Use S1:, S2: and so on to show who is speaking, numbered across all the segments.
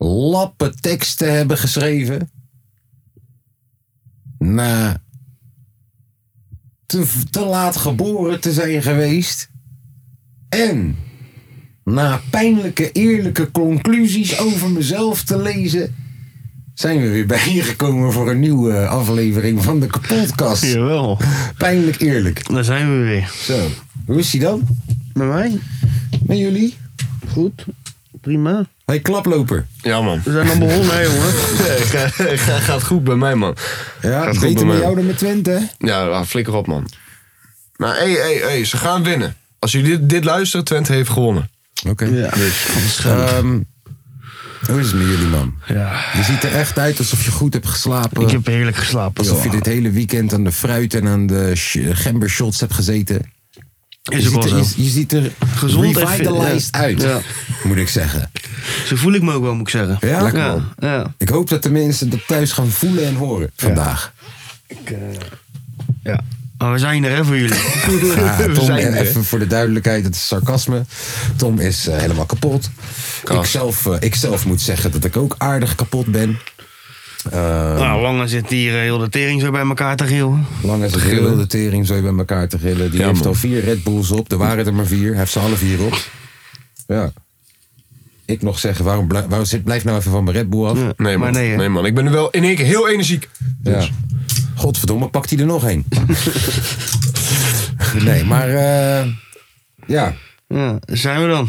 S1: lappen teksten te hebben geschreven. Na te, te laat geboren te zijn geweest. En na pijnlijke eerlijke conclusies over mezelf te lezen. Zijn we weer bijeengekomen voor een nieuwe aflevering van de kapotkast.
S2: Jawel,
S1: Pijnlijk eerlijk.
S2: daar zijn we weer.
S1: Zo, hoe is hij dan?
S2: Bij mij?
S1: Met jullie?
S2: Goed, prima.
S1: Hey, klaploper.
S3: Ja, man.
S2: We zijn al begonnen, hè, jongen.
S3: Gaat goed bij mij, man.
S1: Ja,
S3: Gaat goed bij
S1: beter met
S3: mij.
S1: jou dan met Twente, hè?
S3: Ja, ah, flikker op, man. Maar hé, hé, hé, ze gaan winnen. Als jullie dit, dit luisteren, Twente heeft gewonnen.
S1: Oké.
S2: Ja,
S1: Ehm, hoe is het met jullie, man?
S2: ja.
S1: Je ziet er echt uit alsof je goed hebt geslapen.
S2: Ik heb heerlijk geslapen.
S1: Alsof je
S2: joh.
S1: dit hele weekend aan de fruit en aan de sh- gembershots hebt gezeten.
S2: Is
S1: je,
S2: ook wel
S1: ziet er,
S2: zo.
S1: je, je ziet er
S2: Gezond en fit,
S1: revitalized
S2: ja.
S1: uit,
S2: Ja.
S1: moet ik zeggen.
S2: Zo voel ik me ook wel, moet ik zeggen.
S1: Ja? Lekker,
S2: ja.
S1: man.
S2: Ja.
S1: Ik hoop dat de mensen dat thuis gaan voelen en horen vandaag.
S2: eh, ja. Maar we zijn er, hè, voor jullie.
S1: Ah,
S2: we
S1: Tom,
S2: zijn
S1: en
S2: er.
S1: even voor de duidelijkheid, het is sarcasme. Tom is eh, helemaal kapot. Ik zelf, eh, ik zelf moet zeggen dat ik ook aardig kapot ben.
S2: Nou, langer zit hier eh, heel de tering zo bij elkaar te gillen.
S1: Lang als een grillen, de tering zo bij elkaar te grillen. Die
S3: Ja,
S1: heeft
S3: man.
S1: al vier Red Bulls op. Er waren er maar vier. Hij heeft ze alle vier op. Ja. Ik nog zeggen, waarom, blij- waarom zit, blijf nou even van mijn Red Bull af. Ja.
S3: Nee, man.
S2: Maar nee,
S3: Nee,
S2: hè.
S3: man. Ik ben nu wel in één keer heel energiek. Dus.
S1: Godverdomme, pakt hij er nog een. nee, maar eh, ja.
S2: Ja, daar zijn we dan.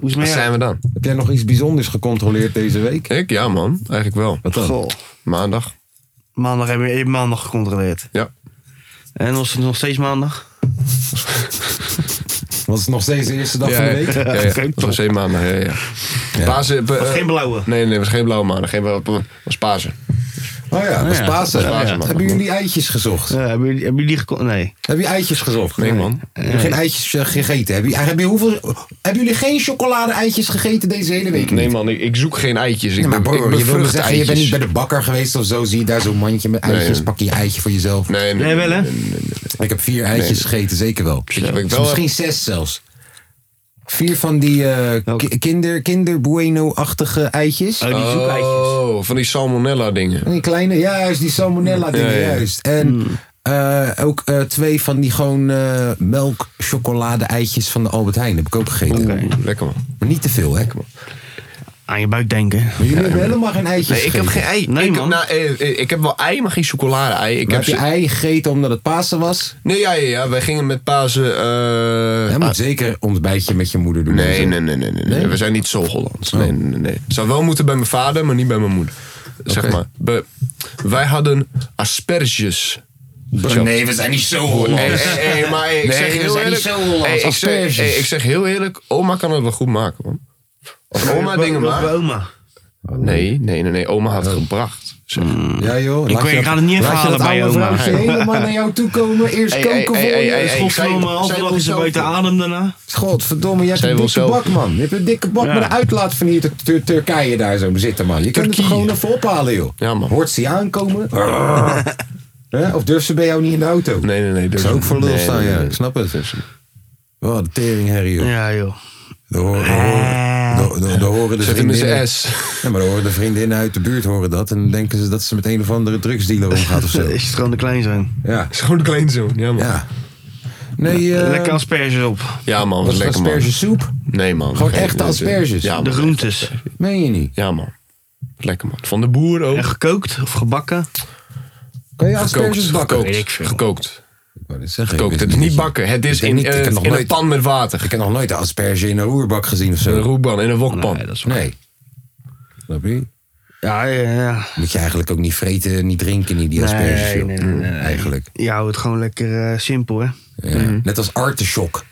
S2: Hoe is het
S3: Waar
S2: met jou?
S3: zijn we dan?
S1: Heb jij nog iets bijzonders gecontroleerd deze week?
S3: Ik? Ja, man. Eigenlijk wel.
S1: Wat dan?
S2: Goh.
S3: Maandag.
S2: Maandag hebben we maandag gecontroleerd.
S3: Ja.
S2: En was het nog steeds maandag?
S1: Was het nog steeds de eerste dag van de week?
S3: Ja, ja.
S2: Oké,
S3: Dat was één maandag. Ja, ja.
S1: Ja.
S3: Pasen, eh,
S2: Geen blauwe.
S3: Nee, nee, het was geen blauwe maandag. Geen blauwe, was Pasen.
S1: Oh ja, dat is
S2: ja.
S1: Pasen.
S3: Dat is Pasen, man.
S1: Hebben jullie eitjes gezocht?
S2: Ja, hebben jullie, hebben jullie gecon- Nee.
S1: Heb je eitjes gezocht?
S3: Nee, man.
S1: Heb je geen eitjes eh, gegeten? Heb je, heb je hoeveel, hebben jullie geen chocolade-eitjes gegeten deze hele week?
S3: Nee, man. Ik, ik zoek geen eitjes. Ik,
S1: Ja, maar
S3: ben-
S1: bro,
S3: ik
S1: je wil me
S3: bevrucht
S1: zeggen, je bent
S3: eitjes.
S1: niet bij de bakker geweest of zo. Zie je daar zo'n mandje met eitjes.
S3: Nee.
S1: Pak je je eitje voor jezelf.
S3: Nee, nee.
S2: Jij wel, hè?
S1: Ik heb vier eitjes gegeten, zeker wel.
S3: Weet je wat ik
S1: Dus
S3: wel heb?
S1: misschien zes zelfs. Vier van die eh,
S2: Welke?
S1: ki- kinder, kinder bueno-achtige eitjes.
S2: Oh, die zoekijtjes.
S3: Oh, van die salmonella dingen.
S1: Die kleine, juist, die salmonella dingen,
S3: Ja, Hmm. ja, ja.
S1: juist. En eh, ook eh, twee van die gewoon eh melk chocolade eitjes van de Albert Heijn heb ik ook gegeten.
S2: Oké.
S3: Lekker, man.
S1: Maar niet te veel, hè?
S2: Aan je buik denken.
S1: Maar jullie hebben helemaal geen eitjes
S3: Nee, ik heb
S1: gegeten.
S3: geen ei.
S2: Nee,
S3: ik,
S2: man.
S3: nou, eh, eh, ik heb wel ei, maar geen chocolade-ei. Ik
S1: Maar
S3: heb
S1: heb je
S3: ze-
S1: ei gegeten omdat het Pasen was?
S3: Nee, ja, ja, ja. Wij gingen met Pasen. eh,
S1: Hij moet zeker ontbijtje met je moeder doen.
S3: nee, nee, nee, nee, nee, nee. We zijn niet zo Hollands.
S1: Oh.
S3: Nee, nee, nee, nee. Zou wel moeten bij mijn vader, maar niet bij mijn moeder. Zeg
S1: Oké.
S3: maar. We- wij hadden asperges.
S1: Nee, we zijn niet zo
S3: Hey, hey, hey, maar hey, ik
S1: Nee, we
S3: zeg heel
S1: zijn
S3: eerlijk.
S1: niet zo Hollands,
S3: hey, ik, zeg,
S1: asperges.
S3: hey, ik zeg heel eerlijk, oma kan het wel goed maken, man. Als oma dingen
S2: Wat- wat bij
S3: maakt.
S2: oma.
S3: Nee, nee, nee, nee. Oma had het gebracht. Zeg.
S1: Oh, Mm. Ja, joh.
S2: Ik
S1: laat
S2: weet-
S1: je
S2: ik ga het niet
S1: laat
S2: even
S1: je dat
S2: halen bij
S1: oude
S2: oma.
S1: vrouwtje helemaal naar jou toe komen. Eerst
S3: Hey,
S1: koken
S3: hey,
S1: voor
S3: hey,
S1: je.
S3: hey, hey,
S2: Dus
S3: hey,
S2: godverdomme,
S3: zij- zij wil
S2: halverdag is er
S3: zelf
S2: buiten
S3: doen.
S2: adem daarna.
S1: Godverdomme, je hebt
S3: Zij
S1: een
S3: wil
S1: dikke
S3: zelf-
S1: bak, man. Je hebt een dikke bak
S2: Ja.
S1: met een uitlaat van hier Tur- Tur- Turkije daar zo zitten, man. Je kunt het er
S3: Turkije.
S1: gewoon even ophalen, joh.
S3: Ja, man.
S1: Hoort ze je aankomen? Hè? Of durft ze bij jou niet in de auto?
S3: Nee, nee, nee.
S1: Ik
S3: dus-
S1: zou ook voor lul
S3: nee,
S1: staan,
S3: nee,
S1: ja.
S3: nee.
S1: Ik snap het. Wat een teringherrie, joh.
S2: Ja, joh.
S1: Daar horen- daar horen- daar- daar horen de
S3: Zet hem in zijn
S1: vriendinnen...
S3: ass.
S1: Ja, maar daar horen de vriendinnen uit de buurt horen dat. En dan denken ze dat ze met een of andere drugsdealer omgaat of zo.
S2: Is het gewoon de klein zijn.
S1: Ja.
S3: Het is gewoon een kleinzoon, ja man. Ja,
S1: Ja. Nee, eh
S2: Lekker asperges op.
S3: man,
S1: was
S3: was
S1: het
S3: lekker man.
S1: aspergesoep?
S3: Nee man.
S1: Gewoon
S3: Geen-
S1: echte asperges?
S3: Ja
S2: De
S3: man.
S2: groentes.
S1: Meen je niet?
S3: Ja man. Lekker man. Van de boer ook.
S2: En gekookt of gebakken.
S1: Kan je
S3: Gekookt.
S1: asperges bakken?
S3: Gekookt.
S2: Weet ik veel.
S3: Gekookt.
S1: Ik wou dit zeggen, ik
S3: Gekookt.
S1: wist
S3: Het is niet
S1: dat je-
S3: bakken. Het
S1: Ik
S3: is
S1: denk
S3: in,
S1: niet, ik
S3: eh,
S1: heb nog
S3: in een
S1: nooit-
S3: pan met water.
S1: Ik heb nog nooit een asperge in een roerbak gezien of
S3: In
S1: zo.
S3: een roepban, in een wokpan.
S2: Nee, dat is
S1: Nee. Snap je?
S2: Ja, ja, ja.
S1: Moet je eigenlijk ook niet vreten, niet drinken, niet die
S2: Nee,
S1: asperges. joh.
S2: nee, nee, nee, nee.
S1: Eigenlijk.
S2: Je houdt het gewoon lekker eh, simpel, hè?
S1: Ja. Net als artichok.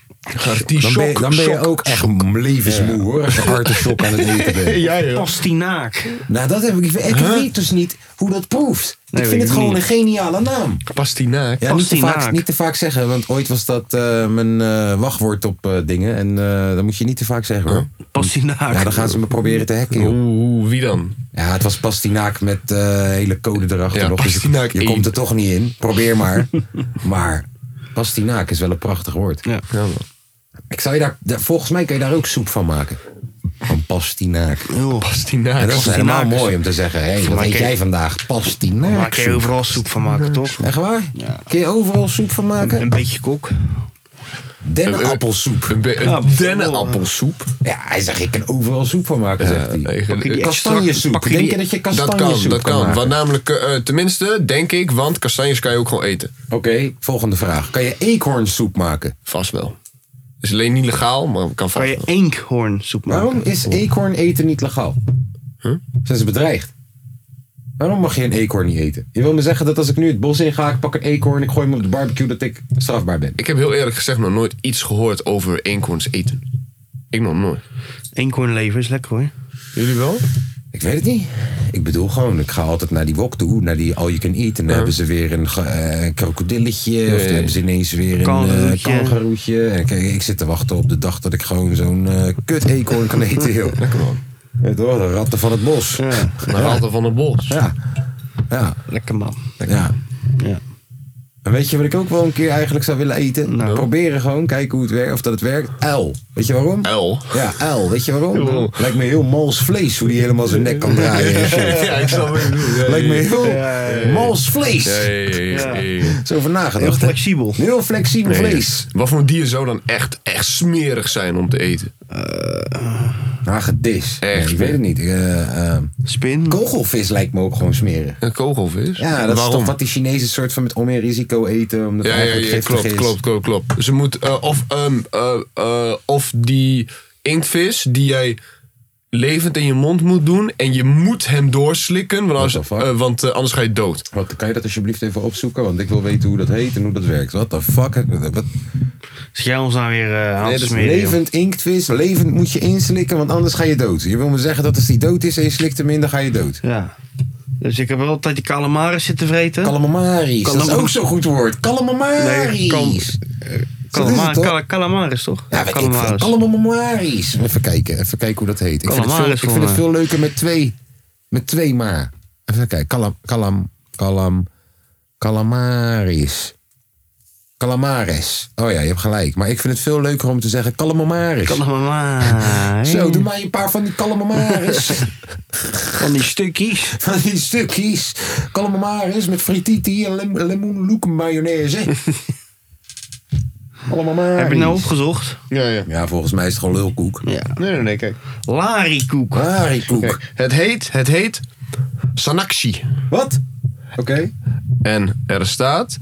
S1: Dan ben je, dan ben je ook echt levensmoe hoor. Als je artenshop aan het eten bent.
S2: Pastinaak.
S1: Nou, dat heb ik. Ik weet dus niet hoe dat proeft.
S2: Nee,
S1: ik
S2: weet
S1: vind het
S2: ik
S1: gewoon
S2: niet.
S1: een geniale naam.
S3: Pastinaak.
S1: Ja, niet te,
S2: Pastinaak.
S1: vaak, niet te vaak zeggen, want ooit was dat eh, mijn eh, wachtwoord op eh, dingen. En eh dat moet je niet te vaak zeggen hoor.
S2: Oh, Pastinaak.
S1: Ja, dan gaan ze me proberen te hacken. joh.
S3: Oeh, oeh, wie dan?
S1: Ja, het was Pastinaak met eh, hele code erachter
S3: Ja,
S1: nog. Dus je-
S3: Pastinaak
S1: je
S3: één.
S1: komt er toch niet in. Probeer maar. maar Pastinaak is wel een prachtig woord.
S2: Ja.
S3: Ja, man.
S1: Ik zou je daar, daar- volgens mij kun je daar ook soep van maken. Van Pastinaak. En
S3: Pastinaak.
S1: dat is
S3: Pastinaak.
S1: helemaal
S2: Pastinaak is-
S1: mooi om te zeggen. Hé, wat
S2: Maar
S1: eet
S2: ik-
S1: jij vandaag?
S2: Daar
S1: Pastinaak
S2: kun je overal soep van maken, toch?
S1: Echt waar? Kun je overal soep van maken?
S2: Een beetje kok.
S1: Dennenappelsoep.
S3: Een be-
S2: Ja,
S3: een dennenappelsoep.
S1: Ja, hij zegt, ik kan overal soep van maken, zegt hij.
S3: Tegen-
S2: die
S3: ik-
S1: Kastanjesoep.
S2: pak je die-
S1: Denk je dat je
S3: Dat
S1: kastanjesoep
S3: kan, dat kan.
S1: maken?
S3: Want namelijk, eh, eh, tenminste, denk ik, want kastanjes kan je ook gewoon eten.
S1: Oké, volgende vraag. Kan je eekhoornsoep maken?
S3: Vast wel. Is alleen niet legaal, maar kan
S2: Kan
S3: vast
S2: je
S3: wel.
S2: eekhoornsoep maken?
S1: Waarom is eekhoorn eten niet legaal? Zijn ze bedreigd? Waarom mag je een eekhoorn niet eten? Je wil me zeggen dat als ik nu het bos in ga, ik pak een eekhoorn, ik gooi hem op de barbecue, dat ik strafbaar ben.
S3: Ik heb heel eerlijk gezegd nog nooit iets gehoord over eenkorns eten. Ik nog nooit.
S2: Eekhoornlever is lekker hoor.
S3: Jullie wel?
S1: Ik weet het niet. Ik bedoel gewoon, ik ga altijd naar die wok toe, naar die all you can eat. En dan hebben ze weer een ge- eh, een krokodilletje. Of dan hebben ze ineens weer een eh
S2: Kangaroetje.
S1: kangaroetje. En kijk, ik zit te wachten op de dag dat ik gewoon zo'n eh kut eekhoorn kan eten. Joh. Lekker man. Ja, door de ratten van het bos. Ja.
S2: Ja,
S3: Maar altijd van het bos.
S1: Ja. ja.
S2: lekker man. Ja.
S1: En weet je wat ik ook wel een keer eigenlijk zou willen eten?
S2: Nou.
S1: Proberen gewoon, kijken hoe het werkt, of dat het werkt. Uil. Weet je waarom?
S3: Uil.
S1: Ja, uil. Weet je waarom? Lijkt me heel mals vlees hoe die helemaal zijn nek kan draaien. en shit.
S3: Ja, ik snap wat je bedoelt. Ja,
S1: Lijkt me heel mals vlees.
S3: ja, ja, ja, ja, ja, ja.
S1: Zo over
S2: Heel
S1: nagedacht. hè?
S2: flexibel.
S1: Heel flexibel vlees.
S3: Wat voor dier zou dan echt, echt smerig zijn om te eten?
S1: Eh,
S2: Ah.
S1: Hagedis.
S3: Echt?
S1: Nee, ik weet het niet. Eh, eh,
S2: Spin.
S1: kogelvis lijkt me ook gewoon smerig.
S3: Een kogelvis?
S1: Ja, dat is
S3: Waarom?
S1: toch wat die Chinezen soort van met om meer risico eten. Omdat
S3: Ja,
S1: het
S3: ja,
S1: eigenlijk
S3: ja,
S1: giftig
S3: klopt,
S1: is.
S3: klopt, klopt, klopt. Ze moet, eh, of, ehm, eh, eh, of die inktvis die jij levend in je mond moet doen en je moet hem doorslikken, want,
S1: What
S3: anders,
S1: the fuck?
S3: eh, want eh, anders ga je dood.
S1: Wat, kan je dat alsjeblieft even opzoeken? Want ik wil weten hoe dat heet en hoe dat werkt. Wat de fuck? Wat?
S2: Zit jij ons nou weer eh, aan
S1: Nee, dat
S2: het
S1: is
S2: smeren? joh?
S1: levend inktvis. Levend moet je inslikken, want anders ga je dood. Je wil me zeggen dat als die dood is en je slikt hem in, dan ga je dood.
S2: Ja. Dus ik heb wel altijd die calamaris zitten vreten.
S1: Calamaris. Dat is
S2: Calam-
S1: ook zo'n goed woord. Calamaris.
S2: Nee, kan-
S1: Zo is het,
S2: Calama-
S1: toch?
S2: cal- calamaris toch?
S1: Ja, weet ik veel.
S2: calamaris.
S1: Calamaris. Even kijken, even kijken hoe dat heet. Ik vind het veel, ik
S2: Calamaris
S1: vind het
S2: voor
S1: veel leuker met twee, met twee ma. Even kijken. Calam, calam, calam, calamaris. Calamares. Oh ja, je hebt gelijk. Maar ik vind het veel leuker om te zeggen calamaris.
S2: Calamaris.
S1: Zo, doe mij een paar van die calamaris.
S2: Van die stukjes.
S1: van die stukjes. Calamaris met frititi en lem, lemoenloek mayonaise. Calamaris.
S2: Heb je nou opgezocht?
S3: Ja, ja.
S1: Ja, volgens mij is het gewoon lulkoek.
S2: Ja.
S3: Nee, nee, nee, kijk.
S2: Larikoek.
S1: Harikoek.
S3: Kijk, Het heet, het heet Sanakshi.
S1: Wat? Oké.
S3: En er staat...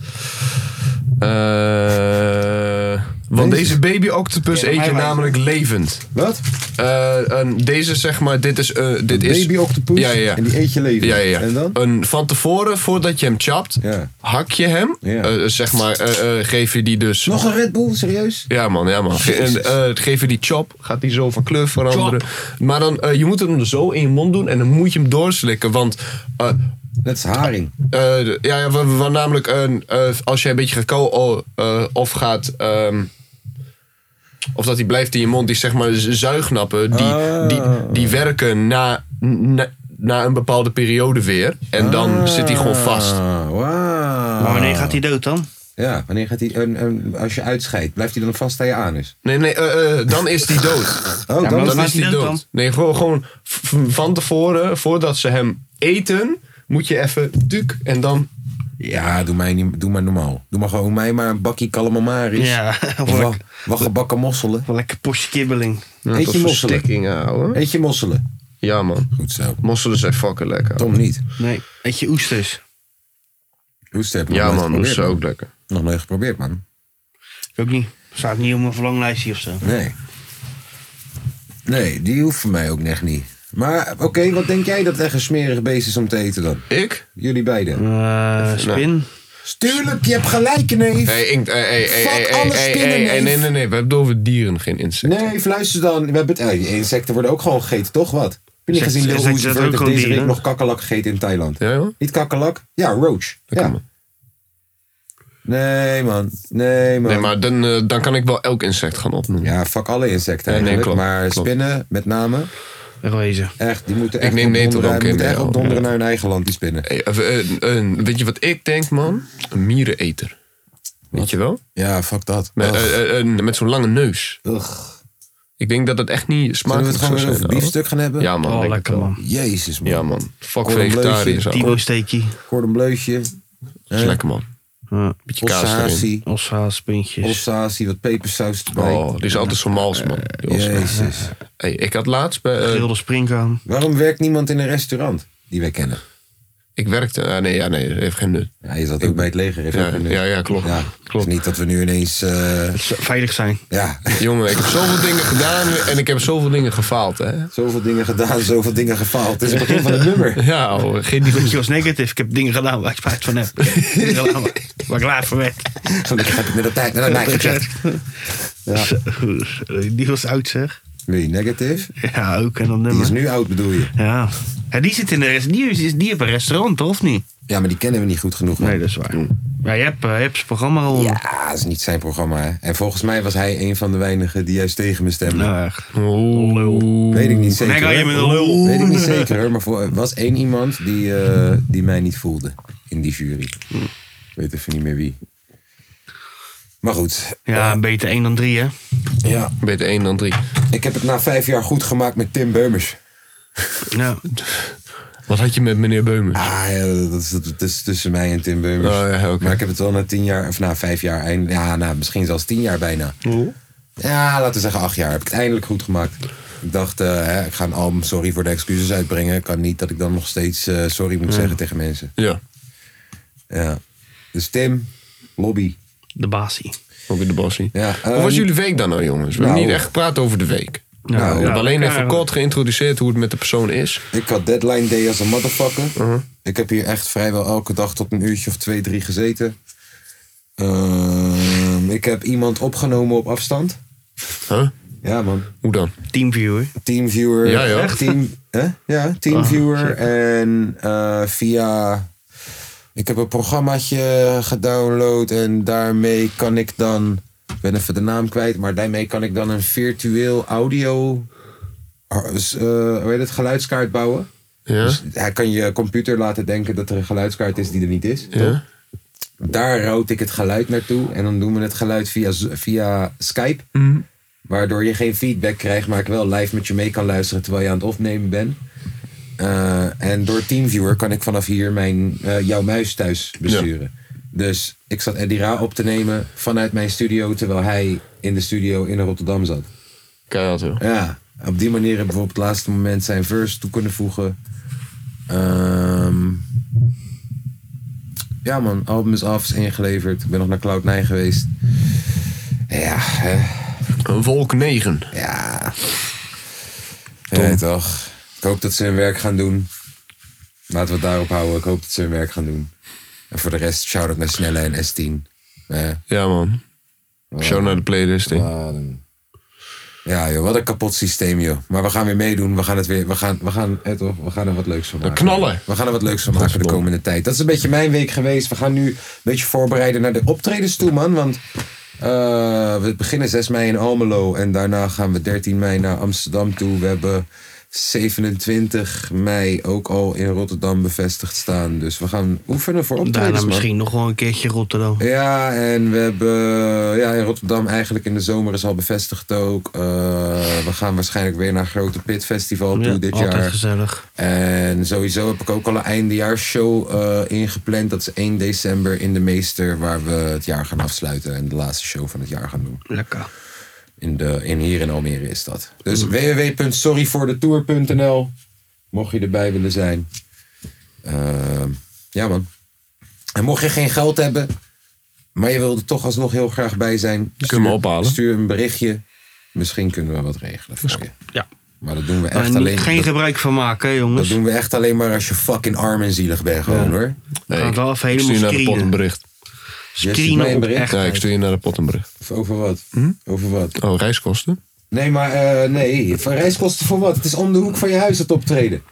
S3: eh, want deze baby octopus eet je namelijk levend.
S1: Wat?
S3: Eh, een- deze zeg maar, dit is... eh, dit is
S1: Baby octopus.
S3: Ja, ja, ja.
S1: En die eet je leven.
S3: Ja, ja, ja.
S1: En dan?
S3: Een, van tevoren, voordat je hem chapt,
S1: Ja.
S3: hak je hem.
S1: Ja.
S3: Eh, zeg maar, eh, eh, geef je die dus...
S1: Nog een Red Bull, serieus?
S3: Ja man, ja man. Ge-
S1: Jezus.
S3: en, eh, geef je die chop, gaat die zo van kleur veranderen. Maar dan, eh, je moet hem zo in je mond doen en dan moet je hem doorslikken. Want eh,
S1: Dat is haring.
S3: eh, de- ja, ja, we, we- we- namelijk een, eh, als je een beetje gaat kauwen oh, eh, of gaat... ehm, of dat die blijft in je mond, die zeg maar z- zuignappen, die,
S1: Ah.
S3: die, die werken na, na, na een bepaalde periode weer. En dan zit die gewoon vast.
S1: Ah, wauw.
S2: Maar wanneer gaat hij dood dan?
S1: Ah. Ja, wanneer gaat hij... een- een- als je uitscheidt, blijft hij dan vast aan je anus?
S3: Nee, nee, eh, eh, dan is die dood.
S1: Oh,
S2: Ja,
S1: dan
S2: maar
S1: is
S3: Dan
S2: Slaat
S3: is
S2: die
S3: die
S2: dood
S3: dood.
S2: dan?
S3: Nee, gewoon, gewoon v- v- van tevoren, voordat ze hem eten, moet je even tuk en dan.
S1: Ja, doe, mij niet, doe maar normaal. Doe maar gewoon mij maar een bakkie calamaris.
S2: Ja,
S1: Of
S2: of
S1: wa- waggebakken mosselen.
S2: Wel lekker postje kibbeling.
S1: Eet je mosselen?
S3: verstikkingen, ouwe.
S1: Eet je mosselen?
S3: Ja, man.
S1: Goed zo.
S3: Mosselen zijn fucking lekker. ouwe.
S1: Tom niet.
S2: Nee, eet je oesters.
S1: Hoest heb ik nog
S3: Ja,
S1: nooit
S3: man,
S1: geprobeerd,
S3: moest ze ook lekker.
S1: Nog nooit geprobeerd, man.
S2: Ik ook niet. Staat niet op mijn verlanglijstje of zo.
S1: Nee. Nee, die hoeft voor mij ook echt niet. Maar oké, wat denk jij dat echt een smerig beest is om te eten dan?
S3: Ik? Nou.
S1: Jullie beiden.
S2: Eh, spin.
S1: Tuurlijk, je hebt gelijk, neef.
S3: Hey, inkt, hey, hey, hey,
S1: Fuck
S3: hey,
S1: alle
S3: hey,
S1: spinnen,
S3: hey, hey,
S1: neef.
S3: nee, nee, nee. We hebben het over dieren, geen insecten.
S1: Nee, luister dan. We hebben het, eh, die insecten worden ook gewoon gegeten, toch? Wat? Heb je niet
S2: Insecten-
S1: gezien Lil
S2: insecten
S1: Uzi
S2: zijn
S1: Vert
S2: ook
S1: heeft
S2: gewoon
S1: deze week
S2: dieren.
S1: nog kakkerlak gegeten in Thailand?
S3: Ja, joh?
S1: Niet kakkerlak? Ja, roach.
S3: Dat
S1: Ja.
S3: kan wel.
S1: Nee, man. Nee, man.
S3: Nee, maar dan, eh, dan kan ik wel elk insect gaan opnoemen.
S1: Ja, fuck alle insecten
S3: Ja, nee,
S1: eigenlijk.
S3: klopt,
S1: maar
S3: klopt.
S1: spinnen met name.
S2: Wegwezen.
S1: Echt, die moeten echt
S3: neem
S1: op
S3: Nederland
S1: donderen,
S3: ook
S1: die
S3: in,
S1: moeten echt
S3: ja.
S1: op donderen naar hun eigen land, die spinnen.
S3: Hey, eh, eh, eh, weet je wat ik denk, man? Een miereneter. Weet je wel?
S1: Ja, fuck dat.
S3: Met,
S1: Ugh.
S3: eh, eh, eh, met zo'n lange neus.
S1: Ugh.
S3: Ik denk dat dat echt niet
S1: Zullen we
S3: smakelijk
S1: het
S3: zou
S1: gewoon weer
S3: zijn.
S1: over
S3: ouwe.
S1: biefstuk gaan hebben?
S3: Ja, man.
S2: Oh,
S3: denk ik
S2: lekker
S3: wel.
S2: man.
S1: Jezus, man.
S3: Ja,
S1: Ja,
S3: man. Fuck
S1: Cordon
S3: vegetarisch.
S1: bleutje,
S3: ouwe.
S2: Tibo steekje.
S1: Cordonbleutje,
S3: Dat is lekker, man.
S2: Ja.
S3: Beetje kaas erin.
S1: ossatie,
S2: Ossaas-puntjes.
S1: ossatie, wat pepersaus erbij. Eh,
S3: Oh, die is altijd zo mals, man. Die ossa's.
S1: Jezus.
S3: Hey, ik had laatst bij... eh,
S2: Grilde springkaan.
S1: Waarom werkt niemand in een restaurant die wij kennen?
S3: ik werkte... ah, nee, ja, nee, dat heeft geen nut.
S1: Ja, je zat ook bij het leger. heeft
S3: Ja,
S1: ook een-
S3: ja, ja, klopt.
S1: Ja,
S3: Klopt.
S1: Het is niet dat we nu ineens... eh,
S2: Veilig zijn.
S1: ja,
S3: Jongen, ik heb zoveel dingen gedaan en ik heb zoveel dingen gefaald, hè.
S1: zoveel dingen gedaan, zoveel dingen gefaald. Het is het begin van het nummer.
S3: Ja, ouwe, geen die...
S2: Ik was negatief. Ik heb dingen gedaan waar ik spijt van heb. Dingen gedaan waar- Waar ik laat van werd.
S1: Gelukkig heb ik net op tijd naar mij gecheckt. Ja.
S2: Zo, Die was oud zeg.
S1: Wie, negative?
S2: Ja, ook. En dan
S1: Die is
S2: nummer.
S1: nu oud, bedoel je?
S2: Ja. ja. Die zit in de rest. Die, is, die hebben een restaurant, toch? Of niet?
S1: Ja, maar die kennen we niet goed genoeg. man. Mm.
S2: Nee, dat is waar. Ja, je hebt, eh, je hebt zijn programma al.
S1: Ja, dat Ah, is niet zijn programma. Hè. En volgens mij was hij een van de weinigen die juist tegen me stemde.
S2: Nou, echt.
S3: Oeh.
S1: Weet ik niet zeker.
S2: Nee, ga je
S1: hoor.
S2: met een lul.
S1: Weet ik niet zeker, hoor. maar voor- er was één iemand die, eh, die mij niet voelde in die jury.
S2: Hm.
S1: Ik weet even niet meer wie. Maar goed,
S2: Ja, beter één dan drie, hè?
S1: ja,
S3: Beter één dan drie.
S1: ik heb het na vijf jaar goed gemaakt met Tim Beumers.
S2: Ja.
S3: Wat had je met meneer Beumer?
S1: Ah, ja, dat, is, dat is tussen mij en Tim Beumers.
S3: Oh, ja, oké.
S1: Maar ik heb het wel na tien jaar, of na vijf jaar, eind, ja, na, misschien zelfs tien jaar bijna. Ja, laten we zeggen acht jaar. Heb ik het eindelijk goed gemaakt. Ik dacht, eh, hè, ik ga een album Sorry voor de excuses uitbrengen. Kan niet dat ik dan nog steeds eh, sorry moet zeggen tegen mensen.
S3: Ja,
S1: Ja. Dus Tim, lobby.
S2: De basie.
S3: ook in de bossie.
S1: Ja,
S3: Hoe was
S1: ehm,
S3: jullie week dan nou, jongens? We
S1: nou.
S3: hebben niet echt gepraat over de week.
S2: Ja,
S1: Nou,
S3: We
S2: ja,
S3: hebben alleen
S2: ja,
S3: even kort geïntroduceerd hoe het met de persoon is.
S1: Ik had deadline day als een motherfucker.
S3: Mhm.
S1: Ik heb hier echt vrijwel elke dag tot een uurtje of twee, drie gezeten. Ehm, ik heb iemand opgenomen op afstand.
S3: Huh?
S1: Ja, man.
S3: Hoe dan?
S2: Teamviewer.
S1: Teamviewer.
S3: Ja, Ah, joh.
S1: Team, hè? Ja, Teamviewer. en eh, via... Ik heb een programmaatje gedownload en daarmee kan ik dan... Ik ben even de naam kwijt, maar daarmee kan ik dan een virtueel audio... eh, hoe heet het? Geluidskaart bouwen.
S3: Ja?
S1: Dus hij kan je computer laten denken dat er een geluidskaart is die er niet is.
S3: Ja?
S1: Daar route ik het geluid naartoe en dan doen we het geluid via, z- via Skype.
S4: Mm-hmm.
S1: Waardoor je geen feedback krijgt, maar ik wel live met je mee kan luisteren terwijl je aan het opnemen bent. Eh, en door TeamViewer kan ik vanaf hier mijn, eh, jouw muis thuis besturen. Dus ik zat Eddie Ra op te nemen vanuit mijn studio, terwijl hij in de studio in Rotterdam zat.
S3: Keihard, joh.
S1: Ja, op die manier hebben we op het laatste moment zijn verse toe kunnen voegen. Ehm, ja man, album is af, is ingeleverd. Ik ben nog naar Cloud9 geweest. Ja, hè.
S3: Een wolk 9.
S1: ja. Nee, toch. Ik hoop dat ze hun werk gaan doen. Laten we het daarop houden. Ik hoop dat ze hun werk gaan doen. En voor de rest, shout-out naar Snelle en S10. Eh,
S3: Ja, man. Show naar de playlist. hè.
S1: Maar, um, Ja, joh, wat een kapot systeem, joh. Maar we gaan weer meedoen. We gaan, het weer, we gaan, we gaan, eh, toch, we gaan er wat leuks van maken.
S3: knallen.
S1: We gaan er wat leuks van maken de komende tijd. Dat is een beetje mijn week geweest. We gaan nu een beetje voorbereiden naar de optredens toe, man. Want eh, we beginnen 6 mei in Almelo. En daarna gaan we 13 mei naar Amsterdam toe. We hebben 27 mei ook al in Rotterdam bevestigd staan. Dus we gaan oefenen voor optredens,
S2: Daarna
S1: man.
S2: misschien nog wel een keertje Rotterdam.
S1: Ja, en we hebben ja, in Rotterdam eigenlijk in de zomer is al bevestigd ook. Eh, we gaan waarschijnlijk weer naar Grote Pit Festival toe
S2: Ja,
S1: dit
S2: altijd
S1: jaar.
S2: gezellig.
S1: En sowieso heb ik ook al een eindejaarsshow eh, ingepland. Dat is 1 december in de Meester, waar we het jaar gaan afsluiten. En de laatste show van het jaar gaan doen.
S2: Lekker.
S1: In de, in, hier in Almere is dat. Dus www.sorryvoordetour.nl Mocht je erbij willen zijn. Ehm, ja man. En mocht je geen geld hebben, maar je wilde toch alsnog heel graag bij zijn.
S3: Kun je me ophalen?
S1: Stuur een berichtje. Misschien kunnen we wat regelen voor je.
S2: Ja.
S1: Maar dat doen we
S2: Maar
S1: echt
S2: niet-
S1: alleen...
S2: geen
S1: dat,
S2: gebruik van maken, hè,
S1: dat
S2: jongens.
S1: doen we echt alleen maar als je fucking arm en zielig bent gewoon hoor.
S3: Nee,
S2: Gaat wel even
S3: ik
S2: helemaal
S3: stuur naar de pot
S2: screenen.
S3: een bericht.
S1: stuurt mij
S2: Screenen
S1: een
S2: op
S1: bericht.
S2: echt.
S3: Ja, ik stuur je naar de Pottenbrug.
S1: Over wat?
S2: Hm?
S1: Over wat?
S3: Oh, reiskosten?
S1: Nee, maar eh, nee. Van reiskosten voor wat? Het is om de hoek van je huis het optreden.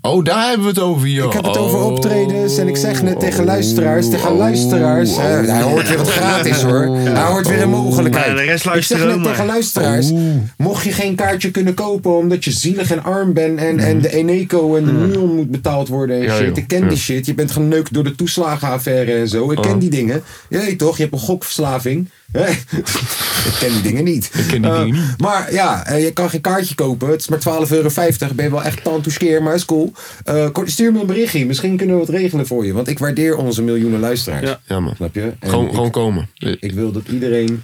S3: Oh, daar hebben we het over, joh.
S1: Ik heb het over optredens en ik zeg net tegen luisteraars, tegen
S3: oh,
S1: luisteraars.
S3: oh,
S1: eh, hij hoort weer wat gratis hoor. Hij hoort weer een mogelijkheid.
S2: Maar de rest
S1: ik zeg
S2: luisteren
S1: net
S2: maar.
S1: tegen luisteraars, mocht je geen kaartje kunnen kopen omdat je zielig en arm bent en, en de Eneco en de Nuon moet betaald worden en
S3: Mhm. Ja,
S1: shit.
S3: joh.
S1: Ik ken
S3: Ja. Oh.
S1: die shit. Je bent geneukt door de toeslagenaffaire en zo. Ik ken die dingen. Je weet toch, je hebt een gokverslaving. ik ken die dingen niet. Ik
S3: ken die dingen niet.
S1: maar ja, eh, je kan geen kaartje kopen. Het is maar 12,50 euro. Ben je wel echt tantoeskeer, maar is cool. Eh, kort- stuur me een berichtje. Misschien kunnen we wat regelen voor je. Want ik waardeer onze miljoenen luisteraars.
S2: Ja.
S3: Ja, man.
S1: Snap je? En
S3: Gewoon,
S1: ik,
S3: gewoon komen.
S1: ik wil dat iedereen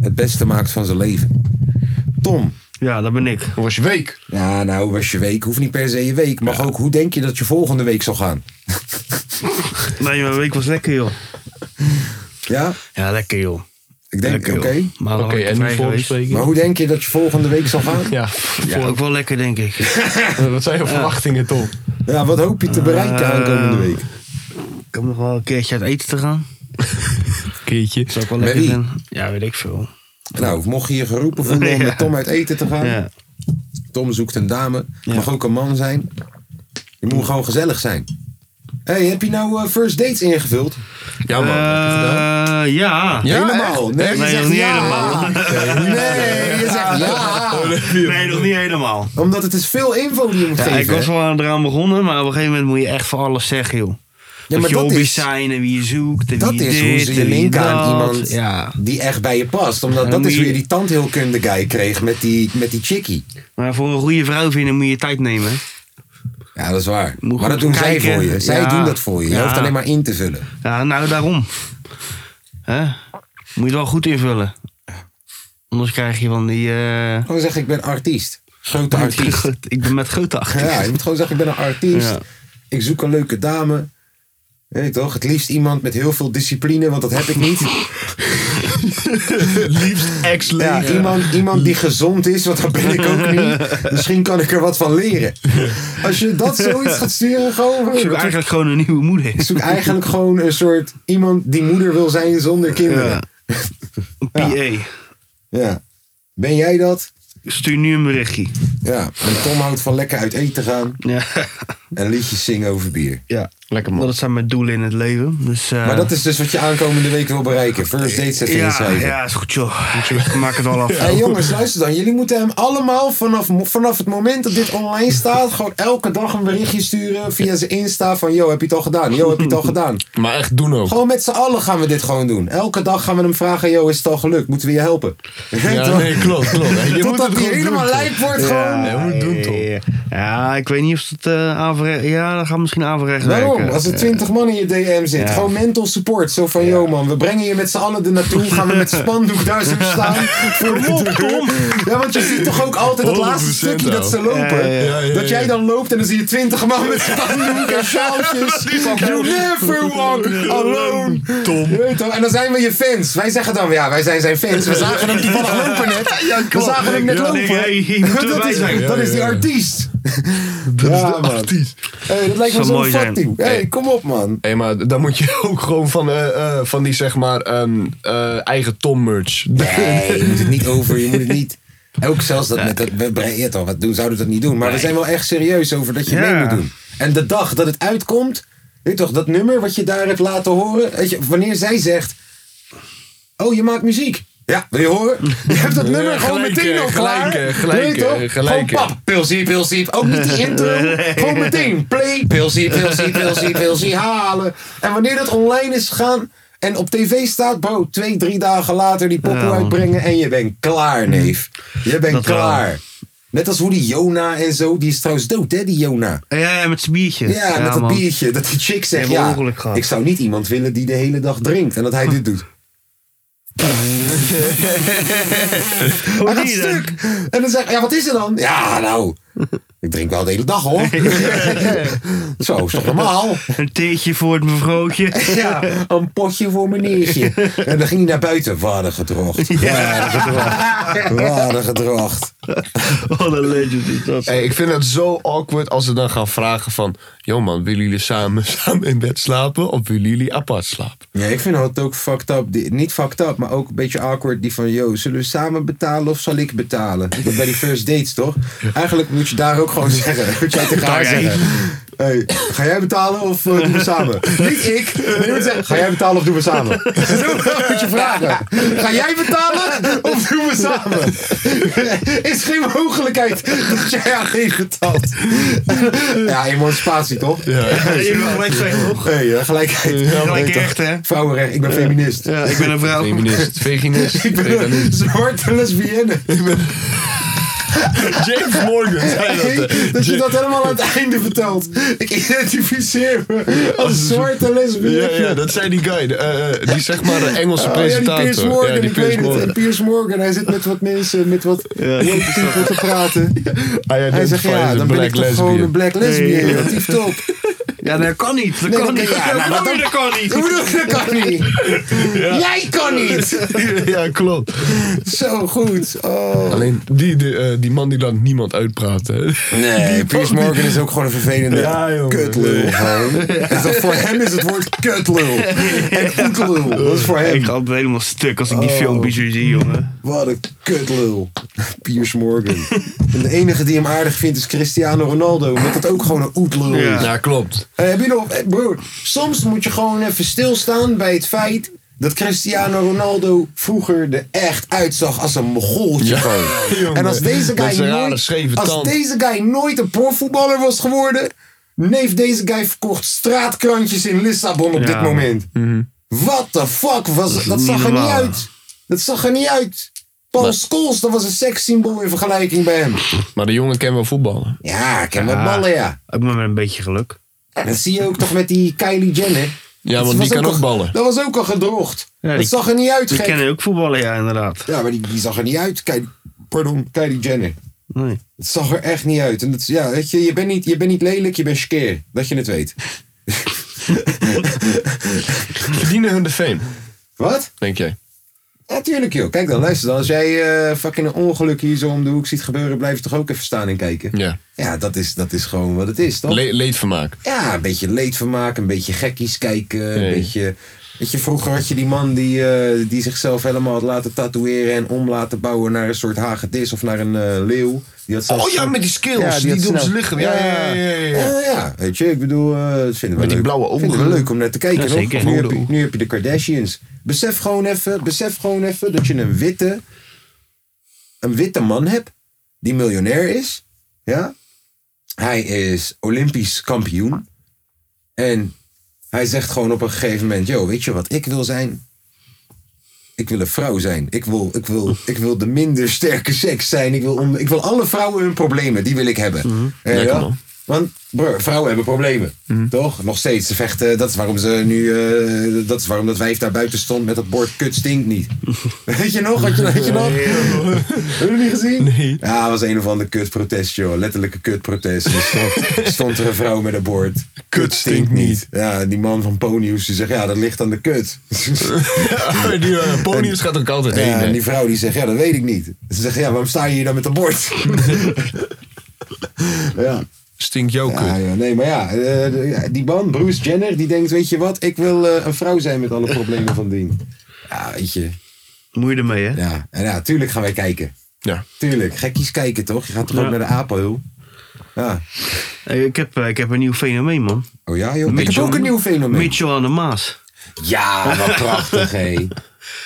S1: het beste maakt van zijn leven. Tom.
S2: Ja, dat ben ik.
S3: Hoe was je week?
S1: Ja, nou, hoe was je week? Hoeft niet per se je week. Mag ook, hoe denk je dat je volgende week zal gaan?
S2: Nee, mijn week was lekker, joh.
S1: Ja?
S2: Ja, lekker, joh.
S1: Ik denk, oké.
S2: Lekker, joh. Maar dan
S3: Oké,
S2: had ik
S3: en
S2: vrij
S3: nu
S2: geweest.
S3: voorbespreking?
S1: Maar hoe denk je dat je volgende week zal gaan?
S3: Ja,
S2: Ja, ook wel lekker, denk ik.
S3: wat zijn je verwachtingen, Tom?
S1: Ja, wat hoop je te bereiken
S2: Eh,
S1: aankomende week?
S2: Ik heb nog wel een keertje uit eten te gaan.
S3: Keertje.
S2: Zou ik wel
S1: Met
S2: lekker
S1: wie?
S2: zijn. Ja, weet ik veel.
S1: Nou, mocht je je geroepen voelen om
S2: Ja.
S1: met Tom uit eten te gaan...
S2: Ja.
S1: Tom zoekt een dame.
S2: Ja.
S1: Mag ook een man zijn. Je moet gewoon gezellig zijn. hey, heb je nou eh, first dates ingevuld?
S3: Ja, man.
S2: Eh, ja.
S3: Ja,
S1: helemaal.
S3: echt?
S1: Nee,
S3: Echt?
S1: je
S2: Nee,
S1: zegt
S2: nog niet
S1: ja. Nee, je zegt ja.
S2: Nee, nog niet helemaal.
S1: Omdat het is veel info die je moet
S2: Ja,
S1: geven.
S2: ik was
S1: hè?
S2: wel aan eraan begonnen, maar op een gegeven moment moet je echt voor alles zeggen, joh.
S1: ja,
S2: wat
S1: maar
S2: je
S1: dat
S2: hobby's
S1: is,
S2: zijn en wie je zoekt en
S1: dat
S2: wie
S1: is
S2: dit
S1: hoe ze je
S2: en wie
S1: linken aan
S2: dat.
S1: iemand
S2: Ja.
S1: die echt bij je past. Omdat
S2: Dan
S1: dat
S2: moet
S1: is
S2: je-
S1: weer die tandheelkunde guy kreeg met die, met die chickie.
S2: Maar voor een goede vrouw vinden moet je tijd nemen.
S1: Ja, dat is waar.
S2: Moet
S1: maar dat
S2: goed
S1: doen zij
S2: kijken.
S1: voor je. Zij
S2: Ja.
S1: doen dat voor je. Je
S2: Ja.
S1: hoeft alleen maar in te vullen.
S2: Ja, nou daarom. Hè? Moet je het wel goed invullen. Anders krijg je van die... eh,
S1: Gewoon zeggen, Oh, ik ben artiest. Grote artiest.
S2: Ik ben met grote achter.
S1: Ja, je moet gewoon zeggen, ik ben een artiest.
S2: Ja.
S1: Ik zoek een leuke dame. Weet je toch? Het liefst iemand met heel veel discipline, want dat heb ik niet.
S3: Liefst ex
S1: Ja, iemand, iemand die gezond is, want dat ben ik ook niet. Misschien kan ik er wat van leren. Als je dat zoiets gaat sturen, gewoon...
S2: Ik zoek eigenlijk gewoon een nieuwe moeder.
S1: ik zoek eigenlijk gewoon een soort iemand die moeder wil zijn zonder
S2: Ja.
S1: kinderen.
S2: Een PA.
S1: Ja. Ben jij dat?
S2: Stuur nu een berichtje.
S1: Ja. En Tom houdt van lekker uit eten gaan
S2: Ja.
S1: en liedjes zingen over bier.
S2: ja.
S3: Lekker, man.
S2: Dat zijn mijn doelen in het leven. Dus, eh,
S1: Maar dat is dus wat je aankomende week wil bereiken. First dates even
S2: ja,
S1: inschrijven.
S2: ja, is goed joh. Ik maak het wel af.
S1: Hé jongens, luister dan. Jullie moeten hem allemaal vanaf, vanaf het moment dat dit online staat... gewoon elke dag een berichtje sturen via zijn Insta van... Yo, heb je het al gedaan? Yo, heb je het al gedaan?
S3: Maar echt doen ook.
S1: Gewoon met z'n allen gaan we dit gewoon doen. Elke dag gaan we hem vragen... Yo, is het al gelukt? Moeten we je helpen?
S3: Ja, nee, klopt, klopt. Je moet
S1: Totdat
S3: het
S1: hij
S3: gewoon
S1: helemaal
S3: doen,
S1: lijp wordt
S2: Ja,
S1: gewoon.
S3: Nee, moet het doen, Tom.
S2: ja, ja, ik weet niet of het eh aanverre- Ja, dat gaat misschien averechts
S1: Waarom?
S2: werken.
S1: Als er twintig man in je DM zit.
S2: Ja.
S1: Gewoon mental support. Zo van, yo man, we brengen je met z'n allen er naartoe. Gaan we met spandoek daar zo staan. Voor de deur. Ja, want je ziet toch ook altijd het laatste
S3: 100%
S1: stukje dat ze
S3: ook.
S1: lopen.
S2: Ja, ja,
S3: ja.
S1: Dat jij dan loopt en dan zie je twintig man met spandoek en sjaaltjes. You never walk alone.
S3: Tom.
S1: Je weet toch? En dan zijn we je fans. Wij zeggen dan, ja, wij zijn zijn fans. We zagen hem toevallig lopen net. We zagen hem net
S2: Ja, nee, hey, je moet
S1: lopen. Dat
S2: erbij
S1: is,
S2: zijn.
S1: dat is die
S3: Ja, ja, ja.
S1: artiest.
S3: Dat is
S1: Ja,
S3: de
S1: man.
S3: artiest.
S1: Hey, dat lijkt me
S2: Zou
S1: zo'n
S2: mooi zijn.
S1: fucking. Hey, kom op, man.
S3: Hé, maar dan moet je ook gewoon van, eh, eh, van die, zeg maar, ehm, eh, eigen Tom-merch.
S1: Nee, je moet het niet over, je moet het niet. Ook zelfs dat met dat, we breien toch, wat doen, zouden we dat niet doen. Maar we zijn wel echt serieus over dat je
S2: Ja.
S1: mee moet doen. En de dag dat het uitkomt, weet je toch, dat nummer wat je daar hebt laten horen, weet je, wanneer zij zegt, oh je maakt muziek. Ja, wil je horen? Je hebt dat nummer gewoon
S3: gelijk,
S1: meteen
S3: eh,
S1: al klaar.
S3: gelijk, eh, gelijk,
S1: Weet je toch?
S3: eh, gelijk,
S1: Gewoon pap, pilsie, pilsie. Ook niet die intro. Gewoon meteen play, pilsie, pilsie, pilsie, pilsie, halen. En wanneer dat online is gegaan en op tv staat, bro, twee, drie dagen later die poppen
S2: Ja.
S1: uitbrengen en je bent klaar, neef. Je bent
S2: Nou. Mm. Dat wel.
S1: klaar. Net als hoe die Jona en zo, die is trouwens dood, hè, die Jona.
S2: Ja, ja, met zijn biertje.
S1: Ja, met dat
S2: man.
S1: biertje, dat die chick zegt,
S2: Die hebben
S1: ja,
S2: ongeluk gehad.
S1: ik zou niet iemand willen die de hele dag drinkt en dat hij dit doet.
S2: Oh,
S1: Hij gaat
S2: die dan.
S1: stuk. En dan zeg ik, ja, wat is er dan? Ja, nou, ik drink wel de hele dag, hoor. Zo, is toch normaal?
S2: Een theetje voor het mevrouwtje.
S1: Ja, een potje voor meneertje. En dan ging hij naar buiten. Waarde gedrocht. Waarde gedrocht. Waarde gedrocht.
S2: Wat een legend is dat.
S3: Hey, ik vind het zo awkward als ze dan gaan vragen van... Yo man, willen jullie samen, samen in bed slapen of willen jullie apart slapen?
S1: Ja, ik vind het ook fucked up. Die, niet fucked up, maar ook een beetje awkward. Die van, yo, zullen we samen betalen of zal ik betalen? Dat bij die first dates, toch? Eigenlijk moet je daar ook gewoon zeggen. Moet jij tegen haar
S2: Dag, hè?
S1: zeggen. Hey, ga jij betalen of eh, doen we samen? Niet ik. Nee, je moet zeggen, ga jij betalen of doen we samen? Zo moet je vragen. Ga jij betalen of doen we samen? Is geen mogelijkheid dat jij aan geen betaalt. Ja, emancipatie, toch?
S2: Je moet gelijk zeggen, toch?
S1: Hey, eh, gelijkheid.
S2: Gelijk echt, hè?
S1: Vrouwenrecht, ik ben feminist.
S2: Ja, ik ben een vrouw.
S3: Feminist, veganist.
S1: Ik ben
S3: veganist.
S1: een zwarte lesbienne.
S3: James Morgan zei dat.
S1: Hey,
S3: eh.
S1: dat je dat helemaal aan het einde vertelt. Ik identificeer me als zwarte
S3: Ja,
S1: lesbienne.
S3: ja, dat zei die guy. eh, eh, die zeg maar de Engelse
S1: Oh, ja, die
S3: presentator.
S1: Piers Morgan,
S3: Ja, die
S1: ik
S3: Piers
S1: weet het.
S3: Morgan.
S1: En Piers Morgan, hij zit met wat mensen, met wat
S2: Ja.
S1: woke people te praten.
S3: Hij
S1: Hij
S3: identifies
S1: zegt, ja,
S3: as a
S1: dan ben
S3: black
S1: ik toch
S3: lesbian.
S1: gewoon een black
S2: Nee,
S1: lesbian.
S2: ja.
S1: Dat is top.
S2: Ja, dat kan niet. Dat
S1: Nee,
S2: kan
S1: dat-
S2: niet.
S1: ja, nou,
S2: Wat
S1: dat-
S2: bedoel je, Dat kan
S1: Ik
S2: niet.
S1: bedoel, dat kan niet. Jij kan niet.
S3: ja, klopt.
S1: Zo goed. Oh.
S3: Alleen die, de, eh, die man die laat niemand uitpraten. hè.
S1: Nee, Piers Morgan is ook gewoon een vervelende
S3: Ja, jongen.
S1: kutlul. gewoon. Is dat voor hem is het woord kutlul. En oetlul. Dat is voor
S2: Ik
S1: hem.
S2: ga helemaal stuk als ik die
S1: Oh.
S2: filmpjes weer zie, jongen.
S1: Wat een kutlul. Piers Morgan. En de enige die hem aardig vindt is Cristiano Ronaldo. Omdat dat ook gewoon een oetlul is.
S2: Ja.
S3: Ja, klopt.
S1: Eh, heb je nog, eh, broer, soms moet je gewoon even stilstaan bij het feit dat Cristiano Ronaldo vroeger er echt uitzag als een mogoltje. gewoon.
S3: jongen.
S1: En als deze
S3: Met
S1: guy,
S3: zijn rare scheve
S1: nooit, als
S3: tand.
S1: deze guy nooit een profvoetballer was geworden, neef deze guy verkocht straatkrantjes in Lissabon op
S2: Ja.
S1: dit moment. What the fuck? Was, dat
S2: niet
S1: zag er niet
S2: normaal.
S1: uit. Dat zag er niet uit. Paul Scholes, dat was een sekssymbool in vergelijking bij hem.
S3: Maar de jongen kan wel voetballen.
S1: Ja, ik ken wat
S2: Ja.
S1: ballen, ja.
S2: Ook maar met een beetje geluk.
S1: En dat zie je ook toch met die Kylie Jenner.
S3: Ja,
S1: Dat
S3: want die
S1: was
S3: kan
S1: al-
S3: ook ballen.
S1: Dat was ook al gedrocht.
S2: Ja,
S1: dat
S2: die-
S1: zag er niet uit,
S2: Die
S1: gek.
S2: kennen ook voetballen, ja, inderdaad.
S1: Ja, maar die, die zag er niet uit. Kylie, pardon, Kylie Jenner.
S2: Nee.
S1: Het zag er echt niet uit. En dat, ja, weet je, je, bent niet, je bent niet lelijk, je bent skeer. Dat je het weet.
S3: Verdienen hun de fame,
S1: Wat?
S3: denk jij?
S1: Ja, tuurlijk joh. Kijk dan, luister dan. Als jij eh, fucking een ongeluk hier zo om de hoek ziet gebeuren, blijf je toch ook even staan en kijken.
S3: Ja.
S1: Ja, dat is, dat is gewoon wat het is, toch?
S3: Le- leedvermaak.
S1: Ja, een beetje leedvermaak, een beetje gekkies kijken, een
S3: Nee.
S1: beetje... Weet je, vroeger had je die man die, eh, die zichzelf helemaal had laten tatoeëren en om laten bouwen naar een soort hagedis of naar een eh, leeuw. Die had zelfs-
S3: Oh ja, met die skills.
S1: Ja, die
S3: die
S1: had
S3: doen ze
S1: snel-
S3: liggen. Ja, ja, ja. ja, ja.
S1: Ja, ja, weet je, ik bedoel, eh dat vinden we
S3: Met
S1: leuk.
S3: die blauwe ogen.
S1: Vinden we leuk om naar te kijken,
S2: Ja,
S1: hoor.
S2: zeker.
S1: Nu, heb
S2: Blauwe
S1: je, nu heb je de Kardashians. Besef gewoon even, besef gewoon even dat je een witte, een witte man hebt die miljonair is. Ja? Hij is Olympisch kampioen. En hij zegt gewoon op een gegeven moment: Yo, weet je wat ik wil zijn? Ik wil een vrouw zijn. Ik wil, ik wil, ik wil de minder sterke seks zijn. Ik wil, onder- ik wil alle vrouwen hun problemen. Die wil ik hebben. Eh, Ja,
S3: Mm. Lekker
S1: ja?
S3: man. Mm.
S1: Want broer, vrouwen hebben problemen. Toch? Nog steeds. Ze vechten. Dat is waarom ze nu. eh, dat is waarom dat wijf daar buiten stond met dat bord kut stinkt niet. Weet je nog? Had je, had je nog? Heb je het niet gezien?
S3: Nee.
S1: Ja, het was een of ander kutprotest, joh. Letterlijke kutprotest. Er stond, stond er een vrouw met een bord.
S3: Kut stinkt niet.
S1: Ja, die man van Ponyus die zegt, ja, dat ligt aan de kut.
S3: die eh, ponius gaat ook altijd heen.
S1: Ja,
S3: hè.
S1: en die vrouw die zegt, ja, dat weet ik niet. Ze zegt, ja, waarom sta je hier dan met een bord? ja.
S3: Stinkt jouw kut.
S1: Ja, ja, nee, maar ja, eh, de- ja, die man, Bruce Jenner, die denkt, weet je wat, ik wil eh, een vrouw zijn met alle problemen van dien. Ja, weet je.
S2: Moet je ermee, hè?
S1: Ja, en ja, tuurlijk gaan wij kijken.
S3: Ja.
S1: Tuurlijk, gekkies kijken toch? Je gaat toch ook
S2: Ja.
S1: naar de apenhul? Ja.
S2: Hey, Ik heb, eh, ik heb een nieuw fenomeen, man.
S1: Oh ja, joh. ik heb
S2: Mitchell-
S1: ook een nieuw fenomeen.
S2: Mitchell aan de Maas.
S1: Ja, wat prachtig, hé.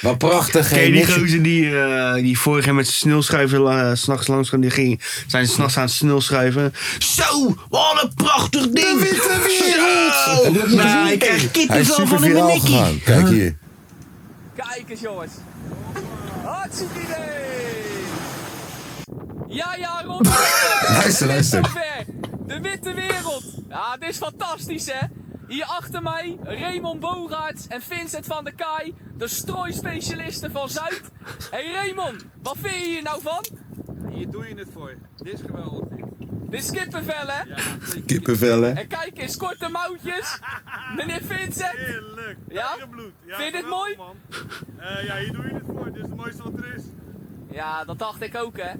S1: Wat prachtig,
S2: Ken
S1: hé.
S2: je die
S1: Niks-
S2: gozer die, eh, die vorig jaar met zijn sneeuwschuiver la- 's s'nachts langs kwam? Die ging, zijn s'nachts aan het sneeuwschuiven. Zo, wat een prachtig
S1: De
S2: ding!
S1: witte wereld! Heb je dat
S2: Zo!
S1: niet
S2: Nou,
S1: gezien?
S2: ik krijg
S1: Hij is
S2: kippenvel
S1: super
S2: van in mijn
S1: viraal
S2: nekkie.
S1: gegaan. Kijk hier.
S5: Kijk eens jongens. Hartstikke idee. Ja, ja, Ron.
S1: Luister,
S5: Het is
S1: luister.
S5: zover. De witte wereld. Ja, dit is fantastisch hè. Hier achter mij Raymond Bogaerts en Vincent van der Kaai, de strooispecialisten van Zuid. hey Raymond, wat vind je hier nou van?
S6: Hier doe je het voor. Dit is geweldig.
S5: Dit is kippenvel hè?
S1: Kippenvel, hè?
S5: En kijk eens, korte mouwtjes. Meneer Vincent.
S6: Heerlijk.
S5: Ja?
S6: Eigen bloed. Ja,
S5: Vind je dit
S6: geweldig,
S5: mooi?
S6: Man. Eh, ja, hier doe je het voor. Dit is het mooiste wat er is.
S5: Ja, dat dacht ik ook, hè.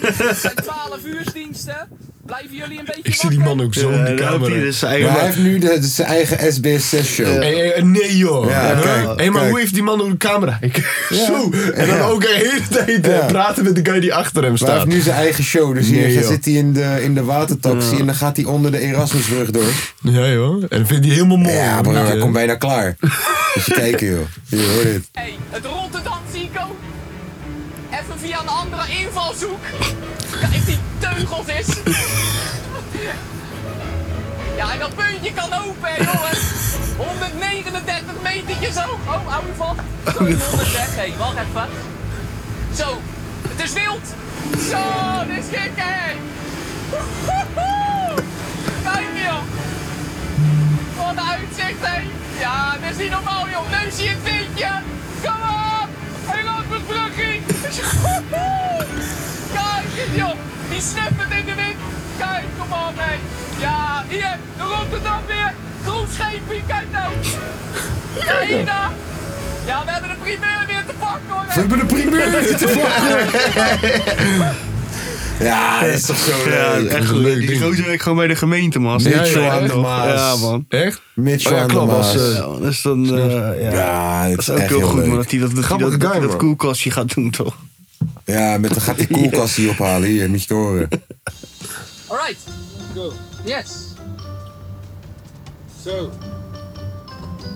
S5: Het zijn 12 uursdiensten. Blijven jullie een beetje
S3: Ik zie die man ook zo in
S2: Ja,
S3: de
S2: dan loopt hij
S3: camera.
S2: dus zijn eigen
S1: Maar hij
S2: weg.
S1: heeft nu de, zijn eigen SBS6-show.
S3: Hey, hey, hey, nee joh.
S1: Oh, Ja,
S3: Huh?
S1: kijk,
S3: hey, maar
S1: kijk.
S3: hoe heeft die man door de camera? Ik,
S1: Ja.
S3: Zo. En dan
S1: Ja.
S3: ook de hele tijd eh,
S1: Ja.
S3: praten met de guy die achter hem
S1: Maar hij
S3: staat.
S1: heeft nu zijn eigen show. Dus
S3: Nee,
S1: hier
S3: joh.
S1: zit hij in de, in de watertaxi en dan gaat hij onder de Erasmusbrug door.
S3: Ja joh. En dat vindt hij helemaal mooi.
S1: Ja, bro,
S3: Maar,
S1: hij
S3: eh,
S1: komt bijna klaar. Moet je kijken, joh. Je hoort het.
S5: Hé, hey, het Rotterdam Zico. Even via een andere invalshoek. Kijk die teugels is. Ja, en dat puntje kan open, hè, jongens. 139 metertjes hoog. Oh, hou je vast. Sorry, 130. Hé, wacht even. Zo, het is wild. Zo, dit is gek, hè. Woehoehoe. Kijk, joh. Wat een uitzicht, hé! Ja, dit is niet normaal, joh! Neusje in het windje! Kom op! Heel lang met bruggie! Kijk eens, joh! Die snippert in de wind! Kijk, kom op, hé! Ja, hier! De Rotterdam weer! Groen scheepje, kijk nou! Kijk nou! Ja, we hebben de primeur weer te pakken, hoor! hè.
S1: hebben de primeur te Ja, dat is toch zo
S2: Ja,
S1: leuk.
S2: echt
S3: een leuk
S2: leuk. Die
S3: ding.
S2: gozer werkt gewoon bij de gemeente, man.
S1: Mitchell
S2: Ja, ja,
S1: aan de
S2: toch?
S1: Maas.
S2: Ja, man.
S3: Echt?
S1: Mitch
S3: Oh ja,
S1: van der
S3: klopt,
S1: Maas.
S3: was,
S2: Ja, man, dus dan... eh, ja.
S1: Ja, dat
S2: Dat
S1: is
S2: is ook
S1: echt
S2: heel goed, man.
S1: leuk.
S2: Dat hij dat, dat, hij
S3: Grappige
S2: dat, dat,
S3: guy,
S2: hij dat
S3: man.
S2: koelkastje gaat doen, toch?
S1: Ja, met dan gaat die koelkast hier ophalen. Hier, niet te horen.
S5: Alright!
S6: Go.
S5: Yes!
S6: Zo.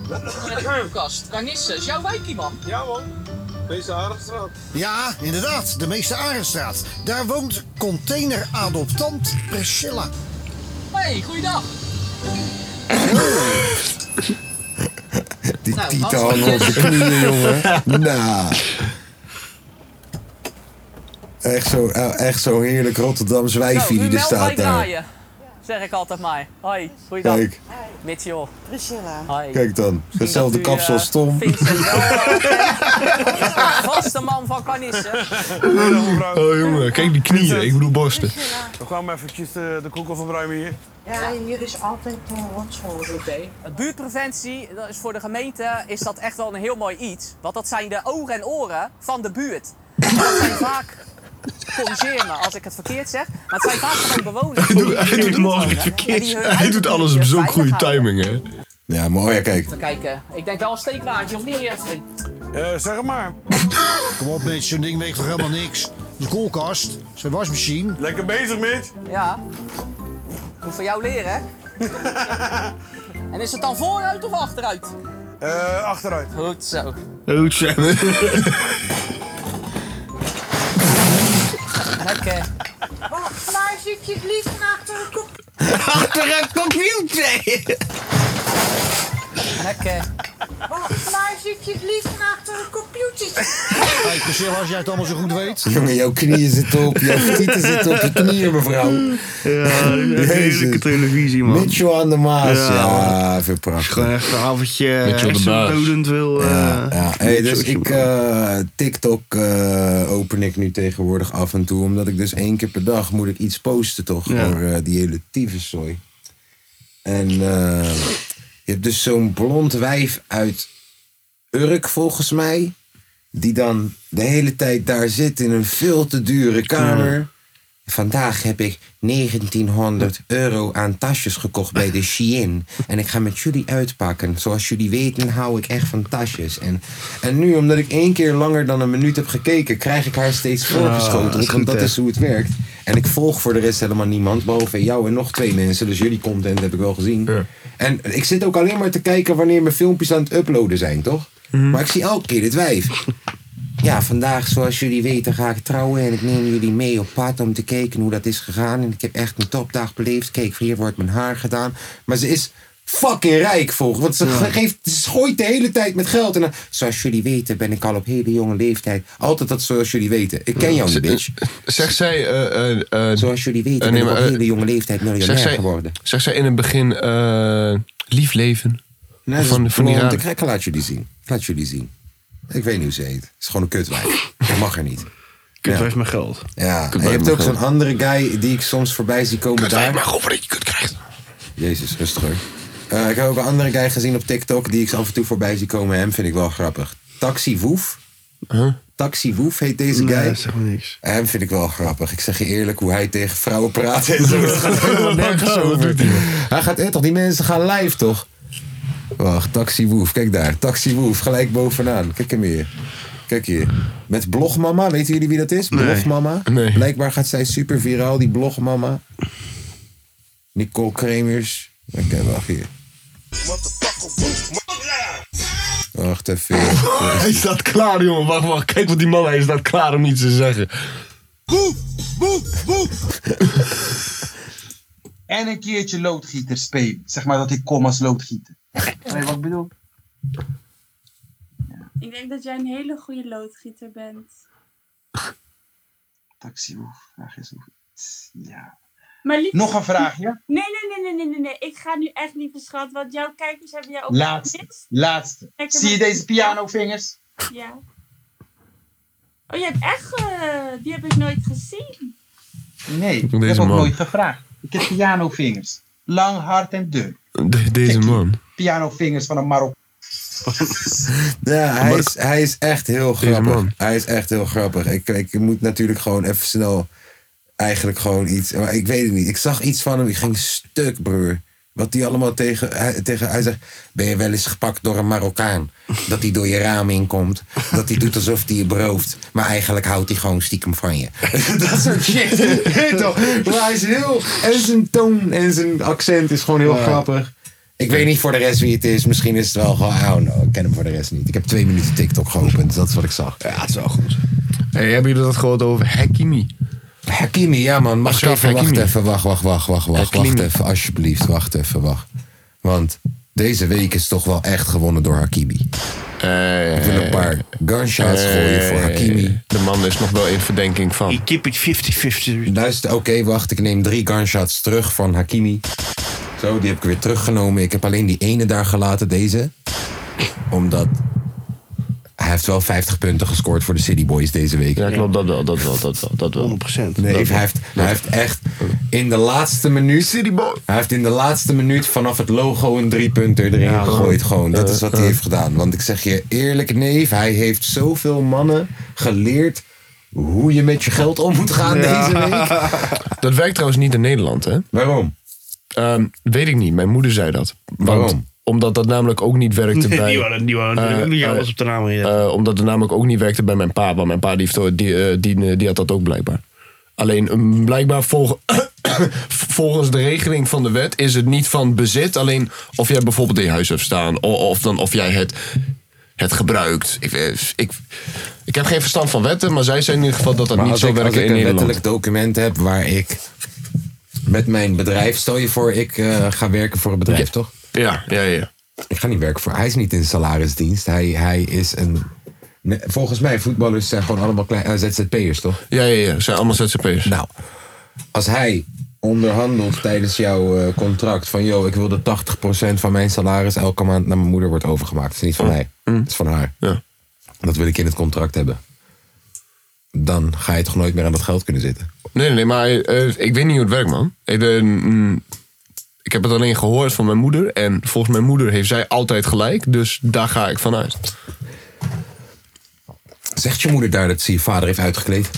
S5: Met de koelkast. Carnisse, is jouw wijkie, man!
S6: Ja man. Deze Arendsstraat.
S7: Ja, inderdaad, de meeste Arenstraat. Daar woont containeradoptant Priscilla.
S5: Hey, goeiedag!
S1: Die
S5: Nou,
S1: tieten
S5: Hans.
S1: hangen op de knieën, jongen. Nou. Echt zo'n echt zo heerlijk Rotterdams wijfie
S5: Nou,
S1: die er staat daar.
S5: draaien, zeg ik altijd maar. Hoi, goeiedag.
S1: Kijk,
S5: Mitchell.
S8: Priscilla.
S5: Hoi.
S1: kijk dan. Hetzelfde
S5: Dat u,
S1: kapsel
S5: eh,
S1: als Tom.
S5: Vincent wel wel kent. Een Vaste man van Carnissen.
S3: Oh jongen, kijk die knieën. Ik bedoel borsten.
S9: We kwamen eventjes eh, de, de koek opruimen hier.
S8: Ja, hier is altijd een rotzooi.
S5: Het Buurtpreventie dat is voor de gemeente is dat echt wel een heel mooi iets. Want dat zijn de ogen en oren van de buurt. En Dat zijn vaak, corrigeer me als ik het verkeerd zeg, maar het zijn vaak gewoon bewoners.
S3: Hij doet- hij doet hem als het verkeerd is. Hij doet alles op zo'n goede timing, hè?
S1: Ja, mooi. Ja, kijk.
S5: Kijken, ik denk wel een steeklaadje of niet, Jeffrey?
S9: Eh, zeg het maar.
S7: Kom op, met zo'n ding weegt toch helemaal niks? De koelkast, zijn wasmachine.
S9: Lekker bezig, Mitch.
S5: Ja. Moet van jou leren, hè? en is het dan vooruit of achteruit?
S9: Eh, achteruit.
S5: Goed zo.
S2: Goed zo.
S5: Lekker.
S8: Waar zit je het liefst achter de kop?
S2: Achter een computer!
S5: Lekker.
S8: Waar zit je het liefst achter de computer?
S7: Hey, Priscilla, als jij het allemaal zo goed weet.
S1: Jongen, jouw knieën zitten op. Jouw tieten zitten op je knieën, mevrouw.
S2: Ja,
S1: Jezus.
S2: heerlijke televisie, man. Het
S1: Mitchell aan de Maas.
S2: Ja,
S1: Ja, veel
S2: is
S1: prachtig.
S2: Gewoon echt een avondje
S3: Mitchell de
S2: hersendodend wil... eh,
S1: Ja, hey, dus
S2: Sorry,
S1: ik,
S2: man.
S1: eh, TikTok eh, open ik nu tegenwoordig af en toe. Omdat ik dus één keer per dag moet ik iets posten toch?
S2: Ja.
S1: Voor eh, die hele tyfuszooi. En eh, je hebt dus zo'n blond wijf uit Urk volgens mij. Die dan de hele tijd daar zit in een veel te dure kamer. Vandaag heb ik 1900 euro aan tasjes gekocht bij de Shein. En ik ga met jullie uitpakken. Zoals jullie weten hou ik echt van tasjes. En, en nu, omdat ik één keer langer dan een minuut heb gekeken... krijg ik haar steeds
S2: Ah, dat
S1: voorgeschoten.
S2: is
S1: want
S2: goed,
S1: dat
S2: hè?
S1: is hoe het werkt. En ik volg voor de rest helemaal niemand. Behalve jou en nog twee mensen. Dus jullie content heb ik wel gezien. En ik zit ook alleen maar te kijken wanneer mijn filmpjes aan het uploaden zijn, toch?
S2: Mhm.
S1: Maar ik zie elke keer dit wijf. Ja, vandaag, zoals jullie weten, ga ik trouwen. En ik neem jullie mee op pad om te kijken hoe dat is gegaan. En ik heb echt een topdag beleefd. Kijk, hier wordt mijn haar gedaan. Maar ze is fucking rijk, volgens Want ze, ge- geeft, ze gooit de hele tijd met geld. En dan, zoals jullie weten, ben ik al op hele jonge leeftijd. Altijd dat zoals jullie weten. Ik ken jou niet, bitch.
S3: eh, Zegt zij, eh, eh, eh,
S1: Zoals jullie
S3: Eh,
S1: weten, ben
S3: nee,
S1: ik op
S3: maar, eh,
S1: hele jonge leeftijd
S3: zegt
S1: miljonair
S3: zij,
S1: geworden.
S3: zegt zij in het begin eh, lief leven?
S1: Nee,
S3: van-
S1: van,
S3: van die
S1: die
S3: raden.
S1: ik, ik laat jullie zien. Ik laat jullie zien. Ik weet niet hoe ze heet. Het is gewoon een kutwijf. Dat mag er niet.
S2: Kut, waar is mijn geld?
S1: Ja, en je
S3: wijf
S1: hebt
S3: mag
S1: ook zo'n andere guy die ik soms voorbij zie komen
S3: Kut,
S1: daar.
S3: maar goed dat je kut krijgt.
S1: Jezus, rustig hoor. Eh, ik heb ook een andere guy gezien op TikTok die ik af en toe voorbij zie komen. Hem vind ik wel grappig. Taxi Woef. Taxi Woef heet deze guy.
S2: Nee, dat zegt me niks.
S1: Hem vind ik wel grappig. Ik zeg je eerlijk hoe hij tegen vrouwen praat en zo. Dat gaat helemaal nergens
S3: Wat
S1: over.
S3: doet hij?
S1: Hij gaat, eh, toch, die mensen gaan live toch? Wacht, Taxi Woef, kijk daar. Taxi Woef, gelijk bovenaan. Kijk hem hier. Kijk hier. Met Blogmama, weten jullie wie dat is?
S2: Nee.
S1: Blogmama.
S3: Nee.
S1: Blijkbaar gaat zij super viraal, die Blogmama. Nicole Kremers. Oké, wacht hier. Wacht even.
S3: Hij staat klaar, jongen. Wacht, wacht. Kijk wat die man, hij staat klaar om iets te zeggen.
S10: En een keertje loodgieter spelen. Zeg maar dat ik kom als loodgieter. Nee, wat ik bedoel?
S8: Ik denk dat jij een hele goede loodgieter bent.
S10: Taxi, oef. Vraag is oef. Ja.
S8: Maar lief...
S10: Nog een vraagje.
S8: Nee, nee, nee, nee, nee, nee, nee. Ik ga nu echt niet beschatten, want jouw kijkers hebben jou ook
S10: Laatste.
S8: gemist.
S10: Laatste.
S8: Lekker
S10: Zie je
S8: maar-
S10: deze pianovingers?
S8: Ja. Oh, je hebt echt... eh, die heb ik nooit gezien.
S10: Nee, ik
S3: Deze
S10: heb ook
S3: man.
S10: nooit gevraagd. Ik heb pianovingers. Lang, hard en dun.
S3: De- deze man.
S10: Pianovingers van een Marokkaan.
S1: Ja, hij is, hij is echt heel grappig.
S3: man.
S1: Hij is echt heel grappig. Ik, ik moet natuurlijk gewoon even snel. Eigenlijk gewoon iets. Maar ik weet het niet. Ik zag iets van hem. Ik ging stuk, broer. Wat hij allemaal tegen, hij, tegen. Hij zegt: Ben je wel eens gepakt door een Marokkaan? Dat hij door je raam inkomt. Dat hij doet alsof hij je berooft. Maar eigenlijk houdt hij gewoon stiekem van je. Dat soort shit. Weet toch? Maar hij is heel. En zijn toon en zijn accent is gewoon heel grappig. Ik weet niet voor de rest wie het is. Misschien is het wel gewoon. Oh no, ik ken hem voor de rest niet. Ik heb twee minuten TikTok geopend. Dat is wat ik zag.
S3: Ja, het is wel goed. Hey, hebben jullie dat gehoord over Hakimi?
S1: Hakimi, ja man. Mag ik even?
S3: Achterin
S1: Wacht
S3: Hakimi.
S1: even, wacht, wacht, wacht, wacht, wacht, wacht
S3: Hakimi.
S1: even. Alsjeblieft, wacht even, wacht. Want deze week is toch wel echt gewonnen door Hakimi. Ik wil een paar gunshots gooien voor Hakimi.
S3: Eh, De man is nog wel in verdenking van.
S2: You keep it 50-50.
S1: Luister, oké, wacht. Ik neem drie gunshots terug van Hakimi. Zo, die heb ik weer teruggenomen. Ik heb alleen die ene daar gelaten, deze. Omdat hij heeft wel 50 punten gescoord voor de City Boys deze week.
S3: Ja, klopt, dat wel, dat wel, dat wel. Dat wel.
S2: 100%.
S1: Nee, hij heeft, hij heeft echt in de laatste minuut. Hij heeft in de laatste minuut vanaf het logo een driepunter erin gegooid. Gewoon. Dat is wat hij heeft gedaan. Want ik zeg je eerlijk, neef, hij heeft zoveel mannen geleerd hoe je met je geld om moet gaan deze week.
S3: Dat werkt trouwens niet in Nederland, hè?
S1: Waarom?
S3: Ehm, weet ik niet, mijn moeder zei dat. Want-
S1: Waarom?
S3: Omdat dat namelijk ook niet werkte bij...
S2: Die waren, die waren,
S3: Eh,
S2: die
S3: eh,
S2: alles op de naam. Ja.
S3: Eh, omdat het namelijk ook niet werkte bij mijn pa. Want mijn pa die, heeft, eh, die, eh, die, eh, die had dat ook blijkbaar. Alleen mm, blijkbaar volg- volgens de regeling van de wet is het niet van bezit. Alleen of jij bijvoorbeeld in je huis hebt staan. o- Of, dan of jij het, het gebruikt. Ik, eh, ik, ik heb geen verstand van wetten. Maar zij zei in ieder geval dat dat
S1: Maar
S3: niet
S1: als
S3: zo
S1: ik, als
S3: werken
S1: ik
S3: in
S1: een
S3: Nederland.
S1: wettelijk document heb waar ik met mijn bedrijf, stel je voor, ik eh, ga werken voor een bedrijf, toch?
S3: Ja, ja, ja.
S1: Ik ga niet werken voor. Hij is niet in salarisdienst. Hij, hij is een. Nee, Volgens mij, voetballers zijn gewoon allemaal klein, eh, ZZP'ers, toch?
S3: Ja, ja, ja. Zijn allemaal ZZP'ers.
S1: Nou, als hij onderhandelt tijdens jouw eh, contract van... yo, ik wil dat 80% van mijn salaris elke maand naar mijn moeder wordt overgemaakt. Het is niet van mij, het is van haar.
S3: Mm. Ja.
S1: Dat wil ik in het contract hebben. Dan ga je toch nooit meer aan dat geld kunnen zitten?
S3: Nee, nee, nee, maar eh, ik weet niet hoe het werkt, man. Ik, eh, mm, ik heb het alleen gehoord van mijn moeder. En volgens mijn moeder heeft zij altijd gelijk. Dus daar ga ik vanuit.
S1: Zegt je moeder daar dat ze je vader heeft uitgekleed?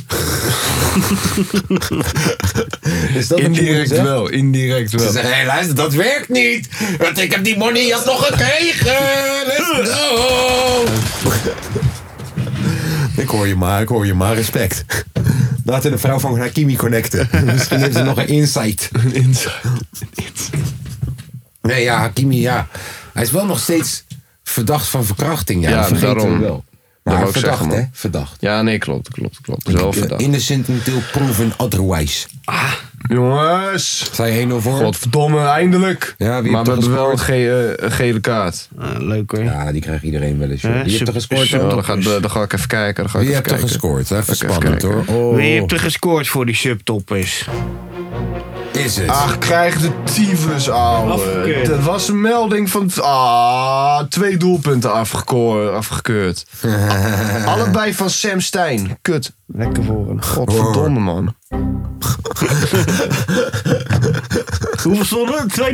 S1: is dat wat je moeder
S3: Indirect
S1: zegt?
S3: wel, indirect
S1: Ze
S3: wel.
S1: zeggen, hé luister, dat werkt niet. Want ik heb die moneyjas nog gekregen. Let's go. ik hoor je maar, ik hoor je maar. Respect. Laten de vrouw van Hakimi connecten. Misschien heeft ze nog een insight. Nee, ja, Hakimi, ja. Hij is wel nog steeds verdacht van verkrachting. Ja,
S3: Ja,
S1: dat vergeten
S3: daarom.
S1: we wel.
S3: Dat
S1: Maar
S3: wou ik
S1: verdacht,
S3: zeggen, man.
S1: hè? Verdacht. eh,
S3: Ja, nee, klopt, klopt, klopt. Dat is wel verdacht. Ah,
S1: Innocent until proven otherwise.
S3: Jongens!
S1: Zijn 1-0 voor?
S3: Godverdomme, eindelijk!
S1: Ja, wie heeft
S3: maar we
S1: er
S3: hebben wel een
S1: gescoord?
S3: ge- eh, gele kaart.
S2: Ah, leuk hoor.
S1: Ja, die krijgt iedereen wel eens. joh.
S2: Hè?
S1: Die heeft er
S2: Sup-
S1: gescoord.
S3: Ja,
S1: hoor.
S3: dan, ga, dan ga ik even kijken. Dan ga ik
S1: Wie
S3: even
S1: hebt er
S3: kijken.
S1: gescoord? Even
S3: Even
S1: spannend hoor.
S3: kijken.
S1: Oh,
S2: Wie heeft er gescoord voor die subtoppers?
S1: is het?
S3: Ach, krijg de tyfus, ouwe.
S2: Afgekeurd.
S3: Dat was een melding van... Ah, twee doelpunten afgekeurd. afgekeurd. A- Allebei van Sam Stein. Kut. Lekker voor hem. Godverdomme, man.
S2: Hoeveel stond het? 2-0.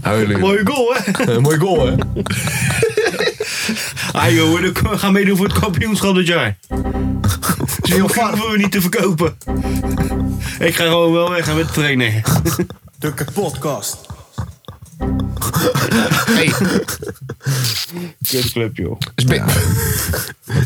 S3: Huilen.
S2: Mooie goal hè?
S3: Eh, mooi goal, hè?
S2: Ah joh, we gaan meedoen voor het kampioenschap dit jaar. Zoveel hoeven we niet te verkopen. Ik ga gewoon wel weg met trainen.
S11: De podcast.
S3: Hey.
S2: Kutclub, joh.
S3: Is, be-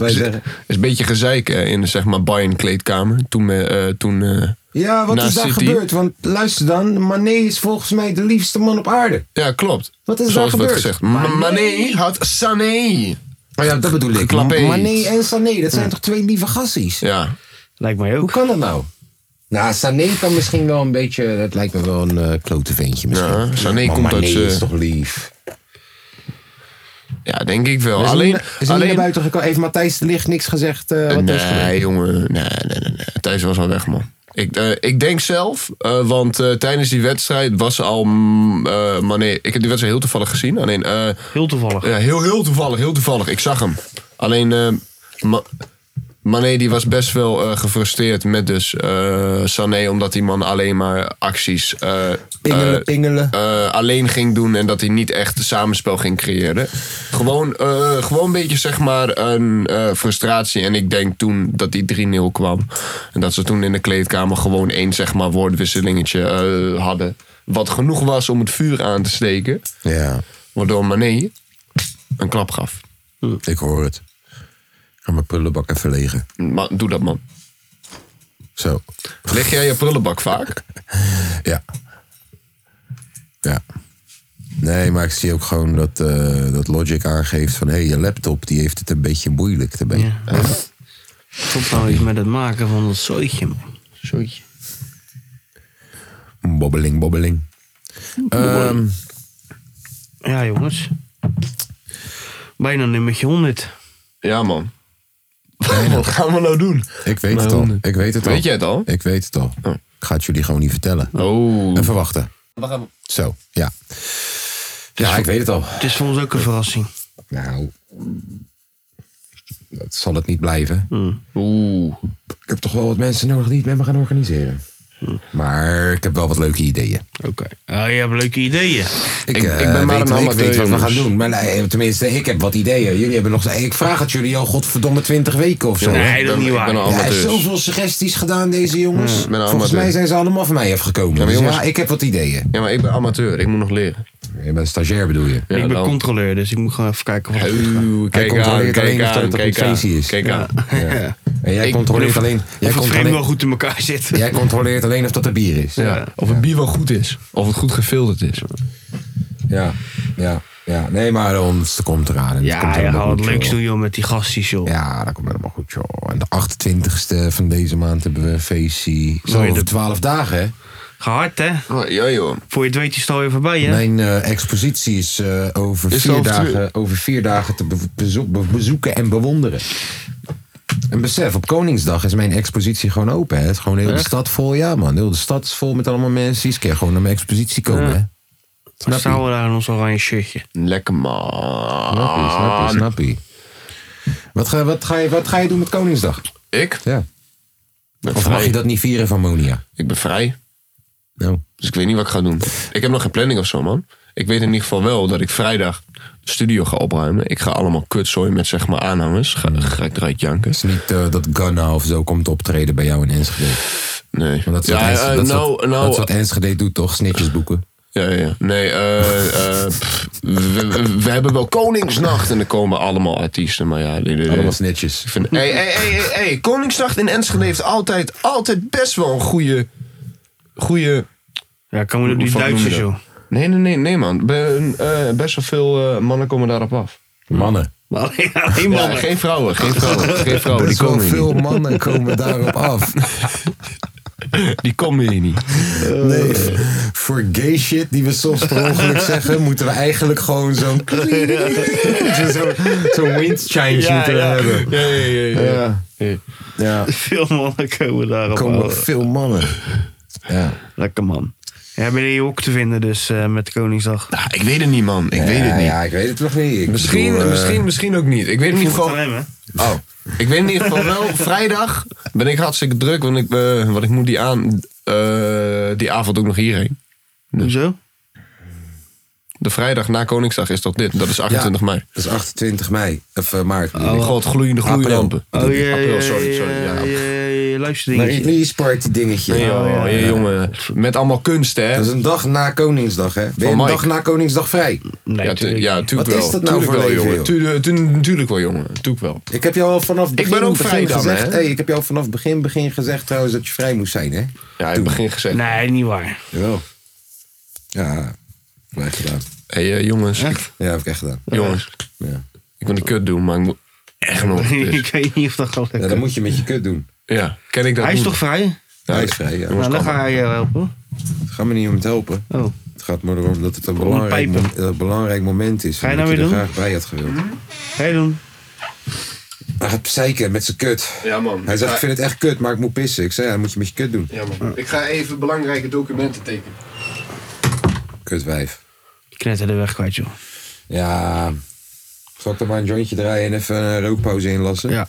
S3: is, is een beetje gezeik eh, in de zeg maar, Bayern-kleedkamer. Toen, me- eh toen eh,
S1: Ja, wat
S3: na
S1: is daar
S3: City-
S1: gebeurd? Want luister dan, Mané is volgens mij de liefste man op aarde.
S3: Ja, klopt.
S1: Wat is
S3: Zoals
S1: daar gebeurd?
S3: werd gezegd. Ma- Mané had Sané.
S1: Oh ja, dat bedoel ik.
S3: Klappé.
S1: Mané en Sané, dat zijn toch twee lieve gassies?
S3: Ja.
S2: Lijkt mij ook.
S1: Hoe kan dat nou? Nou, Sané kan misschien wel een beetje... Dat lijkt me wel een eh klote ventje misschien.
S3: Ja, Sané
S1: Maar
S3: komt uit,
S1: Mané is
S3: eh,
S1: toch lief?
S3: Ja, denk ik wel.
S1: Is hij
S3: alleen,
S1: niet- is hij niet naar
S3: alleen...
S1: buiten gekomen? Heeft Matthijs de Ligt niks gezegd? eh, wat er is gebeurd?
S3: nee, jongen. Nee, nee, nee, nee. Thijs was al weg, man. Ik, eh, ik denk zelf, eh, want eh, tijdens die wedstrijd was ze al. mm, eh, Mané, ik heb die wedstrijd heel toevallig gezien. Alleen, eh,
S2: Heel toevallig.
S3: ja, heel, heel toevallig, heel toevallig. Ik zag hem. Alleen, eh Ma- Mané die was best wel eh, gefrustreerd met dus eh, Sané, omdat die man alleen maar acties. eh,
S1: Pingelen,
S3: eh,
S1: pingelen.
S3: eh, alleen ging doen en dat hij niet echt samenspel ging creëren. Gewoon, eh, gewoon een beetje zeg maar een eh, frustratie. En ik denk toen dat die 3-0 kwam. En dat ze toen in de kleedkamer gewoon één zeg maar woordwisselingetje eh, hadden. Wat genoeg was om het vuur aan te steken.
S1: Ja,
S3: Waardoor Mané een klap gaf.
S1: Hm. ik hoor het. Ik ga mijn prullenbak even legen.
S3: Maar doe dat man.
S1: Zo.
S3: Leg jij je prullenbak vaak?
S1: Ja. Ja. Nee, maar ik zie ook gewoon dat, eh, dat Logic aangeeft van... hé, hey, je laptop die heeft het een beetje moeilijk erbij.
S2: Ja. Stop nou eens met het maken van dat zooitje, man. Zooitje.
S1: Bobbeling, bobbeling. Ehm,
S2: Ja, jongens. Bijna nummertje 100.
S3: Ja man. Wat gaan we nou doen?
S1: ik weet het al. Ik weet het al.
S3: Weet jij het al?
S1: Ik weet het al. Ik ga het jullie gewoon niet vertellen.
S3: Oh.
S1: Even wachten. Zo, ja. Ja, ik weet het al.
S2: Het is voor ons ook een verrassing.
S1: Nou, dat zal het niet blijven.
S3: Oeh.
S1: Ik heb toch wel wat mensen nodig die het met me gaan organiseren. Maar ik heb wel wat leuke ideeën.
S2: Oké. Ah, je hebt leuke ideeën.
S1: Ik,
S3: Ik-
S1: eh,
S3: ik ben maar
S1: weet,
S3: een
S1: ik
S3: amateur,
S1: weet wat we
S3: jongens.
S1: gaan doen. Maar nee, tenminste, ik heb wat ideeën. Jullie hebben nog... Ik vraag het jullie al godverdomme 20 weken of zo.
S2: Nee,
S3: Ik
S2: dat
S3: ben-
S2: is
S3: ik
S2: niet waar.
S3: ben een
S1: Ja, hij heeft
S3: amateur.
S1: zoveel suggesties gedaan, deze jongens.
S3: ben een
S1: Volgens
S3: amateur.
S1: mij zijn ze allemaal van mij afgekomen.
S3: maar
S1: Dus
S3: jongens-
S1: ja, ik heb wat ideeën.
S3: Ja, maar ik ben amateur. Ik moet nog leren.
S1: Je bent stagiair bedoel je?
S3: Ja,
S2: ik ben
S3: dan-
S2: controleur, dus ik moet gewoon even kijken wat er
S3: Oeh,
S1: Hij
S3: kijk aan,
S1: controleert alleen
S3: kijk
S1: of dat
S3: aan,
S1: het op
S3: kijk
S1: een
S3: aan.
S1: feestje is.
S3: Kijk aan.
S1: En jij
S3: Ik-
S1: controleert alleen... Jij
S2: Of het frame wel
S1: controleert,
S2: goed in elkaar zit.
S1: jij controleert alleen of dat er bier is.
S3: Ja, Of het bier wel goed is. Of het goed gefilterd is.
S1: Ja, ja, ja. Nee, maar ons komt eraan. En
S2: Ja,
S1: komt
S2: ja,
S1: helemaal
S2: hou
S1: goed,
S2: wat leuks
S1: joh.
S2: doen joh met die gastjes joh.
S1: Ja, dat komt helemaal goed, joh. En de 28e van deze maand hebben we een feestje. Zo,
S2: Mooi,
S1: over
S2: dat-
S1: 12 dagen, hè?
S2: Gehard hè?
S3: Oh, ja joh.
S2: Voor je het weet is het alweer voorbij hè?
S1: Mijn eh, expositie is, eh, over,
S3: Is het
S1: vier
S3: over twee-
S1: dagen, over vier dagen te be- bezo- be- bezoeken en bewonderen. En besef, op Koningsdag is mijn expositie gewoon open. Hè? Het is gewoon heel de stad vol. Ja, man. Heel de stad is vol met allemaal mensen. Die keer gewoon naar mijn expositie komen.
S2: Ja.
S1: Hè?
S2: Dan
S1: Snap
S2: staan
S1: je?
S2: we daar in ons oranje shirtje.
S3: Lekker man.
S1: Snap je, snap je, snap je. Wat ga, wat, ga je, wat ga je doen met Koningsdag?
S3: Ik?
S1: Ja.
S3: Ben
S1: Of mag
S3: vrij.
S1: je dat niet vieren van Monia?
S3: Ik ben vrij.
S1: Nou.
S3: Dus ik weet niet wat ik ga doen. Ik heb nog geen planning of zo man. Ik weet in ieder geval wel dat ik vrijdag de studio ga opruimen. Ik ga allemaal kutzooi met zeg maar aanhangers. Ga, ga ik eruit janken.
S1: Het Hmm. is niet eh, dat Ghana of zo komt optreden bij jou in Enschede.
S3: Nee.
S1: Want dat is wat,
S3: ja,
S1: Ens-
S3: eh,
S1: dat is wat,
S3: nou,
S1: dat
S3: nou,
S1: is wat Enschede doet, toch? Snitjes boeken.
S3: Ja, ja. Nee, eh, eh, pff, we, we- we hebben wel Koningsnacht en er komen allemaal artiesten. Maar ja, die- die- die-
S1: Allemaal snitjes.
S3: Ik vind, hey, hey, hey, hey, hey, Koningsnacht in Enschede heeft altijd, altijd best wel een goede, goede...
S2: Ja, komen door die
S3: Wat noem je
S2: Duitsers
S3: dat?
S2: joh.
S3: Nee, nee, nee, nee man. Be- eh, best wel veel eh, mannen komen daarop af.
S1: Mannen.
S2: Maar alleen, alleen
S3: Ja,
S2: mannen.
S3: geen vrouwen, geen vrouwen, geen vrouwen. Die
S1: Best wel
S3: komen, hier
S1: veel mannen komen daarop af.
S3: niet. die komen hier niet.
S1: Nee. Voor gay shit die we soms per ongeluk zeggen, moeten we eigenlijk gewoon zo'n...
S3: Oh,
S1: Zo'n zo'n wind change moeten we hebben.
S3: Ja, ja, ja. ja.
S1: Ja. ja.
S2: Veel mannen komen daarop
S1: Er komen
S2: af.
S1: veel mannen. Ja.
S2: Lekker man. Ja, ben je in je hok te vinden dus eh, met Koningsdag.
S3: Nou, ik weet het niet man, ik weet het
S1: Ja,
S3: niet.
S1: Ja, ik weet het nog niet. Ik
S3: Misschien,
S1: bedoel, eh,
S3: misschien, misschien ook niet. Ik weet in ieder
S2: Van
S3: geval...
S2: hem hè?
S3: Oh, ik weet in ieder geval wel, vrijdag ben ik hartstikke druk, want ik, eh, want ik moet die, aan, eh, die avond ook nog hierheen.
S2: Hoezo?
S3: Dus. De vrijdag na Koningsdag is toch dit? Dat is 28
S1: Ja,
S3: mei.
S1: Dat is 28 mei. Of eh, maart. bedoel
S3: Oh,
S1: ik.
S3: God, gloeiende, gloeiende
S1: April.
S3: lampen.
S1: Oh,
S3: April,
S1: sorry,
S3: sorry, sorry. Ja,
S1: Een
S2: luisterdingetje.
S1: release party dingetje.
S3: Nee, joh,
S1: ja,
S3: hey, jongen. Met allemaal kunst, hè?
S1: Dat is een dag na Koningsdag, hè? Ben je
S3: Van
S1: een
S3: Mike.
S1: dag na Koningsdag vrij?
S3: Nee, ja, tu- ja, tuurlijk
S1: Wat
S3: wel.
S1: is dat nou
S3: Tuurlijk
S1: voor
S3: wel,
S1: leven,
S3: jongen.
S1: joh?
S3: Tu- eh, tu- natuurlijk wel, jongen. Tuurlijk wel.
S1: Ik heb jou al vanaf begin,
S3: ben ook
S1: begin
S3: vrij dan,
S1: gezegd.
S3: hè?
S1: Hey, ik heb jou al vanaf begin, begin gezegd trouwens dat je vrij moest zijn, hè?
S3: Ja, in het begin gezegd.
S2: Nee, niet waar.
S1: Jawel. Ja, heb ik gedaan.
S3: Hé, hey, eh, jongens.
S1: Ja, heb ik echt gedaan.
S3: Jongens.
S1: Ja.
S3: Ik wil die kut doen, maar ik moet echt nog.
S2: ik weet niet of dat gaat
S1: Ja,
S2: lukken.
S1: dan moet je met je kut doen.
S3: Ja, dus. ken ik dat
S2: Hij is
S3: doen?
S2: toch vrij?
S1: Ja, hij is vrij, ja.
S2: Nou, dan ga je helpen.
S1: Het gaat me niet om het helpen. Het gaat me erom dat het een belangrijk,
S2: Oh. pijpen.
S1: mom- een belangrijk moment is.
S2: Ga je
S1: en
S2: nou
S1: dat
S2: weer
S1: er
S2: doen?
S1: graag bij had gewild.
S2: Ga je doen.
S1: Hij gaat zeiken met zijn kut.
S3: Ja, man.
S1: Hij zegt,
S3: Ja.
S1: ik vind het echt kut, maar ik moet pissen. Ik zei, ja, dan moet je met je kut doen.
S3: Ja, man. Ik ga even belangrijke documenten tekenen.
S1: Kutwijf.
S2: Ik knetter de weg kwijt, joh.
S1: Ja. Zal ik dan maar een jointje draaien en even een rookpauze inlassen?
S2: Ja.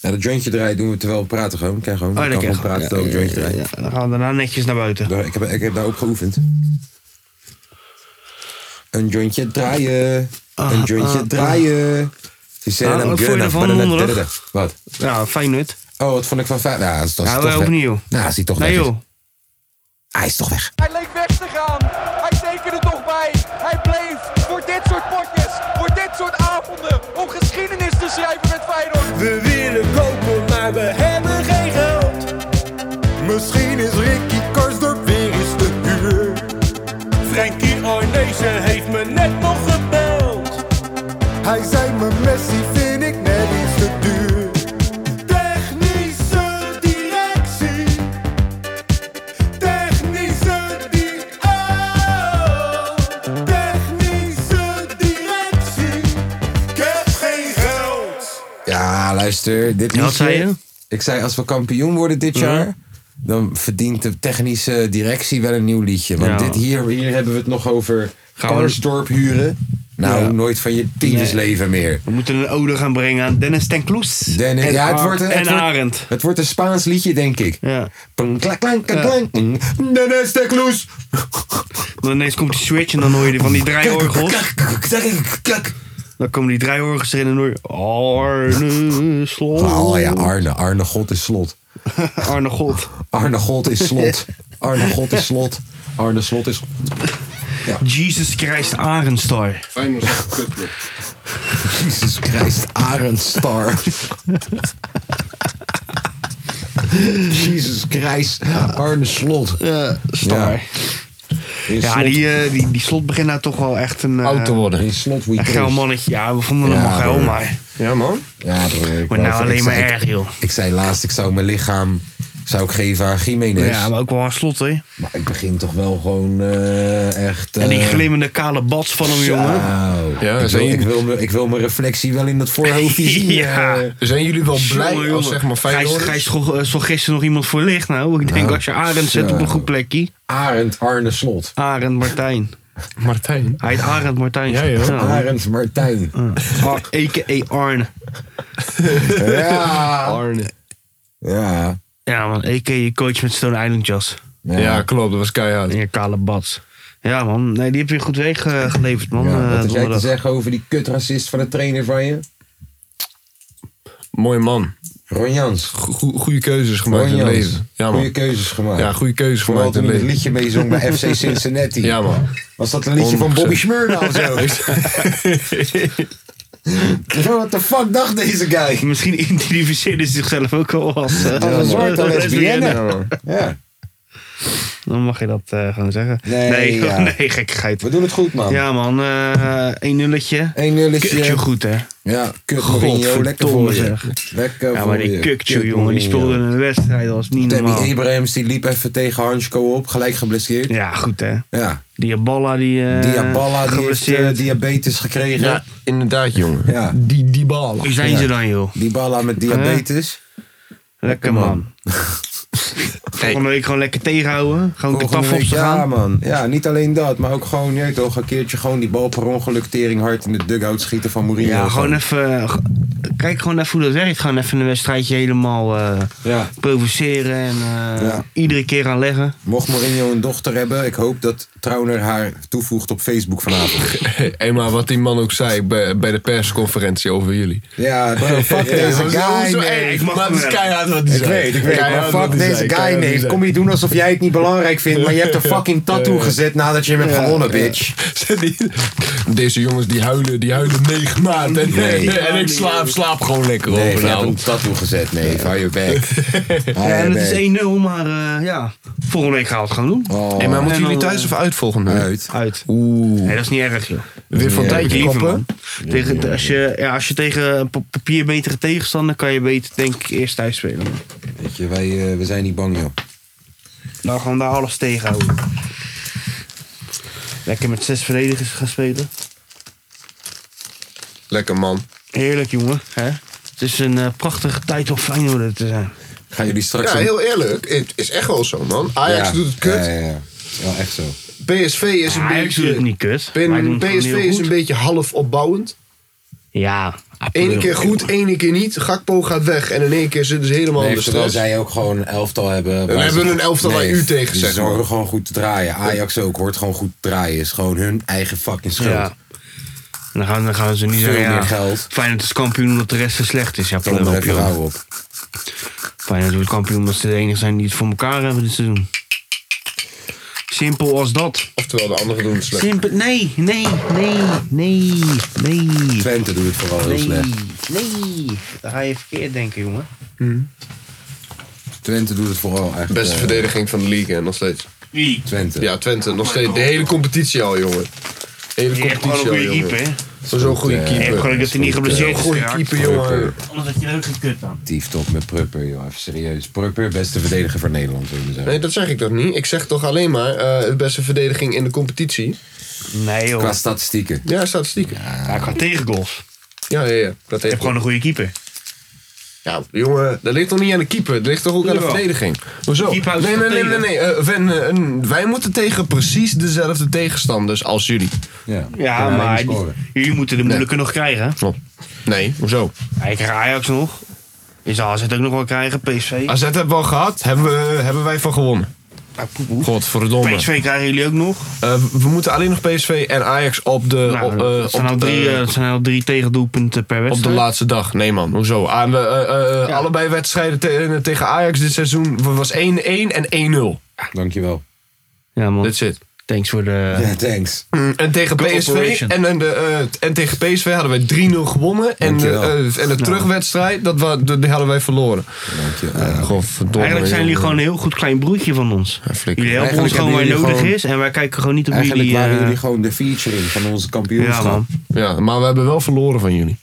S1: Ja, dat jointje draaien doen we terwijl we praten gewoon. Kan gewoon.
S2: Oh,
S1: Ik
S2: dat
S1: kan
S2: kan
S1: gewoon praten
S2: gewoon.
S1: terwijl ik
S2: Ja,
S1: jointje
S2: ja,
S1: draai.
S2: ja, Dan gaan we daarna netjes naar buiten.
S1: Daar- Ik heb, ik heb daarop geoefend. Een jointje draaien. een jointje
S3: Eh,
S2: ah, ah.
S1: draaien. Ze zijn
S2: Ah,
S1: aan
S2: wat vond je
S1: gunnen.
S2: ervan
S1: Badada-
S2: donderdag?
S1: dadada. Wat?
S2: Ja, Feyenoord.
S1: Oh, wat vond ik van fijn? Nou, dat is dat is
S2: Ja,
S1: toch
S2: we
S1: weg.
S2: opnieuw.
S1: Nou, is hij toch
S2: Nee,
S1: weg.
S2: joh.
S1: Hij is toch weg.
S12: Hij leek weg te gaan. Hij tekende toch bij. Hij bleef voor dit soort potjes, voor dit soort avonden, om geschiedenis te schrijven met Feyenoord.
S13: We willen kopen, maar we hebben geen geld. Misschien is Ricky Karsdorp weer eens te duur. Frankie Arnezen heeft me net nog gebeld. Hij zei me Messi vind ik net iets te duur. Technische directie. Technische di- oh. Technische directie. Ik heb geen geld.
S1: Ja, luister. Dit
S2: Ja, wat
S1: liedje-
S2: zei je?
S1: Ik zei, als we kampioen worden dit jaar... dan verdient de technische directie wel een nieuw liedje. Want
S2: Ja.
S1: dit hier, hier hebben we het nog over
S2: we-
S1: Karsdorp huren. Nou,
S2: Ja.
S1: nooit van je tyfusleven meer.
S2: We moeten een ode gaan brengen aan Dennis ten Kloes.
S1: Dennis-
S2: en
S1: ja, het
S2: Ar-
S1: wordt een- het
S2: en
S1: wordt-
S2: Arend.
S1: Het wordt een Spaans liedje, denk ik.
S2: Ja.
S1: Pang, klak, klank, klak, klank. Dennis de Kloes.
S2: Dan ineens komt die switch en dan hoor je die van die draaiorgels. Dan komen die draaiorgels erin en dan hoor je Arne Slot.
S1: Oh ja, Arne. Arne God is slot.
S2: Arne God.
S1: Arne God is slot. Arne God is slot. Arne Slot is...
S2: Jesus Christ Arendstar.
S3: Fijn was echt kut,
S1: Jesus Christ Arendstar. Jesus Christ Arne Slot.
S2: Ja,
S1: Ja.
S2: star. Ja, die, eh, die, die slot begint nou toch wel echt een... eh,
S3: Oud te worden.
S1: Een slot
S2: Een geil mannetje. Ja, we vonden hem al geil, maar...
S3: Ja, man.
S1: Ja, broer, ik
S2: Maar
S1: wou-
S2: nou
S1: ik
S2: alleen
S1: zei-
S2: maar erg, joh.
S1: Ik zei laatst, ik zou mijn lichaam zou ik geven aan Jiménez.
S2: Ja, maar ook wel aan slot, hè.
S1: Maar ik begin toch wel gewoon eh, echt...
S2: En die
S1: eh,
S2: glimmende kale bats van hem,
S1: zo.
S2: jongen.
S3: Ja,
S1: ik, wil,
S3: zijn-
S1: ik, wil, me- ik wil mijn reflectie wel in dat voorhoofdje zien.
S2: Ja.
S1: eh.
S3: Zijn jullie wel blij
S2: Jongen,
S3: als
S2: jongen.
S3: zeg maar
S2: Gijs,
S3: Feyenoord...
S2: Gijs goh- eh, zocht gisteren nog iemand voor licht, nou. Ik denk,
S1: Nou,
S2: als je Arend zet
S1: zo.
S2: op een goed plekje.
S1: Arend Arne Slot.
S2: Arend Martijn.
S3: Martijn.
S2: Hij heet Arend Martijn.
S3: Ja, joh.
S1: Arend Martijn.
S2: A.k.a. Arne.
S1: Ja.
S3: Arne.
S1: Ja.
S2: Ja, man. A.k.a. coach met Stone Island jas.
S1: Ja,
S3: Ja, klopt. Dat was keihard.
S2: En je kale bats. Ja, man. Nee, die heb je goed weg eh, geleverd, man.
S1: Ja, wat
S2: eh,
S1: had jij te
S2: donderdag.
S1: zeggen over die kutracist van de trainer van je?
S3: Mooi man.
S1: Ron Jans.
S3: Go- Goede keuzes gemaakt
S1: Ron
S3: in het
S1: Jans.
S3: leven. Ja,
S1: goede
S3: man.
S1: keuzes gemaakt.
S3: Ja, goede keuzes
S1: Vooral
S3: gemaakt in
S1: toen
S3: het
S1: hij het
S3: leven.
S1: liedje meezong bij FC Cincinnati.
S3: Ja, man.
S1: Was dat een liedje van Bobby Smurda of zo? Zo, What the fuck dacht deze guy?
S2: Misschien identificeerde ze zichzelf ook al als... eh,
S1: Als een zwarte
S2: als
S1: lesbienne. Ja.
S2: Dan mag je dat eh, gewoon zeggen.
S1: Nee,
S2: nee,
S1: ja.
S2: nee, gekkigheid.
S1: We doen het goed, man.
S2: Ja, man. eh Eén nulletje.
S1: Eén nulletje.
S2: Kutje goed, hè.
S1: Ja, kut Mourinho, lekker voor je.
S2: Godverdomme, zeg.
S1: Lekker
S2: Ja,
S1: voor
S2: maar
S1: je.
S2: die kukje,
S1: Kut
S2: jongen, die
S1: Mourinho.
S2: speelde een wedstrijd als niet normaal.
S1: Tammy Abrahams die liep even tegen Hansko op, gelijk geblesseerd. Ja.
S2: Ja, goed hè. Diaballa die... eh,
S1: Diaballa die heeft eh,
S2: geblesseerd.
S1: diabetes gekregen.
S3: Ja,
S1: Ja.
S3: inderdaad, jongen.
S1: ja.
S3: Die, die bal.
S2: Wie zijn
S1: Ja.
S2: ze dan, joh?
S1: Diaballa met diabetes.
S2: Lekker man. Volgende week gewoon lekker tegenhouden. Gewoon de
S1: Volgende
S2: taf op
S1: week,
S2: te
S1: ja,
S2: gaan.
S1: man. Ja, niet alleen dat, maar ook gewoon, je weet toch, een keertje gewoon die bal per ongeluk tering hard in de dugout schieten van Mourinho.
S2: Ja, gewoon even. g- Kijk gewoon even hoe dat werkt. Gewoon even een wedstrijdje helemaal eh, provoceren en eh,
S1: Ja.
S2: iedere keer aan leggen.
S1: Mocht Mourinho een dochter hebben, ik hoop dat Trauner haar toevoegt op Facebook vanavond.
S3: Hé, maar wat die man ook zei bij, bij de persconferentie over jullie.
S1: Ja, bro, Ah, fuck
S3: Ja,
S1: deze
S3: hoezo-
S1: guy,
S3: hoezo-
S1: nee.
S3: hey, ik mag
S1: Maar
S3: hem
S1: het is
S3: hebben.
S1: keihard wat hij
S3: Ik
S1: zei.
S3: weet, ik weet,
S1: Keihard
S3: maar
S1: wat
S3: fuck
S1: hij
S3: deze
S1: zei,
S3: guy,
S1: keihard
S3: nee.
S1: wat hij Kom je doen alsof jij het niet belangrijk vindt, maar je hebt een fucking tattoo gezet nadat je hem hebt gewonnen, bitch.
S3: Deze jongens die huilen, die huilen negen maanden. En,
S1: Nee.
S3: en ik slaap, slaap gewoon lekker nou.
S1: Nee,
S3: over.
S1: je hebt een tattoo gezet, nee, hou je back.
S2: Ja, en het is 1-0, maar eh, ja, volgende week gaan we het gewoon doen.
S3: Hey, maar moeten jullie thuis of
S2: uit volgende
S3: week?
S2: Oh. Uit. Oeh. Nee, dat is niet erg, joh.
S3: Weer van
S2: Nee,
S3: tijdje
S2: liever,
S3: koppen?
S2: man. Tegen, als, je, ja, als je tegen een pa- papierbetere tegenstander kan je beter, denk ik, eerst thuis spelen.
S1: Weet je, wij eh, we zijn niet bang, joh.
S2: Nou, gewoon daar alles tegenhouden. Lekker met zes verdedigers gaan spelen.
S3: Lekker man.
S2: Heerlijk, jongen. Hè? Het is een eh, prachtige tijd om Feyenoord te zijn.
S1: Gaan jullie
S3: Ja, heel eerlijk. Het is echt wel zo, man. Ajax
S2: Ja.
S3: doet het kut.
S2: Ja, ja,
S1: Ja, echt zo.
S3: PSV is een
S2: Ajax
S3: beetje...
S2: doet het niet kut.
S3: Ben-
S2: Wij doen het gewoon
S3: PSV
S2: heel
S3: is
S2: goed.
S3: een beetje half opbouwend.
S2: Ja.
S3: Eén keer goed, één keer niet. Gakpo gaat weg en in één keer zitten ze helemaal
S1: Nee,
S3: onder
S1: terwijl
S3: stress.
S1: zij ook gewoon een elftal hebben.
S3: We
S1: waar
S3: hebben
S1: ze-
S3: een elftal waar u tegen
S1: die
S3: zegt,
S1: zorgen
S3: man.
S1: gewoon goed te draaien. Ajax ook hoort gewoon goed te draaien. Is gewoon hun eigen fucking schuld.
S2: Ja. En Dan gaan, dan gaan ze niet
S1: Veel
S2: zeggen, ja,
S1: meer geld.
S2: Feyenoord is kampioen omdat de rest zo slecht is. Ja,
S1: Kom er
S2: pleur op,
S1: even
S2: joh.
S1: rauw op.
S2: Feyenoord wordt kampioen omdat ze de enige zijn die het voor elkaar hebben dit seizoen. Simpel als dat.
S3: Oftewel, de anderen doen het slecht.
S2: Simpel, nee, nee, nee, nee, nee.
S1: Twente doet het vooral heel
S2: nee,
S1: slecht.
S2: Nee, daar ga je verkeerd denken, jongen.
S1: Twente doet het vooral eigenlijk.
S3: Beste
S1: eh,
S3: verdediging van de league, hè, nog steeds.
S1: Twente.
S3: Ja, Twente. Nog steeds. De hele competitie al, jongen. De hele
S2: Je hebt
S3: competitie
S2: gewoon een
S3: al,
S2: goede
S3: jongen.
S2: keeper, hè?
S3: Zo'n goede
S1: Eh,
S3: keeper. Zo'n goede keeper, jongen.
S2: Anders had je er ook geen kut aan.
S1: Dief top met Prupper, joh. Even serieus. Prupper, beste verdediger van Nederland, zullen we zeggen.
S3: Nee, dat zeg ik toch niet. Ik zeg toch alleen maar eh, de beste verdediging in de competitie.
S2: Nee, joh.
S1: Qua statistieken.
S3: Ja, statistieken.
S2: Ja, qua tegengoals.
S3: Ja, ja, ja. Dat heeft
S2: gewoon een goede keeper.
S3: Ja, jongen, dat ligt toch niet aan de keeper? Dat ligt toch ook aan de
S2: Jawel.
S3: verdediging? Hoezo?
S2: Keeper houdt
S3: Nee, nee,
S2: zich
S3: nee, nee.
S2: tegen.
S3: nee. Eh, Ven, eh, een- wij moeten tegen precies dezelfde tegenstanders als jullie.
S1: Ja,
S2: Ja, maar die- jullie moeten de moeilijke nog krijgen. hè?
S3: Klopt. Nee, hoezo?
S2: Hij krijgt Ajax nog. Je zal AZ ook nog wel krijgen, PSV.
S3: AZ hebben we al gehad. Hebben, we, eh, hebben wij van gewonnen.
S2: Nou,
S3: Godverdomme.
S2: PSV krijgen jullie ook nog. Nou,
S3: Eh, we moeten alleen nog PSV en Ajax op de... op, eh,
S2: dat zijn,
S3: op
S2: al
S3: de-
S2: drie, eh, dat zijn al drie tegendoelpunten
S3: op
S2: per wedstrijd.
S3: de laatste dag. Nee man, hoezo? Aan de, eh, eh, Allebei wedstrijden te- tegen Ajax dit seizoen was 1-1 en 1-0.
S1: Dankjewel.
S2: Ja, man.
S3: Ah, That's it.
S2: Thanks voor de...
S1: Ja, thanks.
S3: Mm, En tegen,
S2: Good
S3: PSV,
S2: operation.
S3: en, en, de, eh, en tegen PSV hadden wij 3-0 gewonnen. En, de,
S2: Dankjewel.
S3: eh, en de
S2: Ja.
S3: terugwedstrijd, dat wa- de- die hadden wij verloren. Eh, godverdomme,
S2: Eigenlijk zijn jullie
S3: jongen.
S2: gewoon een heel goed klein broertje van ons. jullie helpen
S1: Eigenlijk
S2: ons gewoon waar
S1: hebben jullie
S2: nodig
S1: gewoon-
S2: is. En wij kijken gewoon niet op
S1: Eigenlijk
S2: jullie...
S1: waren
S2: eh,
S1: jullie gewoon de featuring van onze kampioenschap.
S2: Ja, man.
S3: Ja, maar we hebben wel verloren van jullie.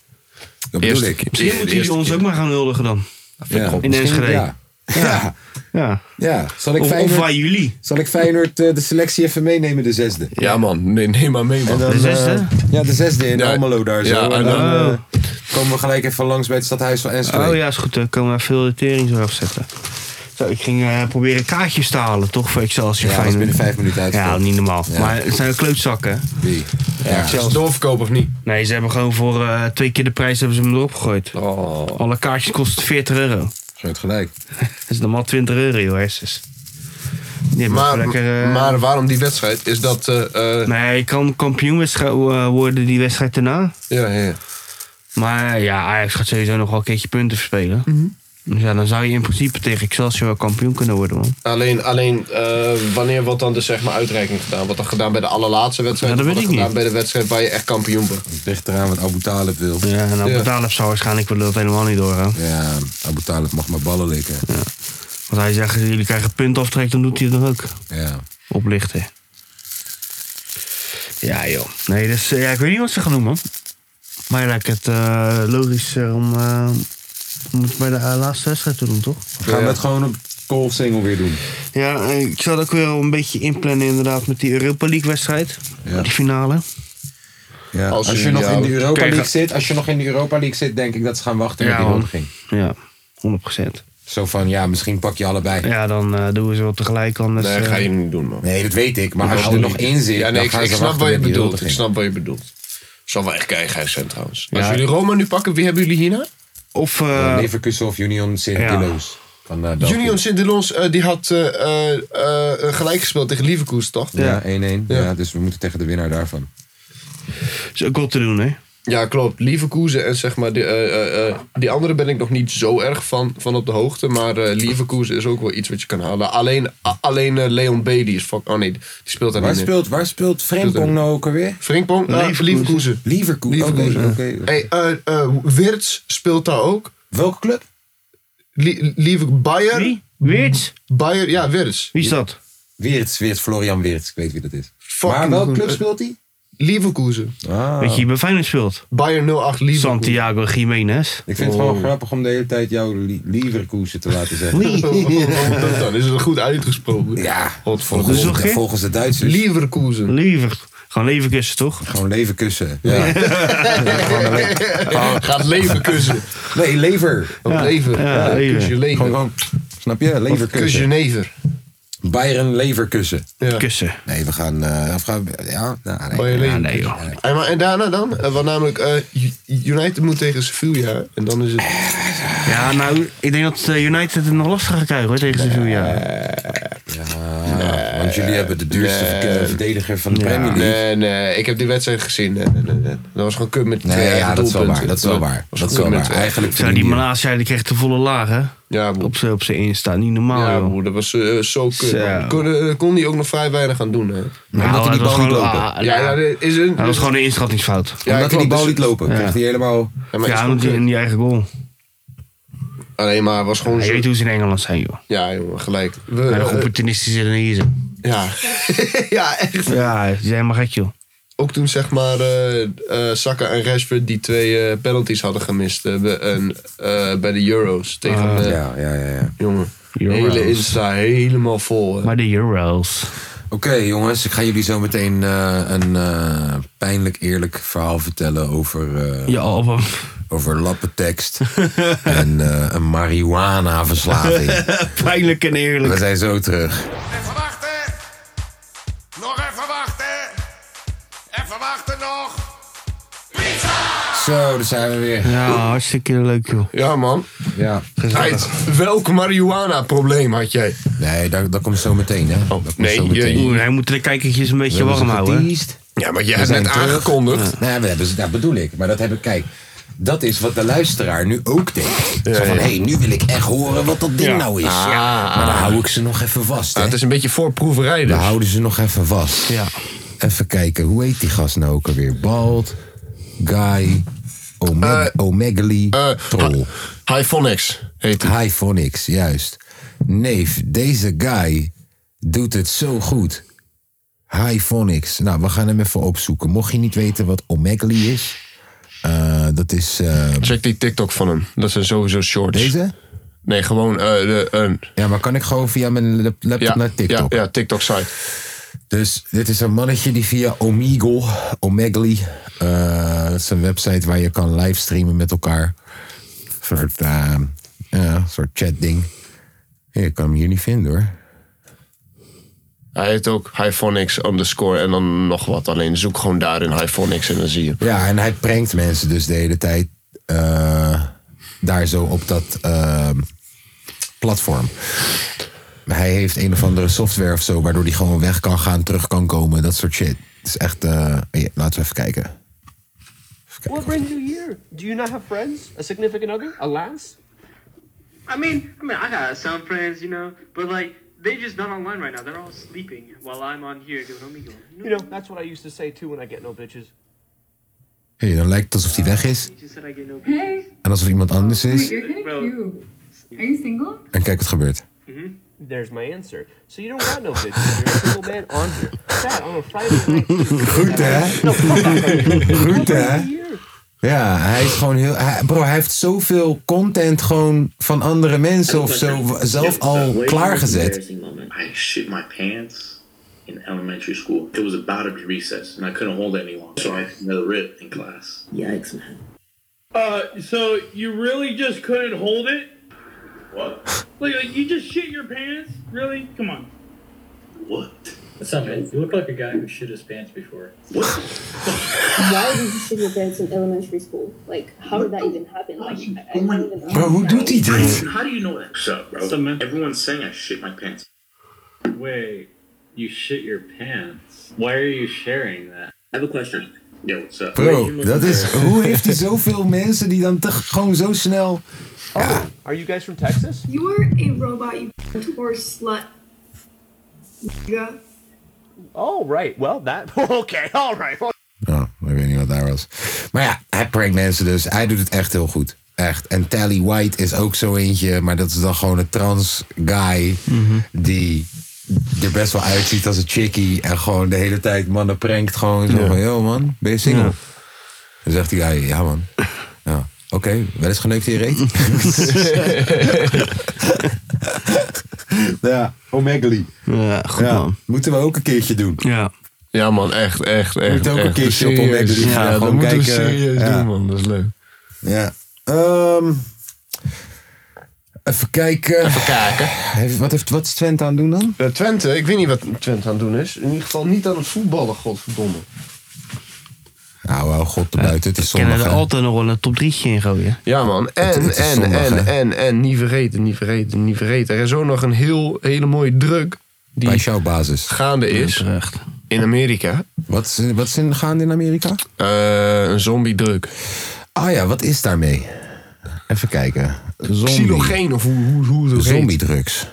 S1: Dat bedoel ik.
S2: Misschien moeten jullie ons ook maar gaan huldigen dan.
S1: Ja.
S2: In Enschede.
S1: Ja. Ja.
S2: Ja.
S1: ja. Zal ik
S2: Of- of
S1: Feyenoord,
S2: van jullie.
S1: Zal ik Feyenoord eh, de selectie even meenemen, de zesde?
S3: Ja man, nee, neem maar mee man.
S1: En dan,
S3: De zesde?
S1: eh, ja, de zesde in Almelo daar zo.
S3: ja,
S1: en
S3: en
S1: dan
S3: dan-
S1: eh, komen we gelijk even langs bij het stadhuis van Enschede.
S2: Oh ja, is goed. Dan komen we veel de tering zo afzetten. Zo, ik ging eh, proberen kaartjes te halen, toch? Voor Excelsior
S1: Ja, was
S2: Feyenoord.
S1: binnen vijf minuten uit.
S2: Ja, niet normaal.
S1: Ja.
S2: Maar het zijn klootzakken.
S1: Wie?
S2: Ja,
S1: Ja.
S2: Excelsior.
S3: doorverkoop of niet?
S2: Nee, ze hebben gewoon voor eh, twee keer de prijs hebben ze hem erop gegooid. Alle kaartjes kosten 40 euro.
S1: Groot Oh. gelijk.
S2: Dat is normaal 20 euro, joh, hersens. Die hebben
S3: Maar,
S2: gewoon lekker, eh,
S3: maar waarom die wedstrijd? Is dat... eh, eh,
S2: Nee, je kan kampioen wedstrijd- eh, worden die wedstrijd daarna.
S3: Ja, ja.
S2: Maar ja, Ajax gaat sowieso nog wel een keertje punten verspelen.
S1: Mhm.
S2: Dus ja, dan zou je in principe tegen Excelsior wel kampioen kunnen worden, man.
S3: Alleen, alleen eh, wanneer wordt dan de zeg maar, uitreiking gedaan? Wordt dat gedaan bij de allerlaatste wedstrijd?
S2: Ja, dat
S3: Of
S2: weet
S3: wordt
S2: ik
S3: gedaan bij de wedstrijd waar je echt kampioen bent?
S1: Ligt eraan wat Abu Talib wil.
S2: Ja, en Abu
S3: Ja.
S2: Talib zou waarschijnlijk willen dat helemaal niet doorgaan.
S1: Ja, Abu Talib mag maar ballen likken.
S2: Want hij zegt, jullie krijgen puntaftrek, dan doet hij het nog ook.
S1: Ja.
S2: Oplichten. Ja, joh. Nee, dus eh, ja, ik weet niet wat ze gaan doen, man. Maar lijkt het eh, logischer om, eh, om het bij de eh, laatste wedstrijd te doen, toch?
S1: We gaan het gewoon op Cold Single weer doen.
S2: Ja, eh, ik zal het ook weer al een beetje inplannen inderdaad met die Europa League wedstrijd. Die finale.
S1: Ja. Als,
S2: Als
S1: je
S2: jullie
S1: nog in de
S2: houden.
S1: Europa
S2: Kijk,
S1: League zit, als je nog in de Europa League zit, denk ik dat ze gaan wachten met die
S2: man.
S1: nodiging.
S2: Ja, 100%.
S1: Zo van, ja, misschien pak je allebei.
S2: Ja, dan eh, doen we ze wel tegelijk anders. eh,
S1: Nee, ga je
S3: niet doen, man.
S1: Nee, dat weet ik. Maar als je er nog in zit,
S3: Ja, nee,
S1: dan
S3: ik,
S1: gaan
S3: ik
S1: ze
S3: snap
S1: wachten
S3: wat je
S1: met die
S3: bedoelt. Ik
S1: huldiging.
S3: snap wat je bedoeld. Zal wel echt keihard zijn trouwens. Als
S1: Ja.
S3: jullie Roma nu pakken, wie hebben jullie hierna?
S2: Of...
S1: Eh, Leverkusen of Union Sint-Piloos. Van eh, België.
S3: Union Sint-Delons, eh, die had eh, eh, eh, gelijk gespeeld tegen Leverkusen, toch?
S1: Ja, 1-1. Ja. dus we moeten tegen de winnaar daarvan.
S2: Is ook wel te doen, hè?
S3: Ja, klopt. Leverkusen en zeg maar, die, eh, die andere ben ik nog niet zo erg van, van op de hoogte. Maar eh Leverkusen is ook wel iets wat je kan halen. Alleen, a- alleen eh, Leon B. die is fuck. Oh nee, die speelt daar
S1: Waar
S3: niet
S1: speelt, waar speelt Frempong nou ook alweer?
S3: Frimpong? Leverkusen. Leverkusen.
S1: Leverkusen. Oké,
S3: Leverkusen.
S1: oké.
S3: Hey, eh eh, Wirtz speelt daar ook.
S1: Welke club?
S3: Liever Bayer. Wie?
S2: Wirtz?
S3: Bayer, ja, Wirtz.
S2: Wie is dat?
S1: Weerts, Weerts, Florian Weerts. Ik weet wie dat is.
S3: Fucking
S1: maar welke
S3: goed.
S1: club speelt hij?
S3: Leverkusen.
S1: Ah.
S2: Weet je, bij Feyenoord speelt.
S3: Bayern 08
S2: Leverkusen. Santiago Jiménez.
S1: Ik
S3: Oh.
S1: vind het gewoon grappig om de hele tijd jouw li- Leverkusen te laten zeggen.
S3: Oh, dat dan? Is het goed uitgesproken?
S1: Ja,
S2: Dus
S1: volgens,
S2: toch, hè?
S1: volgens de Duitsers.
S3: Leverkusen.
S2: Lever. Gewoon leverkussen, toch?
S1: Gewoon leverkussen. Ja. Oh.
S3: Gaat leverkussen.
S1: Nee, lever.
S3: Oh, lever. Ja, Ja, lever. kus je lever.
S1: Gewoon, gewoon, snap je? Leverkussen.
S3: kus je never.
S1: Bayern leverkussen.
S3: Ja.
S2: Kussen.
S1: Nee, we gaan... eh, of gaan we- ja, nou, nee.
S3: Bayern Leverkusen.
S1: Ja, nee, joh.
S3: En, maar- en daarna dan? Eh, Want namelijk, eh, U- United moet tegen Sevilla. En dan is het...
S2: Ja, nou, ik denk dat eh, United het nog lastig gaat krijgen hoor, tegen Sevilla.
S1: Ja, Eh, want jullie hebben de duurste verk- verdediger van de Premier League.
S3: Eh, Nee, nee, ik heb die wedstrijd gezien. Nee, nee, nee, nee. Dat was gewoon kut met
S1: Nee,
S3: twee
S1: ja,
S3: eigen
S1: dat is wel
S3: doelpunten.
S1: waar, dat is wel waar,
S3: was
S1: dat is
S3: kut
S1: wel
S3: met
S1: waar.
S3: twee-
S1: Eigenlijk
S2: Zo, die Malasia die kreeg de volle laag, hè?
S3: Ja,
S2: op zijn op zijn Insta. Niet normaal,
S3: Ja,
S2: joh.
S3: broer, dat was eh, zo kut.
S2: Zo.
S3: man. Kon, eh, kon hij ook nog vrij weinig aan doen. Hè.
S2: Nou,
S3: hij
S2: dat was gewoon, ah,
S3: ja, ja,
S2: nou,
S3: dat is een...
S2: dat was gewoon een inschattingsfout.
S3: Ja, Omdat ik hij die bal dus- liet lopen, kreeg hij
S1: helemaal...
S3: Ja, maar
S2: Ja,
S3: is
S2: ja
S3: ook eh,
S2: want die-
S3: kut.
S2: in die eigen goal.
S3: Alleen maar was gewoon
S2: Ja, je weet hoe ze in Engeland zijn, joh.
S3: Ja, jongen, gelijk. We,
S2: Maar nog
S3: eh,
S2: opportunistischer dan hier zijn.
S3: ja. ja, echt.
S2: Ja, die zijn helemaal gek, joh.
S3: Ook toen zeg maar eh eh, Saka en Rashford die twee eh, penalties hadden gemist eh, bij, een, eh, bij de Euros. Tegen
S2: Ah.
S3: eh,
S1: Ja, ja, ja. ja.
S3: Jongen,
S1: Euro's.
S3: hele Insta helemaal vol. hè.
S2: Maar de Euros.
S1: Oké jongens, ik ga jullie zo meteen eh, een eh, pijnlijk eerlijk verhaal vertellen over... eh
S2: Je album.
S1: Over lappentekst en eh, een marihuana-verslaving.
S2: Pijnlijk en eerlijk.
S1: We zijn zo terug.
S13: Even wachten. Nog even wachten. Even wachten nog.
S1: Zo, daar zijn we weer.
S2: Ja, hartstikke leuk, joh.
S3: Ja, man.
S1: Ja.
S3: Heid, welk marihuana-probleem had jij? Oh,
S1: Nee, dat, dat komt zo meteen, hè? Dat komt
S3: nee,
S1: zo meteen.
S3: je-
S2: Oeh, hij moet de kijkertjes een beetje
S1: We hebben
S2: warm
S1: ze
S2: houden. hè?
S1: geteased.
S3: Ja, maar
S1: We
S3: jij hebt
S1: zijn
S3: net
S1: terug.
S3: aangekondigd.
S1: Ja. Nee, we hebben ze, dat bedoel ik. Maar dat heb ik, kijk, dat is wat de luisteraar nu ook denkt. Zo van,
S3: ja.
S1: hé, nu wil ik echt horen wat dat ding
S3: Ja.
S1: nou is.
S3: Ah.
S1: Maar dan hou ik ze nog even vast, hè?
S3: Ah, het is een beetje voorproeverij dus.
S1: Dan houden ze nog even vast.
S2: Ja.
S1: Even kijken, hoe heet die gast nou ook alweer? Bald, Guy, Omeg Omegali, Troll.
S3: Hyphonics heet
S1: hij. Hyphonics, juist. Neef, deze guy doet het zo goed. Hyphonics. Nou, we gaan hem even opzoeken. Mocht je niet weten wat Omegali is, eh, dat is... eh,
S3: Check die TikTok van hem. Dat zijn sowieso shorts.
S1: Deze?
S3: Nee, gewoon eh de, een...
S1: ja, maar kan ik gewoon via mijn lap- laptop
S3: Ja,
S1: naar TikTok?
S3: Ja, ja TikTok-site.
S1: Dus dit is een mannetje die via Omegle, Omegli, eh, dat is een website waar je kan livestreamen met elkaar. Een soort, eh, ja, soort chatding. Ja, ik kan hem hier niet vinden hoor.
S3: Hij heet ook Hyphonics underscore en dan nog wat. Alleen zoek gewoon daarin Hyphonics en dan zie je.
S1: Ja, en hij prankt mensen dus de hele tijd eh, daar zo op dat eh, platform. Hij heeft een of andere software of zo, waardoor hij gewoon weg kan gaan, terug kan komen, dat soort shit. Het is echt, eh, ja, laten we even kijken.
S14: What brings you here? Do you not have friends? A significant other? A lass?
S15: I mean, I mean, I got some friends, you know, but like they're just not online right now. They're all sleeping while I'm on here doing Omegle.
S14: You know, that's what I used to say too when I get no bitches.
S1: Hey, dan lijkt het alsof hij weg is.
S15: She said I get no.
S16: Hey,
S1: En alsof iemand anders is.
S16: you're kind of cute. Are you single?
S1: En kijk wat gebeurt.
S14: There's my answer. So you don't got no bitches. You're a single man on here. Sad on a Friday night.
S1: Goed hè?
S14: No, fuck that.
S1: Goed hè? Ja, hij is gewoon heel. hij- bro, hij heeft zoveel content gewoon van andere mensen of zo w- zelf al klaargezet.
S17: I shit my pants in elementary school. It was about to be recess, and I couldn't hold it any longer, so I had another rip in class. Yikes, man.
S18: Uh, so you really just couldn't hold it? fuck? Look, like, you just shit your pants? Really? Come on.
S17: What?
S18: What's up, man? You look like a guy who shit his pants before.
S19: Why did you shit your pants in elementary school? Like, how did that even happen? Like, I, I don't even
S1: Bro, hoe doet hij dit?
S18: How do you know that?
S17: So, bro, everyone's saying I shit my pants.
S18: Wait, you shit your pants? Why are you sharing that?
S17: I have a question. Yo, what's up?
S1: Bro, dat is, hoe heeft hij zoveel mensen die dan te, gewoon zo snel...
S14: Are you guys from Texas?
S16: You're a robot, you poor slut. Nigga.
S14: Oh, right. Well, that. Okay, all right. Well,
S1: Oh, ik weet niet wat daar was. Maar ja, hij prankt mensen dus. Hij doet het echt heel goed. Echt. En Tally White is ook zo eentje. Maar dat is dan gewoon een trans guy.
S2: Mhm.
S1: Die er best wel uitziet als een chickie. En gewoon de hele tijd mannen prankt. Gewoon zo
S2: Ja.
S1: van, yo man, ben je single?
S2: Ja.
S1: Dan zegt die guy, ja man. Ja. Oké, wel eens geneukt in je reet? ja, Omegle.
S2: Ja, goed man.
S1: Moeten we ook een keertje doen.
S2: Ja.
S3: Ja man, echt, echt, echt.
S1: Moet ook een
S3: echt.
S1: keertje op
S3: Serieus.
S1: Omegle gaan.
S3: Ja, dat
S1: Gewoon
S3: moeten we
S1: kijken.
S3: serieus
S1: Ja.
S3: doen man, dat is leuk.
S1: Ja. Ehm, even kijken. Even kijken. wat, heeft, wat is Twente aan het doen dan?
S3: Eh, Twente, ik weet niet wat Twente aan het doen is. In ieder geval niet aan het voetballen, godverdomme.
S1: Nou, wel god te buiten. Het is
S2: Kunnen
S1: zondag.
S2: we er
S1: hè.
S2: altijd nog wel een top 3'tje in gooien?
S3: Ja man,
S2: Het-
S3: en,
S2: het is
S3: en,
S2: zondag,
S3: en,
S2: hè?
S3: en, en, niet vergeten, niet vergeten, niet vergeten. Er is ook nog een heel, hele mooie druk die
S1: Bij jouw basis.
S3: gaande is in Amerika. Eh,
S1: Wat is, wat is in, gaande in Amerika?
S3: een zombie-druk.
S1: Ah ja, wat is daarmee? Even kijken. Zombie.
S3: Xylogeen of hoe, hoe, hoe dat heet.
S1: Zombie-drugs.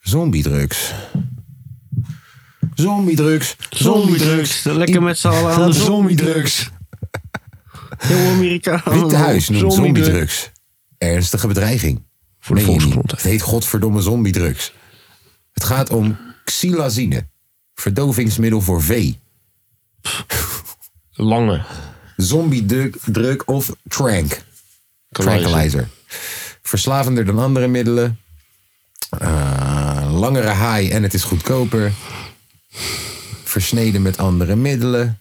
S1: Zombie-drugs. Zombie-drugs. Zombie-drugs.
S2: Lekker met z'n allen aan de
S1: zombie-drugs.
S2: Heel Amerika.
S1: Witte Huis noemt zombie-drugs. Ernstige bedreiging. Voor de volksgrond. Het heet godverdomme zombie-drugs. Het gaat om xylazine. Verdovingsmiddel voor vee.
S3: Lange.
S1: Zombie-drug of trank. Tranquilizer. Verslavender dan andere middelen. Eh, langere haai en het is goedkoper. Versneden met andere middelen.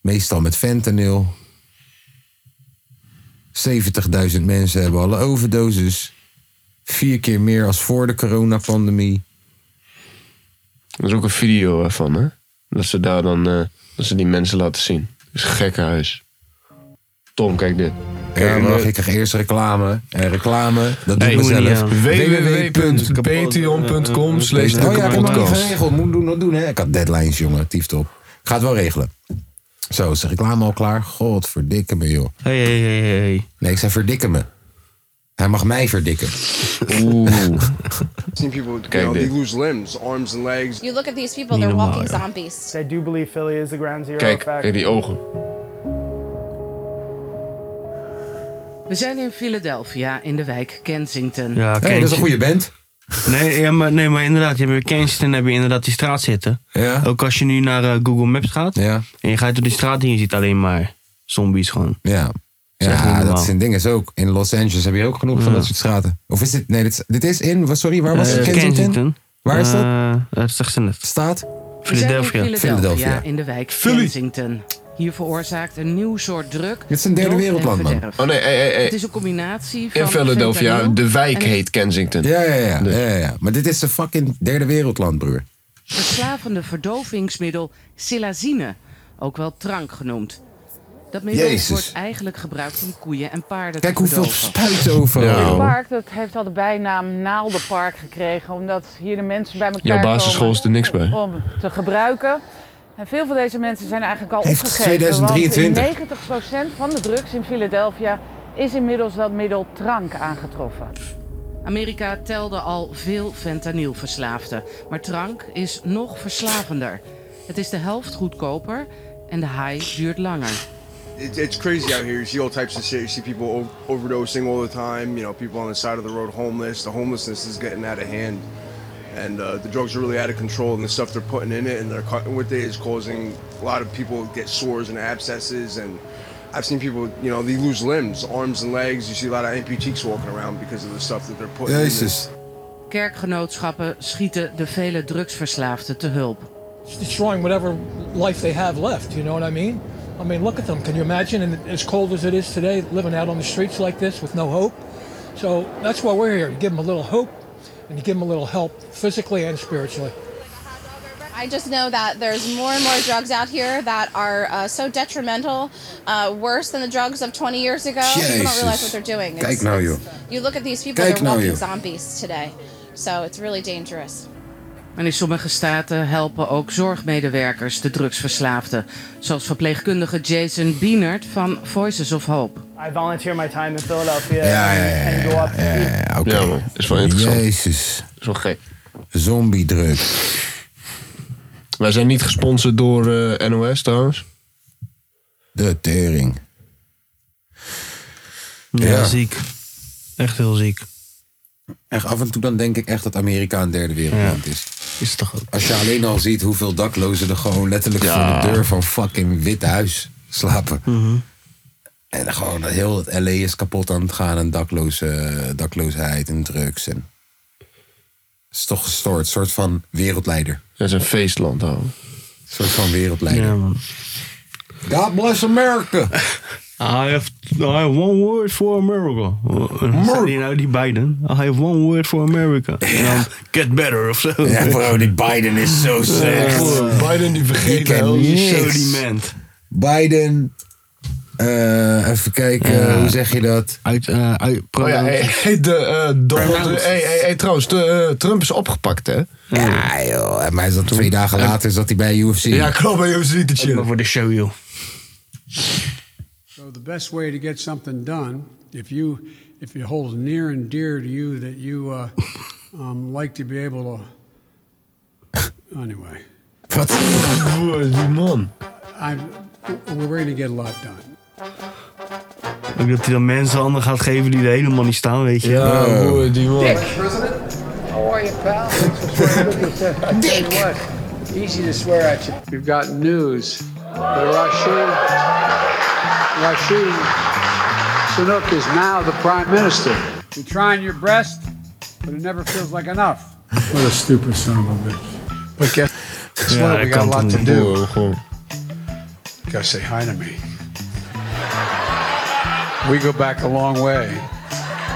S1: Meestal met fentanyl. 70.000 mensen hebben alle overdoses. Vier keer meer als voor de coronapandemie.
S3: Er is ook een video eh, van, hè? Dat ze daar dan, eh, dat ze die mensen laten zien. Dat is een gekkenhuis. Tom, kijk dit.
S1: Ja, wacht, ik krijg eerst reclame. En reclame, dat doe
S3: Nee,
S1: ik
S3: moet niet
S1: mezelf.
S3: aan. www.patreon.com slash
S1: Oh ja, ik heb hem nog niet
S3: Kapotcast.
S1: geregeld. Moet doen, nog doen, hè. Ik had deadlines, jongen. Tieft op. Ik ga het wel regelen. Zo, is de reclame al klaar? God, verdikke me, joh.
S2: Hey, hey, hey, hey, hey.
S1: Nee, ik zei verdikken me. Hij mag mij verdikken.
S3: Oeh.
S20: seen people, you
S1: Kijk
S20: know,
S1: dit.
S20: they lose limbs, arms and legs.
S21: You look at these people,
S20: Niet
S21: they're
S20: normaal,
S21: walking
S20: joh.
S21: zombies. They do believe Philly is the ground zero
S3: Kijk, kijk die ogen.
S22: We zijn in Philadelphia in de wijk Kensington.
S2: Ja, Kensington. Nee, ja, maar, nee, maar inderdaad, je hebt Kensington heb je inderdaad die straat zitten.
S1: Ja.
S2: Ook als je nu naar eh, Google Maps gaat
S1: ja.
S2: en je gaat door die straat en je ziet alleen maar zombies gewoon.
S1: Ja. Ja, dat zijn dingen is ook. In Los Angeles heb je ook genoeg van
S2: Ja.
S1: dat soort straten. Of is dit... Nee, dit, is- dit is in... wat- Sorry, waar was
S2: Eh,
S1: het? Kensington? Waar is dat?
S3: Eh,
S2: dat zegt ze net.
S1: Staat?
S22: We zijn in Philadelphia,
S1: Philadelphia.
S22: in de wijk Kensington. Hier veroorzaakt een nieuw soort druk.
S1: Dit is een derde
S22: dood en
S1: wereldland, man.
S22: verderf.
S3: Oh, nee, hey, hey, hey.
S22: Het is een combinatie van...
S3: In Philadelphia,
S22: fentanyl
S3: de wijk
S22: en
S3: heet Kensington. Dus-
S1: Ja, ja, ja. ja, ja, ja. Maar dit is een fucking derde wereldland, broer.
S22: het verslavende verdovingsmiddel silazine, ook wel trank genoemd. Dat middel
S1: Jezus.
S22: wordt eigenlijk gebruikt om koeien en paarden
S1: Kijk
S22: te
S1: hoeveel
S22: verdoven.
S1: spuit overal.
S3: Nou.
S23: Het
S1: joh.
S23: park dat heeft al de bijnaam Naaldenpark gekregen, omdat hier de mensen bij elkaar
S3: Jouw basisschool is er niks bij.
S23: komen om te gebruiken. En veel van deze mensen zijn eigenlijk al
S3: Heeft
S23: opgegeven, want
S3: 2023.
S23: 90% van de drugs in Philadelphia is inmiddels dat middel drank aangetroffen.
S22: Amerika telde al veel fentanylverslaafden, maar drank is nog verslavender. Het is de helft goedkoper en de high duurt langer.
S20: It, it's crazy out here. You see all types of shit. You see people o- overdosing all the time. You know, people on the side of the road homeless. The homelessness is getting out of hand. And uh, the drugs are really out of control, and the stuff they're putting in it and they're cutting with it is causing a lot of people get sores and abscesses. And I've seen people, you know, they lose limbs, arms and legs. You see a lot of amputees walking around because of the stuff that they're putting in. This.
S22: Kerkgenootschappen schieten de vele drugsverslaafden te hulp.
S24: It's destroying whatever life they have left, you know what I mean? I mean, look at them. Can you imagine, and as cold as it is today, living out on the streets like this with no hope? So that's why we're here, to give them a little hope and to give them a little help physically and spiritually.
S9: I just know that there's more and more drugs out here that are uh, so detrimental, uh, worse than the drugs of 20 years ago. People don't
S1: Jezus.
S9: realize what they're doing.
S1: Kijk nou, joh.
S9: You look at these people,
S22: Kijk
S9: they're
S22: nou,
S9: walking
S22: joh.
S9: zombies today. So it's really dangerous.
S22: En in sommige staten helpen ook zorgmedewerkers de drugsverslaafden. Zoals verpleegkundige Jason Bienert van Voices of Hope.
S21: I volunteer my time in Philadelphia and, and go up
S1: Ja, oké.
S3: is wel interessant.
S1: Jezus.
S3: is wel gek.
S1: Zombie druk.
S3: Wij zijn niet gesponsord door eh, NOS trouwens.
S1: De tering.
S2: Ja, ziek. Echt heel ziek.
S1: Echt, af en toe dan denk ik echt dat Amerika een derde wereldland is. Is het toch ook. Als je alleen al ziet hoeveel daklozen er gewoon letterlijk
S2: Ja.
S1: voor de deur van fucking wit huis slapen.
S2: Mhm.
S1: En dan gewoon heel het LA is kapot aan het gaan en dakloze, dakloosheid en drugs. En... Het is toch gestoord, een soort van wereldleider.
S3: Dat is een feestland, hoor. Een
S1: soort van wereldleider. God bless America.
S2: I have, I have one word for America. Zei die nou die Biden? I have one word for America. En dan get better of zo.
S1: Ja, bro, die Biden is zo slecht.
S3: Biden die
S1: Die
S3: vergeet
S1: kent
S3: wel.
S1: niks.
S3: Zo die
S1: Biden. eh, even kijken,
S3: Ja.
S1: hoe zeg je dat?
S2: Uit, eh, uit,
S3: Oh ja, hey, hey, de, eh, Donald, hey, hey, hey, trouwens, de, eh, Trump is opgepakt, hè?
S1: Ja, joh. Maar is dat twee dagen later zat hij bij UFC.
S3: Ja, klopt, bij UFC te chillen.
S2: voor de show, joh.
S4: So the best way to get something done, if you if it holds near and dear to you that you uh, um, like to be able to, anyway.
S3: Wat die man.
S4: I we're going to get a lot done.
S2: Ook dat hij dan mensen handen gaat geven die er helemaal niet staan, weet je.
S3: Ja,
S2: Wow.
S3: broer, die man. Dick.
S5: How are you, pal? Dick. Easy to swear at you. We've got news. The Rashid, Rashid Sunook is now the prime minister.
S4: You're trying your best, but it never feels like enough. What a stupid son of a bitch. But guess guess
S3: Ja,
S4: what?
S3: hij
S4: We got a
S3: kan
S4: lot
S3: het
S4: to
S3: niet
S4: do.
S3: horen, gewoon.
S4: You gotta say hi to me. We go back a long way.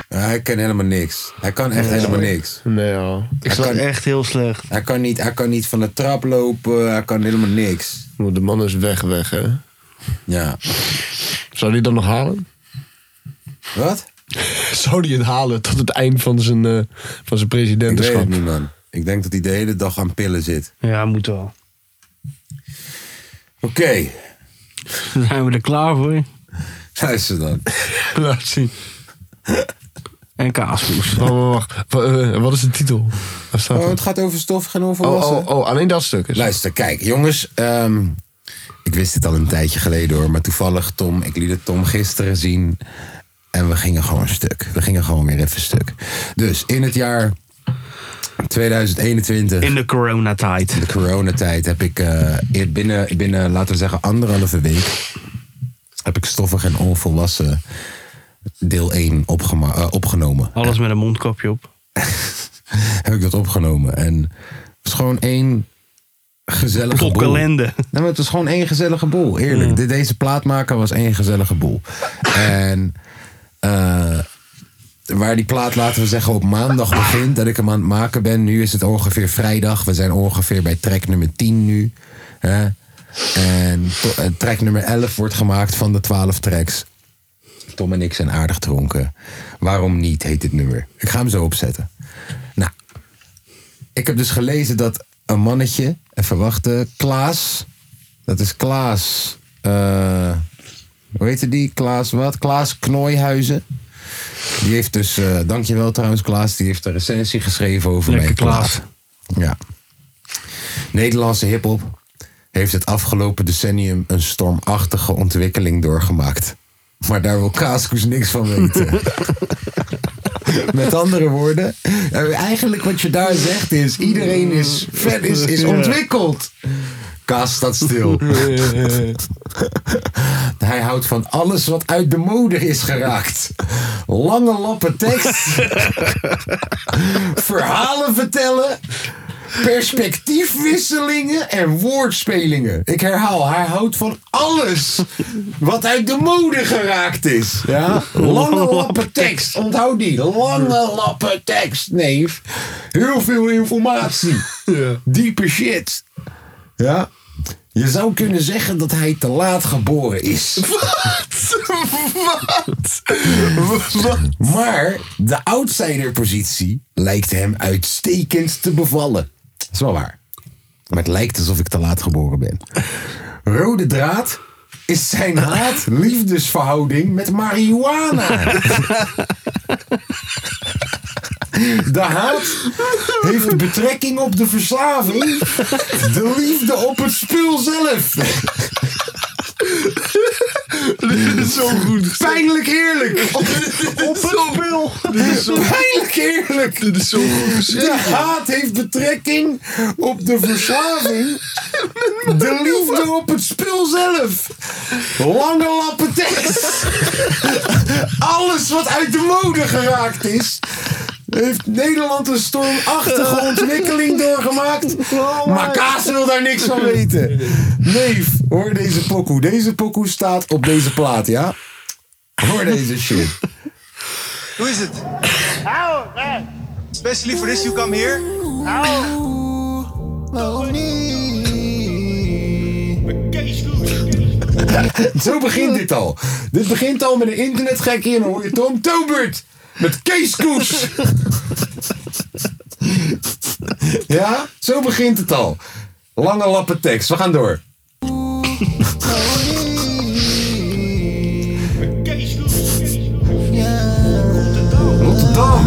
S1: Hij kan helemaal niks. Hij kan echt helemaal niks.
S3: Nee, hoor.
S1: Ik
S2: sta echt heel slecht.
S1: Hij kan, niet, hij kan niet van de trap lopen. Hij kan helemaal niks.
S3: De man is weg, weg, hè?
S1: Ja.
S3: Zou die dan nog halen?
S1: Wat?
S3: Zou die het halen tot het eind van zijn, eh, van
S1: Ik
S3: zijn
S1: weet
S3: presidentenschap?
S1: het niet, man. Ik denk dat hij de hele dag aan pillen zit.
S2: Ja, moet wel.
S1: Oké.
S2: Zijn we er klaar voor?
S1: Luister dan.
S3: Laat zien.
S2: En kaaspoes.
S3: Wacht, wacht, wacht. Wa- eh, wat is de titel? Waar staat
S1: Oh,
S3: het?
S1: het gaat over stof en onvolwassenen.
S3: Oh, oh, oh, alleen dat stuk is.
S1: Luister, kijk, jongens. ehm, ik wist dit al een tijdje geleden hoor. Maar toevallig, Tom, ik liet het Tom gisteren zien. En we gingen gewoon stuk. We gingen gewoon weer even stuk. Dus in het jaar 2021.
S2: In de coronatijd.
S1: In de coronatijd heb ik eh, eer- binnen, binnen, laten we zeggen, anderhalve week. heb ik stoffig en onvolwassen deel 1 opgema- eh, opgenomen.
S2: Alles met een mondkapje op.
S1: heb ik dat opgenomen. En het was gewoon één gezellige boel.
S2: Kokkelende.
S1: Nee, maar het was gewoon één gezellige boel, eerlijk. De- Deze plaatmaker was één gezellige boel. En eh, waar die plaat, laten we zeggen, op maandag begint... dat ik hem aan het maken ben. Nu is het ongeveer vrijdag. We zijn ongeveer bij track nummer 10 nu. Hè? En to- eh, track nummer 11 wordt gemaakt van de 12 tracks. Tom en ik zijn aardig dronken. Waarom niet, heet dit nummer. Ik ga hem zo opzetten. Nou, ik heb dus gelezen dat een mannetje, even wachten, Klaas. Dat is Klaas. eh, hoe heette die? Klaas wat? Klaas Knooihuizen. Die heeft dus, eh, dankjewel trouwens Klaas, die heeft een recensie geschreven over
S2: Lekker
S1: mijn
S2: Klaas.
S1: plaat. Ja. Nederlandse hiphop heeft het afgelopen decennium een stormachtige ontwikkeling doorgemaakt. Maar daar wil Kaaskoes niks van weten. Met andere woorden, eh, eigenlijk wat je daar zegt is: iedereen is vet, is, is ontwikkeld. Kaas staat stil. Hij houdt van alles wat uit de mode is geraakt. Lange lappen tekst. Verhalen vertellen.
S13: Perspectiefwisselingen en woordspelingen. Ik herhaal, hij houdt van alles wat uit de mode geraakt is. Ja? Lange lappen tekst, onthoud die. Lange lappen tekst, neef. Heel veel informatie. Diepe shit. Ja? Je zou kunnen zeggen dat hij te laat geboren is.
S5: Wat?
S13: Maar de outsiderpositie lijkt hem uitstekend te bevallen. Dat is wel waar. Maar het lijkt alsof ik te laat geboren ben. Rode draad is zijn haat-liefdesverhouding met marihuana. De haat heeft betrekking op de verslaving. De liefde op het spul zelf. Dit is zo goed. Pijnlijk eerlijk. Op, op het spul. Pijnlijk eerlijk. Dit is zo goed. De haat heeft betrekking op de verslaving. De liefde op het spul zelf. Lange lappen tekst. Alles wat uit de mode geraakt is. Heeft Nederland een stormachtige ontwikkeling doorgemaakt? maar Kaas wil daar niks van weten. Neef, hoor deze pokoe. Deze pokoe staat op deze plaat, ja? Hoor deze shit.
S2: Hoe is het? How? Especially for this you come here.
S13: Zo begint dit al. Dit begint al met een internetgekkie en dan hoor je Tom Tobert met Kees Koes. ja, zo begint het al. Lange lappen tekst, we gaan door. Rotterdam.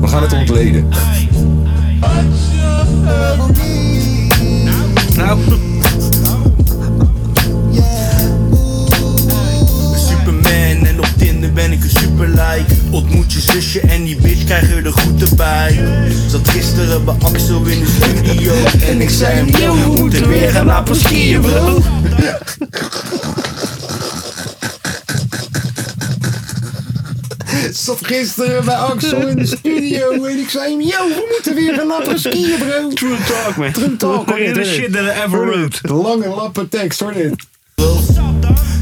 S13: We gaan het ontleden.
S5: Nou.
S2: Superman en op Tinder ben ik een superlike Ontmoet je zusje en die bitch krijg er de groeten bij Zat gisteren bij Axel in de studio En ik zei hem, yo, we moeten weer gaan apenskiën bro
S13: Zat gisteren bij Axel in de studio en ik zei hem, yo, we moeten weer gaan lappen skiën, bro. True talk, man. True talk. hoor dit,
S25: The
S13: hoor dit.
S25: shit that I ever
S13: Hoor dit.
S25: wrote.
S13: Lange lappen tekst, hoor dit.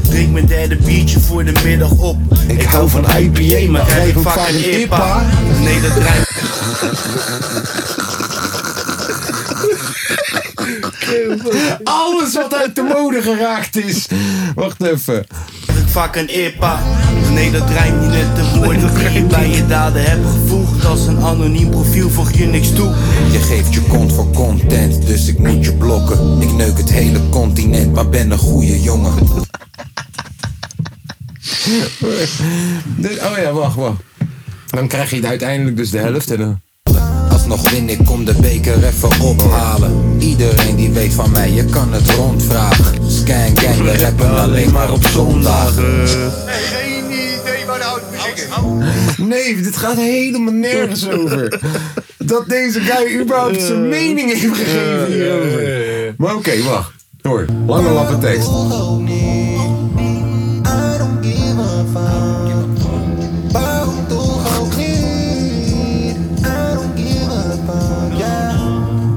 S2: Drink mijn derde biertje voor de middag op Ik hou van IPA, maar krijg
S13: hem
S2: vaak
S13: vaak
S2: een
S13: een
S2: IPA Nee, dat rijmt
S13: Alles wat uit de mode geraakt is. Wacht even.
S2: Ik vaak een IPA. Nee, dat rijmt niet met de woorden die je bij je daden hebt gevoegd. Als een anoniem profiel voeg je niks toe.
S1: Je geeft je kont voor content, dus ik moet je blokken. Ik neuk het hele continent, maar ben een goede jongen.
S13: Dit- Oh ja, wacht, wacht. Dan krijg je uiteindelijk dus de helft. En dan...
S1: Alsnog win ik kom de beker even ophalen. Iedereen die weet van mij, je kan het rondvragen. Scan gang, we rappen alleen maar op zondagen.
S2: Geen idee waar de oud muziek is.
S13: Nee, dit gaat helemaal nergens over. Dat deze guy überhaupt zijn mening heeft gegeven hierover. Maar oké, wacht. Hoor, lange lappen tekst.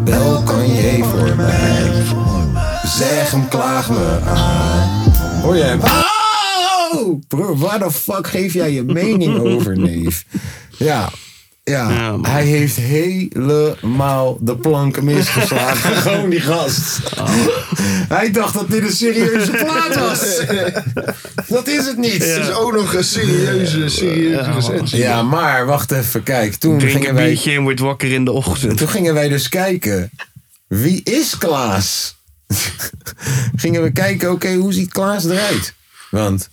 S1: Bel kan je voor mij. Zeg hem klaag me aan.
S13: Hoor je hem? Oh! Bro, waar de fuck geef jij je mening over, neef? Ja. Ja, hij heeft helemaal de planken misgeslagen. Gewoon die gast.
S25: Oh.
S13: Hij dacht dat dit een serieuze plaat was. Dat is het niet.
S3: Het is ook nog een serieuze, serieuze recensie.
S13: Ja, maar wacht even, kijk. Toen
S25: Drink een
S13: gingen wij,
S25: biertje en wordt wakker in de ochtend.
S13: toen gingen wij dus kijken. Wie is Klaas? gingen we kijken, oké, hoe ziet Klaas eruit? Want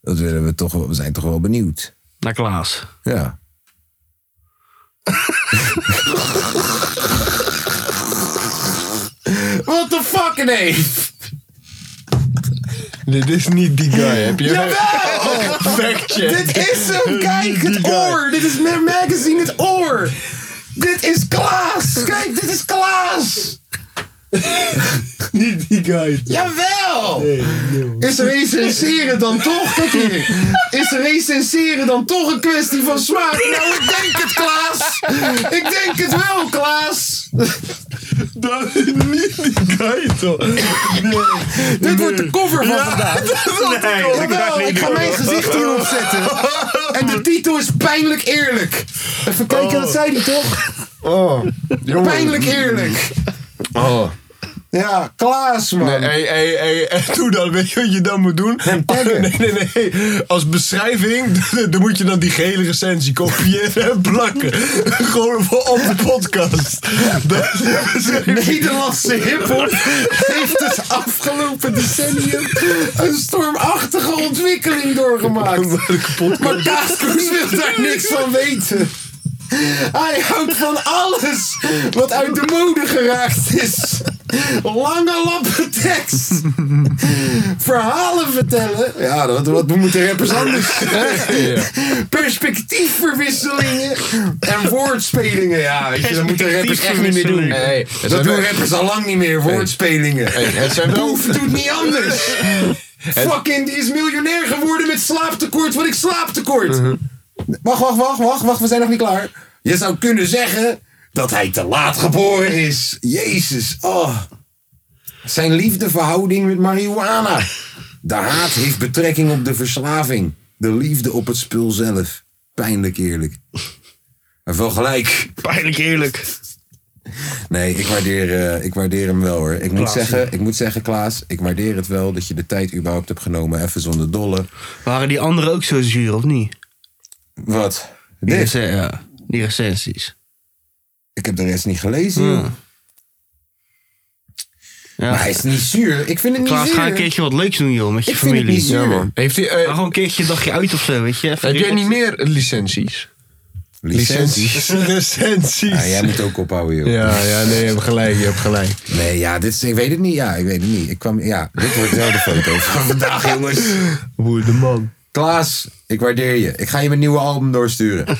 S13: dat willen we toch, wel- we zijn toch wel benieuwd.
S25: Naar Klaas.
S13: Ja. What the fuck, nee?
S3: Dit is niet die guy, heb je? Oh,
S13: Jawel!
S3: Fact check.
S13: Dit is hem, kijk, het oor. Dit is Mad Magazine, het oor. Dit is Klaas. Kijk, dit is Klaas.
S7: Niet die guy.
S1: Jawel! Is recenseren dan toch, kijk hier. Is recenseren dan toch een kwestie van smaak? Nou, ik denk het, Klaas. Ik denk het wel, Klaas.
S7: Dat is niet die guy, toch?
S1: Dit wordt de cover van vandaag.
S7: Nee,
S1: Jawel,
S7: dat gaat niet
S1: ik ga
S7: door.
S1: mijn gezicht hierop zetten. En de titel is Pijnlijk Eerlijk. Even kijken, dat zei hij toch?
S3: Oh, jongen.
S1: Pijnlijk Eerlijk.
S3: Oh.
S1: Ja, Klaas, man.
S3: Nee, hey, hey, hey, en doe dan, weet je wat je dan moet doen? nee, nee, nee. Als beschrijving, dan moet je dan die gele recensie kopiëren en plakken. Gewoon voor op de podcast.
S1: Nederlandse hiphop heeft het afgelopen decennium een stormachtige ontwikkeling doorgemaakt. Maar Kaaskoes wil daar niks van weten. Hij houdt van alles wat uit de mode geraakt is. Lange lappen tekst. Verhalen vertellen. Ja, dat, wat moeten rappers anders?
S3: Ja.
S1: Perspectiefverwisselingen en woordspelingen. Ja, weet je, dat moeten rappers echt niet meer doen.
S3: Nee, het
S1: dat
S3: zijn
S1: doen
S3: wel-
S1: rappers al lang niet meer, woordspelingen.
S3: Hey, het zijn wel-
S1: Hoef doet niet anders.
S3: Het-
S1: Fucking, die is miljonair geworden met slaaptekort, want ik slaaptekort.
S2: Mhm.
S1: Wacht, wacht, wacht, wacht, wacht, we zijn nog niet klaar. Je zou kunnen zeggen dat hij te laat geboren is. Jezus, oh. Zijn liefdeverhouding met marihuana. De haat heeft betrekking op de verslaving. De liefde op het spul zelf. Pijnlijk eerlijk. En wel gelijk.
S2: Pijnlijk eerlijk.
S1: Nee, ik waardeer, eh, ik waardeer hem wel hoor. Ik moet,
S2: Klaas,
S1: zeggen, ik moet zeggen, Klaas, ik waardeer het wel dat je de tijd überhaupt hebt genomen. Even zonder dolle.
S2: Waren die anderen ook zo zuur, of niet?
S1: Wat?
S2: Die, rece- ja, die recensies.
S1: Ik heb de rest niet gelezen. joh. Maar hij is niet zuur. Ik vind het niet
S2: Klaas,
S1: zuur.
S2: ga een keertje wat leuks doen, joh, met je
S1: Ik vind het
S2: familie.
S1: niet zuur. Ja, man.
S3: Heeft hij, eh,
S2: Ga gewoon een keertje een dagje uit of zo, weet je.
S3: Heb jij niet meer licenties?
S1: Licenties.
S3: Licenties.
S1: Ah, jij moet ook ophouden, joh.
S3: Ja, ja, nee, je hebt gelijk, je hebt gelijk.
S1: Nee, ja, dit is, ik weet het niet. Ja, ik weet het niet. Ik kwam, ja, dit wordt wel de foto van vandaag, jongens.
S3: Woede man.
S1: Klaas, ik waardeer je. Ik ga je mijn nieuwe album doorsturen.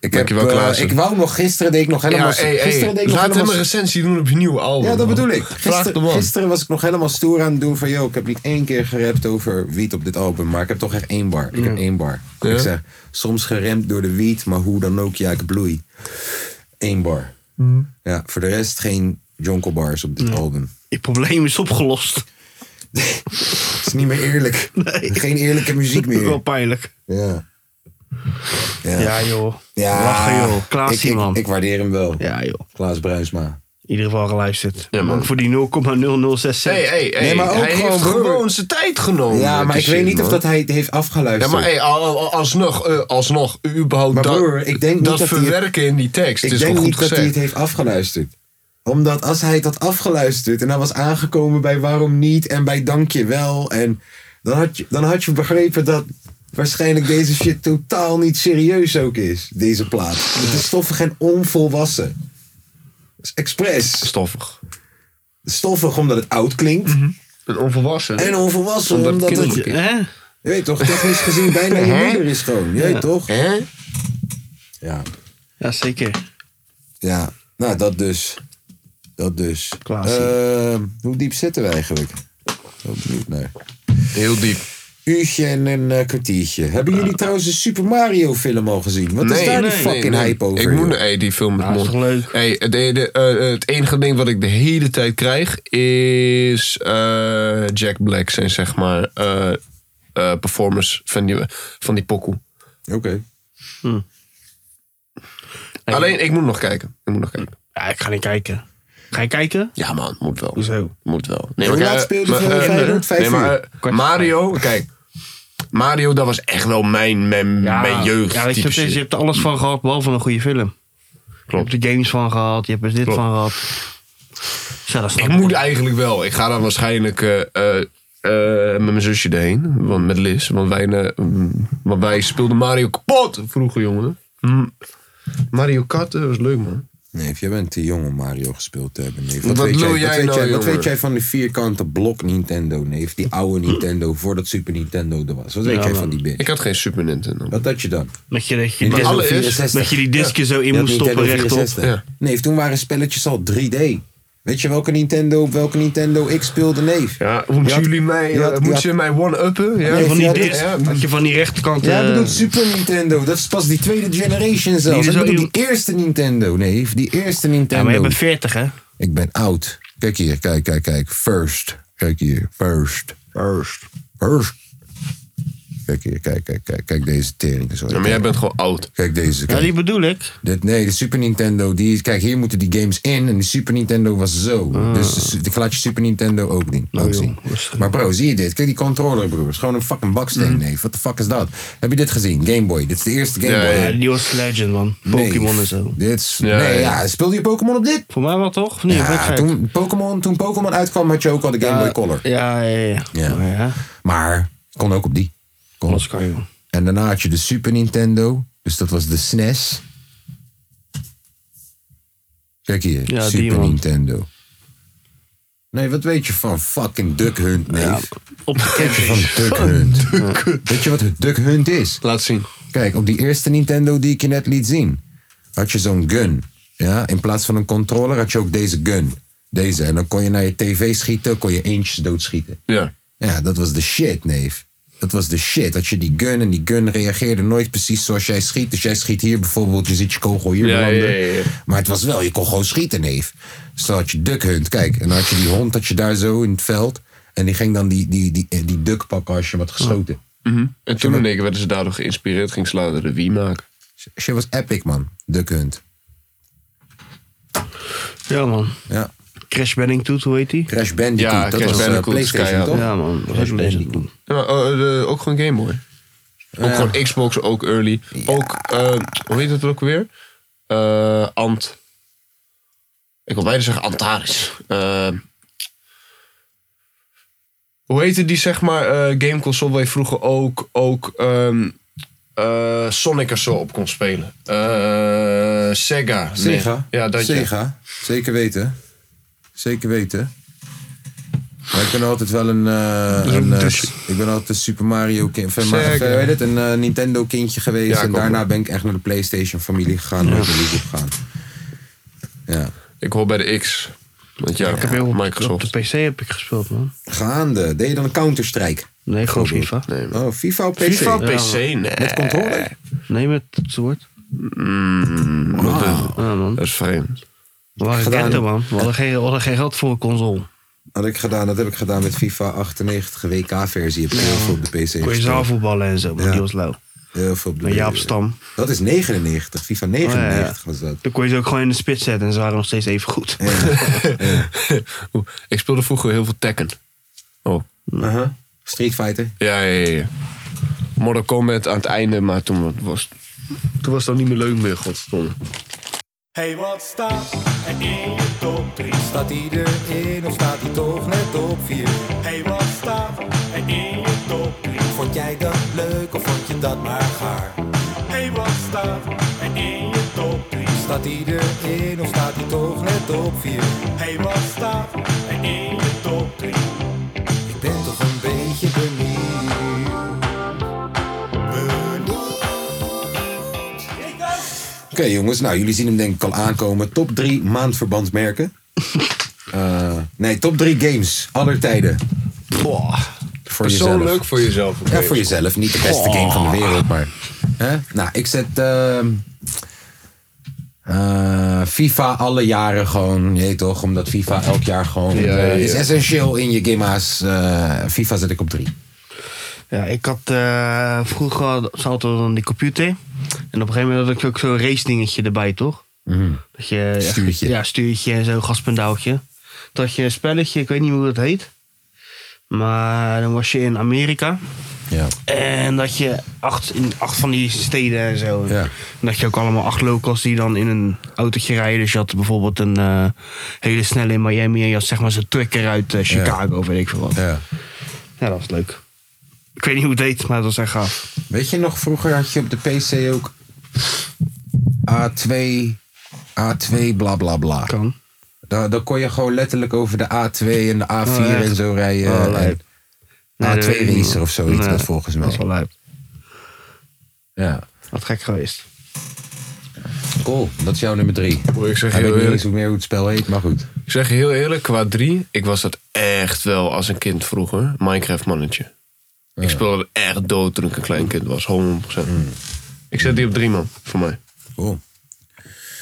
S1: Ik heb,
S3: Dankjewel,
S1: eh,
S3: Klaas.
S1: ik wou nog gisteren deed ik nog helemaal.
S3: Ja, hey, hey,
S1: gisteren deed ik nog
S3: laat hem
S1: helemaal
S3: een recensie doen op je nieuwe album.
S1: Ja, dat
S3: Oh, man.
S1: bedoel ik.
S3: Vraag de
S1: Gister,
S3: man.
S1: gisteren was ik nog helemaal stoer aan het doen van... yo, ik heb niet één keer gerept over wiet op dit album... maar ik heb toch echt één bar. Ik heb één bar.
S3: Ja.
S1: Ik zeg, soms geremd door de wiet, maar hoe dan ook, ja, ik bloei. Eén bar.
S3: Mm.
S1: Ja, voor de rest geen jonkelbars op dit album.
S2: Het probleem is opgelost.
S1: Het is niet meer eerlijk. Geen eerlijke muziek meer.
S2: Wel pijnlijk.
S1: Ja.
S2: Ja, joh.
S1: Ja.
S2: Lachen, joh. Klaas,
S1: ik,
S2: man.
S1: ik, ik waardeer hem wel.
S2: Ja, joh.
S1: Klaas Bruinsma.
S2: In ieder geval geluisterd. Dank voor die 0,0066.
S3: Hey, hey, hey.
S1: Nee, maar ook
S3: hij
S1: gewoon,
S3: heeft
S1: broer.
S3: gewoon zijn tijd genomen.
S1: ja, maar
S3: Het
S1: ik
S3: is
S1: weet
S3: zin,
S1: niet of
S3: man.
S1: dat hij het heeft
S3: Ja,
S1: afgeluisterd.
S3: maar hey, al- al- alsnog, eh, alsnog, überhaupt
S1: Maar
S3: dat-
S1: broer, ik denk niet
S3: dat
S1: dat hij het-
S3: verwerken in die tekst.
S1: Ik
S3: is
S1: denk
S3: wel
S1: niet
S3: goed
S1: dat hij
S3: gezegd.
S1: het heeft afgeluisterd. Omdat als hij het had afgeluisterd en hij was aangekomen bij waarom niet en bij dank je wel. En dan had je, dan had je begrepen dat waarschijnlijk deze shit totaal niet serieus ook is. Deze plaat. Het is stoffig en onvolwassen. Het is expres.
S3: Stoffig.
S1: Stoffig omdat het oud klinkt.
S3: En onvolwassen.
S1: En onvolwassen omdat, het...
S3: kinderlijk is.
S1: Je weet toch, technisch gezien bijna je
S3: Hè?
S1: moeder is gewoon. Je weet
S2: Ja.
S1: toch?
S3: Hè?
S1: Ja.
S2: Ja, zeker.
S1: Ja, nou dat dus. Dat dus. Ehm, hoe diep zitten we eigenlijk? Heel benieuwd naar.
S3: Heel diep. Eh.
S1: Uurtje en een eh, kwartiertje. Hebben jullie trouwens de Super Mario film al gezien? Wat is daar die fucking
S3: nee.
S1: hype over?
S3: Ik moet
S1: joh?
S3: hey, die film met
S1: Ja, is
S3: mond.
S1: toch leuk?
S3: Hey, het, de- de- eh, eh, het enige ding wat ik de hele tijd krijg is eh, Jack Black zijn zeg maar eh, eh, performance van die, van die pokoe.
S1: Oké.
S2: Hm.
S3: Alleen, ik moet nog kijken. Ik moet nog kijken.
S2: Ja, ik ga niet kijken. Ga je kijken?
S3: Ja man, moet wel.
S2: Hoezo?
S3: Moet wel.
S2: Hoe
S3: maar,
S2: laat
S3: eh,
S2: speelde
S3: maar,
S2: het, eh,
S3: eh,
S2: Feyenoord? Vijf
S3: nee, maar,
S2: uur?
S3: eh, Mario, kijk. Mario, dat was echt wel mijn, mijn, mijn jeugd.
S2: Ja, weet je,
S3: type
S2: wat het is? je
S3: shit.
S2: hebt er alles van gehad, behalve een goede film. Klopt. Je hebt er games van gehad, je hebt er dit
S3: Klopt.
S2: van gehad. Zo, dat snap
S3: Ik moet eigenlijk wel. Ik ga dan waarschijnlijk eh, eh, eh, met mijn zusje erheen. Want, met Liz. Want wij, eh, mm, want wij speelden Mario kapot vroeger, jongen. Mm. Mario Kart eh, was leuk, man.
S1: Nee, of jij bent te jong om Mario gespeeld te hebben, neef. Wat,
S3: Wat
S1: weet,
S3: wil
S1: jij,
S3: jij
S1: wat, weet,
S3: nou,
S1: jij, wat
S3: jongen?
S1: weet jij van die vierkante blok Nintendo, neef? Die oude Nintendo, voordat Super Nintendo er was. Wat weet
S2: Ja,
S1: jij
S2: man.
S1: van die bitch?
S3: Ik had geen Super Nintendo.
S1: Wat had je dan?
S2: Dat je, dat je,
S1: Nintendo
S2: dat je
S1: 64.
S2: die disken zo in
S1: Ja,
S2: moest
S1: Nintendo
S2: stoppen rechtop.
S1: 64. Nee, toen waren spelletjes al 3D. Weet je welke Nintendo, op welke Nintendo ik speelde, neef?
S3: Ja, moeten
S1: had-
S3: jullie mij,
S1: die
S3: eh,
S1: had- die
S3: moeten
S1: had-
S3: jullie mij one-uppen? Ja?
S1: Nee, die
S3: Van die
S1: had-
S3: disc.
S1: ja.
S3: Dat je van die rechterkant...
S1: Ja,
S3: eh,
S1: ik bedoel Super Nintendo. Dat is pas die tweede generation zelfs.
S3: is
S1: ik
S3: al
S1: bedoel die eerste Nintendo, nee. Die eerste Nintendo.
S2: Ja, maar je bent 40, hè?
S1: Ik ben oud. Kijk hier, kijk, kijk, kijk. First. Kijk hier. First. First. First. Kijk hier, kijk, kijk, kijk. Kijk deze tering. Zo.
S3: Ja, maar jij bent gewoon oud.
S1: Kijk deze. Kijk.
S2: Ja, die bedoel ik.
S1: Dit, nee, de Super Nintendo, die, kijk, hier moeten die games in. En de Super Nintendo was zo.
S2: Ah.
S1: Dus de su- ik laat je Super Nintendo ook, niet,
S2: Nou,
S1: ook zien. Maar bro, zie je dit? Kijk die controller, broer. Is gewoon een fucking baksteen,
S2: Mm.
S1: neef. Wat de fuck is dat? Heb je dit gezien? Game Boy. Dit is de eerste Game Boy.
S2: Ja, die was Legend, man. Pokémon en zo.
S1: Dit is... nee, ja. Speelde je Pokémon op dit?
S2: Voor mij wel toch? Of niet?
S1: Ja,
S2: Of ben ik gek?
S1: toen Pokémon toen Pokémon uitkwam, had je ook al de Game
S2: Ja,
S1: Boy Color.
S2: Ja, ja, ja.
S1: Ja. Maar kon ook op die. Kon.
S2: kan je.
S1: En daarna had je de Super Nintendo. Dus dat was de SNES. Kijk hier,
S2: Ja, die
S1: Super
S2: man.
S1: Nintendo. Nee, wat weet je van fucking Duck Hunt, neef?
S2: op de
S1: Kijk je van Duck Hunt. Weet je wat Duck Hunt is?
S3: Laat zien.
S1: Kijk, op die eerste Nintendo die ik je net liet zien, had je zo'n gun. Ja, in plaats van een controller had je ook deze gun. Deze. En dan kon je naar je tv schieten, kon je eentjes doodschieten.
S3: Ja.
S1: Ja, dat was de shit, neef. Dat was de shit. Dat je die gun en die gun reageerde nooit precies zoals jij schiet. Dus jij schiet hier bijvoorbeeld, je ziet je kogel hier
S3: Ja,
S1: belanden.
S3: ja, ja, ja.
S1: Maar het was wel, je kon gewoon schieten, neef. Dus dan had je Duck Hunt, kijk. En dan had je die hond, had je daar zo in het veld. En die ging dan die, die, die, die, duck pakken als je wat geschoten.
S3: Mhm. En toen in één keer werden ze daardoor geïnspireerd, ging ze later de Wii maken.
S1: She was epic, man. Duck Hunt.
S2: Ja, man.
S1: Ja.
S2: Crash Bandicoot, hoe heet die?
S1: Crash Bandicoot,
S3: Ja,
S1: dat
S3: Crash
S1: was eh,
S3: Bandicoot is
S1: PlayStation,
S3: keihard.
S1: toch?
S3: Ja, man,
S1: Crash Bandicoot.
S3: Ja, maar, eh, de- ook gewoon Game Boy. Ook
S1: Ja.
S3: gewoon Xbox, ook early. Ook, eh, hoe heet dat ook weer? Eh, Ant. Ik wil bijna zeggen Antares. Eh, hoe heette die, zeg maar, eh game console waar je vroeger ook, ook ehm, eh, Sonic en zo op kon spelen? Eh, Sega.
S2: Ah,
S3: Nee.
S1: Sega.
S3: Ja, dat ja.
S1: Sega. Zeker weten. Zeker weten. Maar ik ben altijd wel een. eh, een, eh, ik ben altijd een Super Mario kind. Van, maar,
S3: Zeker.
S1: eh, weet het, een eh, Nintendo kindje geweest.
S3: Ja,
S1: en
S3: kom
S1: daarna
S3: maar.
S1: ben ik echt naar de PlayStation familie gegaan. Naar de League gegaan. Ja.
S3: Ik hoor bij de X. Want ja,
S2: heb heel-
S3: Microsoft.
S2: Op de PC heb ik gespeeld, man.
S1: Gaande. Deed je dan Counter-Strike?
S2: Nee, gewoon FIFA.
S1: Oh, FIFA op PC.
S3: FIFA op PC, nee.
S1: Met controller?
S2: Nee, met toetsenbord.
S3: Mm,
S2: Ah. man.
S3: Dat is vreemd.
S2: We waren
S1: Gedaan.
S2: ghetto, man. We hadden, geen, we hadden geen geld voor een console.
S1: Had ik gedaan, dat heb ik gedaan met FIFA 98 WK-versie. Heb ik heel veel op de PC
S2: Kon je
S1: gespeeld.
S2: zaal voetballen en zo, maar die was lauw.
S1: Heel veel op de
S2: Met Jaap Stam. Oh,
S1: Dat is 99. FIFA 99 was dat.
S2: Dan kon je ze ook gewoon in de spits zetten en ze waren nog steeds even goed.
S3: Oeh, ik speelde vroeger heel veel Tekken. Oh.
S1: Uh-huh. Street Fighter.
S3: Ja, ja, ja, ja. Mortal Kombat aan het einde, maar toen was, toen was dat niet meer leuk meer, godverdomme.
S13: Hey, wat staat er in de top 3?
S6: Staat iedereen of staat hij toch net op 4?
S13: Hey, wat staat er in je top 3?
S6: Vond jij dat leuk of vond je dat maar gaar?
S13: Hey, wat staat er in je top 3?
S6: Staat iedereen of staat hij toch net op 4?
S13: Hey, wat staat er in je top 3?
S6: Ik ben toch een beetje benieuwd.
S1: Oké jongens, nou jullie zien hem denk ik al aankomen. Top 3 maandverbandmerken. Eh, nee, top 3 games aller tijden. Voor
S3: Persoonlijk voor jezelf, oké.
S1: Ja, voor jezelf. Niet de beste
S3: Boah.
S1: game van de wereld, maar... Hè? Nou, ik zet... ehm, eh, FIFA alle jaren gewoon, je weet toch, omdat FIFA elk jaar gewoon
S2: Ja,
S1: eh,
S2: ja.
S1: is essentieel in je gamma's. Eh, FIFA zet ik op drie.
S2: Ja, ik had eh, vroeger had- zat er dan die computer. En op een gegeven moment had ik ook zo'n race dingetje erbij, toch?
S14: Mm-hmm.
S2: Dat je, echt-
S1: Hmm. Stuurtje.
S2: Ja, stuurtje en zo'n gaspendaaltje. Dat je een spelletje, ik weet niet hoe dat heet. Maar dan was je in Amerika.
S1: Ja.
S2: En dat je acht, in acht van die steden en zo. En dat je ook allemaal acht locals die dan in een autootje rijden. Dus je had bijvoorbeeld een eh, hele snelle in Miami. En je had zeg maar zo'n trucker uit eh, Chicago, weet ik veel wat.
S1: Ja.
S2: ja, dat was leuk. Ik weet niet hoe het heet, maar dat was echt gaaf.
S1: Weet je nog, vroeger had je op de PC ook A2, A2 bla bla bla.
S2: Kan.
S1: Dan, dan kon je gewoon letterlijk over de A2 en de A4
S2: Oh, echt?
S1: en zo rijden.
S2: Oh,
S1: En
S2: lijp. Nee, dat weet
S1: A2
S2: ik niet,
S1: racer
S2: man.
S1: of zoiets
S2: Nee,
S1: dat volgens mij.
S2: Dat is wel lijp.
S1: Ja.
S2: Wat gek geweest.
S1: Cool, dat is jouw nummer drie.
S3: Ik zeg
S1: Hij
S3: heel
S1: weet niet
S3: eerlijk-
S1: eens hoe meer hoe het spel heet, maar goed.
S3: Ik zeg je heel eerlijk, qua drie, ik was dat echt wel als een kind vroeger. Minecraft mannetje. Ik speelde dat echt dood toen ik een klein kind was, 100%.
S1: Mm.
S3: Ik zet die op drie man, voor mij.
S1: Cool.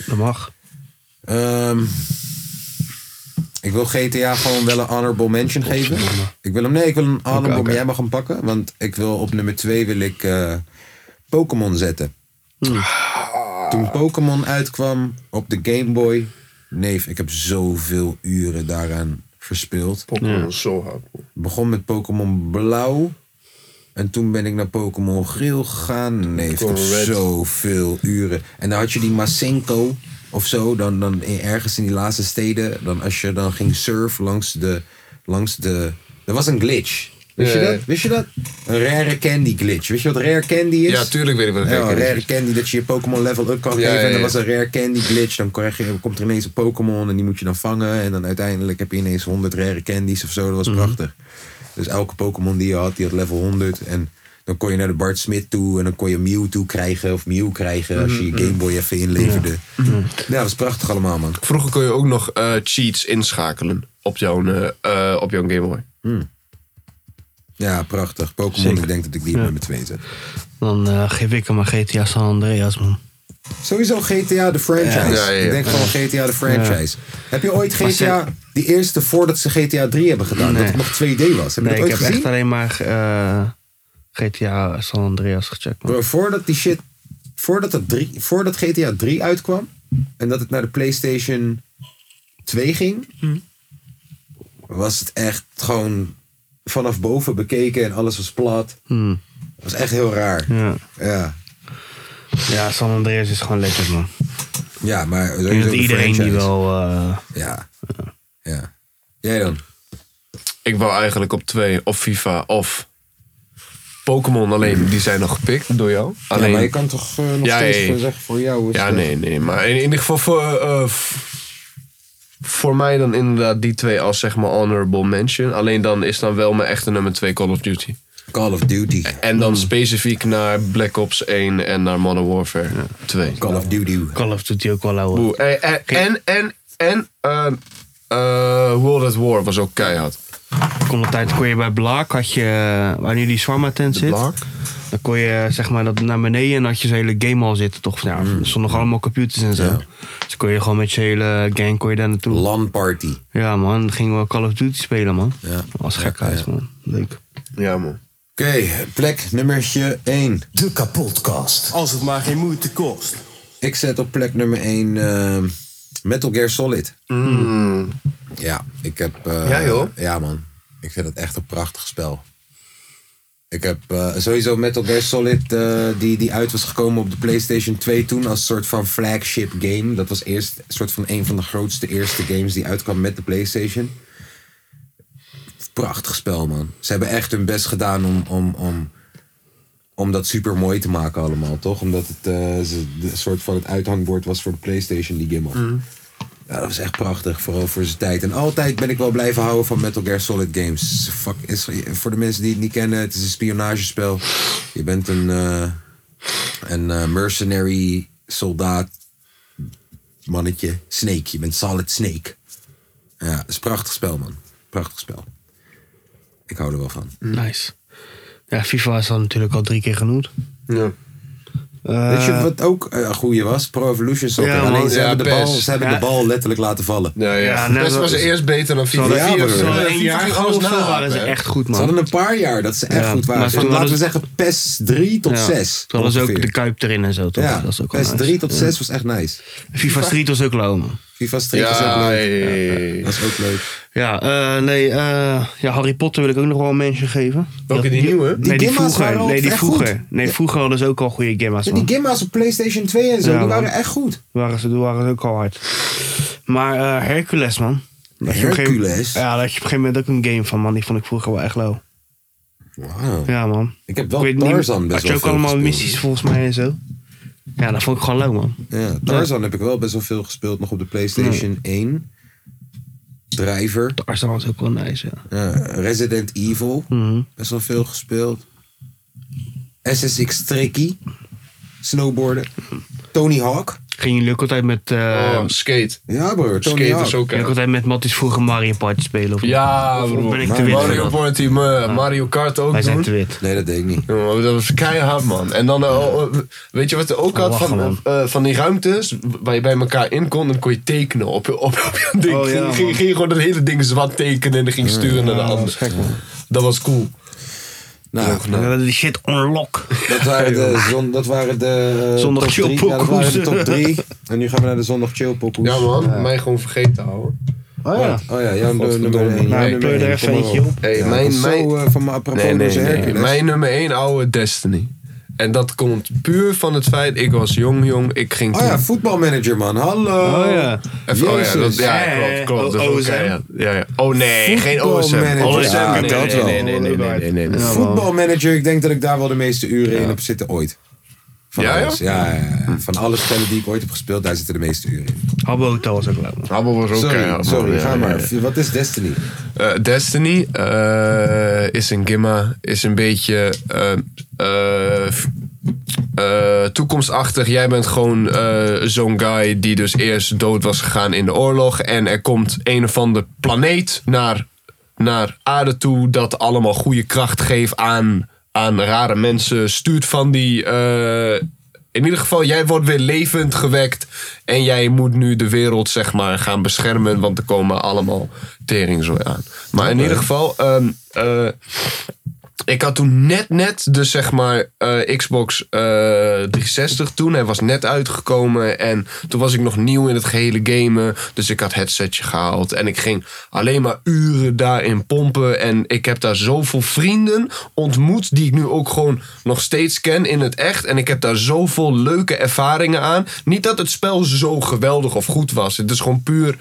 S3: Dat mag.
S1: Ehm, ik wil GTA gewoon wel een honorable mention geven. Ik wil hem, nee, ik wil een honorable, maar jij mag hem pakken. Want ik wil op nummer 2 wil ik eh, Pokémon zetten. Toen Pokémon uitkwam op de Game Boy. Neef, ik heb zoveel uren daaraan verspild.
S3: Pokémon is zo hard.
S1: Begon met Pokémon Blauw. En toen ben ik naar Pokémon Geel gegaan. Nee, ik heb
S3: Pokémon Red.
S1: zoveel uren. En dan had je die Masenko of zo. Dan, dan in- ergens in die laatste steden. Dan als je dan ging surfen langs de... Langs de er was een glitch. Wist
S3: Ja,
S1: je
S3: ja.
S1: dat? Wist je dat? Een rare candy glitch. Weet je wat rare candy is?
S3: Ja, tuurlijk weet ik wat
S1: Ja,
S3: rare candy is.
S1: rare candy, dat je je Pokémon level up kan
S3: Ja,
S1: geven.
S3: ja,
S1: En
S3: ja.
S1: er was een rare candy glitch. Dan krijg je, komt er ineens een Pokémon en die moet je dan vangen. En dan uiteindelijk heb je ineens 100 rare candies of zo. Dat was
S2: Mhm.
S1: prachtig. Dus elke Pokémon die je had, die had level 100. En dan kon je naar de Bart Smit toe. En dan kon je Mewtwo krijgen of Mew krijgen. Als je je
S3: Mhm.
S1: Game Boy even inleverde. Ja,
S2: Hm.
S1: dat was prachtig allemaal, man.
S3: Vroeger kon je ook nog eh, cheats inschakelen op jouw, eh, eh, op jouw Game Boy.
S1: Ja, prachtig. Pokémon,
S2: Zeker.
S1: ik denk dat ik die
S2: Ja.
S1: op nummer 2 zet.
S2: Dan eh, geef ik hem maar GTA San Andreas, man.
S1: Sowieso GTA de franchise.
S2: Ja, ja, ja.
S1: Ik denk gewoon GTA de franchise. Heb je ooit
S2: Maar
S1: GTA, die eerste voordat ze GTA 3 hebben gedaan, dat het nog 2D was? Heb je
S2: nee,
S1: dat ooit
S2: ik heb
S1: gezien?
S2: echt alleen maar eh, GTA San Andreas gecheckt. man.
S1: Bro, voordat die shit. Voordat, dat drie, voordat GTA 3 uitkwam. En dat het naar de PlayStation 2 ging. Was het echt gewoon vanaf boven bekeken en alles was plat.
S2: Hmm.
S1: Dat was echt heel raar.
S2: Ja.
S1: Ja.
S2: ja, San Andreas is gewoon lekker, man.
S1: Ja, maar
S2: Ik denk dat
S1: de
S2: iedereen die
S1: franchise.
S2: wel... eh,
S1: Ja. Ja. Jij dan?
S3: Ik wou eigenlijk op twee, of FIFA, of Pokémon alleen. Die zijn nog gepikt door jou. Alleen,
S1: maar je kan toch eh, nog
S3: Ja,
S1: steeds
S3: ja, ja.
S1: eh, zeggen voor jou. is
S3: Ja,
S1: het-
S3: nee, nee. Maar in ieder geval voor, eh, eh, f- voor mij dan inderdaad die twee als zeg maar honorable mention. Alleen dan is dan wel mijn echte nummer twee Call of Duty.
S1: Call of Duty.
S3: En dan specifiek naar Black Ops 1 en naar Modern Warfare 2.
S1: Call of Duty.
S2: Call of Duty ook wel ouwe.
S3: Boe, eh, eh, En, en, en ehm, eh, World at War was ook keihard.
S2: kon een tijd kon je bij Blak, had je, eh, waar nu die Swarma tent zit. Dan kon je eh, zeg maar dat naar beneden en had je zo'n hele game al zitten. Toch? Ja,
S1: Mm.
S2: Er stonden nog allemaal computers en zo. Dus kon je gewoon met je hele gang kon je daar naartoe.
S1: LAN party.
S2: Ja man, dan gingen we Call of Duty spelen man.
S1: Ja.
S2: Als gekhuis man. Leuk.
S3: Ja man.
S1: Oké, plek nummertje 1. De kapotkast.
S8: Als het maar geen moeite kost.
S1: Ik zet op plek nummer 1 Metal Gear Solid.
S2: Mm.
S1: Hmm. Ja, ik heb... eh,
S3: Ja, joh.
S1: Ja, man. Ik vind het echt een prachtig spel. Ik heb eh, sowieso Metal Gear Solid, eh, die, die uit was gekomen op de PlayStation 2 toen als soort van flagship game. Dat was eerst soort van een van de grootste eerste games die uitkwam met de PlayStation. Prachtig spel, man. Ze hebben echt hun best gedaan om, om, om, om dat super mooi te maken allemaal, toch? Omdat het eh, ze- de soort van het uithangbord was voor de PlayStation, die game al. Ja, dat was echt prachtig, vooral voor zijn tijd. En altijd ben ik wel blijven houden van Metal Gear Solid games. Fuck, is, voor de mensen die het niet kennen, het is een spionagespel. Je bent een, eh, een eh, mercenary soldaat mannetje. Snake, je bent Solid Snake. Ja, het is een prachtig spel, man. Prachtig spel. Ik hou er wel van.
S2: Nice. Ja, FIFA is dan natuurlijk al drie keer genoemd.
S3: Ja.
S1: Weet je wat ook eh, een goede was? Pro Evolution Soccer.
S2: Ja, man.
S1: Alleen ze
S2: Ja,
S1: hebben, de
S2: PES.
S1: bal, ze hebben
S2: Ja.
S1: de bal letterlijk laten vallen.
S3: Ja, ja.
S1: net
S3: Best was
S1: wat-
S3: eerst beter dan
S1: Ze
S3: FIFA.
S1: hadden-
S3: Ja,
S1: ze
S3: broer.
S1: hadden
S3: Ja,
S1: een
S3: FIFA
S1: jaar
S3: ging
S1: gewoon
S3: alles
S1: zo
S3: nahaken,
S1: waren ze
S3: hè.
S2: echt goed, man.
S1: Ze hadden een paar jaar dat ze echt
S2: Ja,
S1: goed
S2: maar
S1: waren.
S2: ze
S1: Van,
S2: hadden-
S1: laten we zeggen PES 3 tot
S2: Ja.
S1: 6.
S2: Toen hadden ze ook
S1: ongeveer.
S2: de Kuip erin en zo. Toch?
S1: Ja,
S2: dat is ook wel
S1: PES
S2: nice.
S1: 3 tot
S2: Ja.
S1: 6 was echt nice.
S2: FIFA Street was ook lauw, man.
S1: FIFA Street was ook leuk. Dat is ook leuk.
S2: Ja, eh, nee, eh, ja, Harry Potter wil ik ook nog wel een mention geven.
S3: Welke, die nieuwe?
S2: Nee,
S1: Die
S2: die
S1: gimma's
S2: vroeger.
S1: waren
S2: Nee, die
S1: echt
S2: vroeger.
S1: goed.
S2: Nee, vroeger hadden ze ook al goede gimma's,
S1: Ja,
S2: man.
S1: die gimma's op PlayStation 2 en zo,
S2: Ja,
S1: die
S2: man.
S1: waren echt goed.
S2: waren ze, waren ze ook al hard. Maar eh, Hercules, man. Dat je op een gegeven-
S1: Hercules?
S2: Ja, daar had je op een gegeven moment ook een game van, man. Die vond ik vroeger wel echt lauw.
S1: Wauw.
S2: Ja, man.
S1: Ik heb wel
S2: weet niet-
S1: Tarzan best
S2: Had je
S1: wel
S2: ook
S1: veel
S2: allemaal
S1: gespeeld.
S2: missies volgens mij en zo? Ja, dat vond ik gewoon lauw, man.
S1: Ja, Tarzan heb ik wel best wel veel gespeeld nog op de PlayStation 1. Driver.
S2: Tarzan was ook wel nice, ja.
S1: Resident Evil.
S2: Mhm.
S1: Best wel veel gespeeld. SSX Tricky. Snowboarden. Tony Hawk.
S2: Ging jullie ook altijd met...
S3: Oh, skate.
S1: Ja, broer. Tony
S3: Skate is ook,
S2: Ging je ook altijd met Matties vroeger Mario Party spelen? Of
S3: Ja,
S2: of
S3: broer.
S2: ben ik te wit voor
S3: Mario
S2: dat?
S3: Party, eh, Mario Kart ook.
S2: Wij zijn
S3: doen.
S2: te wit.
S1: Nee, dat deed ik niet.
S3: dat was keihard, man. En dan, eh, oh, eh, weet je wat ik ook
S1: Oh,
S3: had?
S2: lachen,
S3: Van,
S2: man.
S3: eh, van die ruimtes waar je bij elkaar in kon, dan kon je tekenen op, op, op je ding.
S2: Oh, ja,
S3: ging, ging,
S2: man.
S3: ging je gewoon dat hele ding zwart tekenen en dan ging je sturen naar de ander. Dat was cool.
S1: Nou,
S2: We hadden die shit unlock.
S1: Dat waren de, zon, dat waren de eh,
S2: Zondag
S1: top drie.
S2: chillpokoes.
S1: Ja, dat waren de top 3. En nu gaan we naar de zondag chillpokoes.
S3: Ja, man. Mij gewoon vergeten houden.
S1: Oh ja. Oh ja, jouw nummer- nummer 1.
S3: Nee, Nou, ik pleur er even eentje op. Hey, mijn-
S1: Zo
S3: mijn-
S1: eh, van mijn apropos
S3: Nee, nee,
S1: dus
S3: nee.
S1: Hercules.
S3: Mijn nummer 1 oude Destiny. En dat komt puur van het feit, ik was jong, jong, ik ging...
S1: Oh ja, voetbalmanager, man. Hallo.
S3: Oh ja. Even, oh ja, dat, ja, klopt, klopt. Dat is ook keihard. ja, ja. Oh nee, geen OSM.
S1: Voetbalmanager.
S3: OSM,
S1: Ja,
S3: nee,
S1: dat
S3: nee,
S1: wel.
S3: nee, nee, nee, nee, nee, nee, nee. Ja, man.
S1: Voetbalmanager, ik denk dat ik daar wel de meeste uren in heb zitten ooit. Van
S3: Ja, ja?
S1: alles. Ja, ja, ja. Van alle spellen die ik ooit heb gespeeld, daar zitten de meeste uren in.
S2: Habbo Hotel was ook leuk. man.
S3: Habbo was ook
S1: Sorry,
S3: keihard, man.
S1: sorry,
S3: Ja,
S1: ga
S3: ja,
S1: maar.
S3: ja.
S1: Wat is Destiny?
S3: Eh, Destiny eh, is een gimma, is een beetje eh, eh, f- eh, toekomstachtig. Jij bent gewoon eh, zo'n guy die dus eerst dood was gegaan in de oorlog. En er komt een of andere planeet naar, naar aarde toe dat allemaal goede kracht geeft aan, aan rare mensen. Stuurt van die... eh, in ieder geval, jij wordt weer levend gewekt. En jij moet nu de wereld, zeg maar, gaan beschermen. Want er komen allemaal teringzooi aan. Maar in ieder geval, ehm, eh, ik had toen net, net, dus zeg maar, eh, Xbox eh, 360 toen. Hij was net uitgekomen. En toen was ik nog nieuw in het gehele gamen. Dus ik had headsetje gehaald. En ik ging alleen maar uren daarin pompen. En ik heb daar zoveel vrienden ontmoet. Die ik nu ook gewoon nog steeds ken in het echt. En ik heb daar zoveel leuke ervaringen aan. Niet dat het spel zo geweldig of goed was. Het is gewoon puur.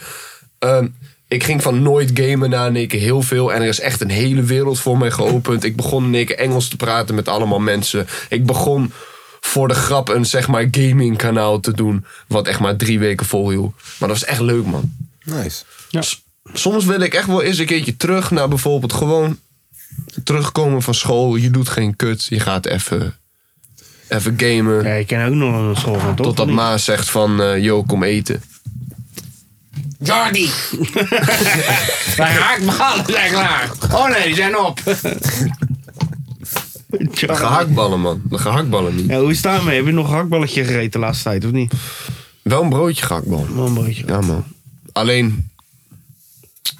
S3: ehm, ik ging van nooit gamen naar in één keer heel veel. En er is echt een hele wereld voor mij geopend. Ik begon in één keer Engels te praten met allemaal mensen. Ik begon voor de grap een zeg maar gaming kanaal te doen. Wat echt maar drie weken volhield. Maar dat was echt leuk man.
S1: Nice.
S3: S- Soms wil ik echt wel eens een keertje terug naar bijvoorbeeld gewoon terugkomen van school. Je doet geen kut. Je gaat even, even gamen.
S2: Ja, ik ken ook nog een school van toch?
S3: Totdat
S2: Of niet?
S3: ma zegt van, eh yo kom eten.
S2: Jordi! Wij haakballen zijn klaar. Oh nee, die zijn op.
S3: De gehaktballen, man. De gehaktballen niet.
S2: Ja, hoe is het daarmee? Heb je nog een hakballetje gegeten de laatste tijd, of niet?
S3: Wel een broodje gehaktbal.
S2: Wel een broodje.
S3: Ja, man. Alleen,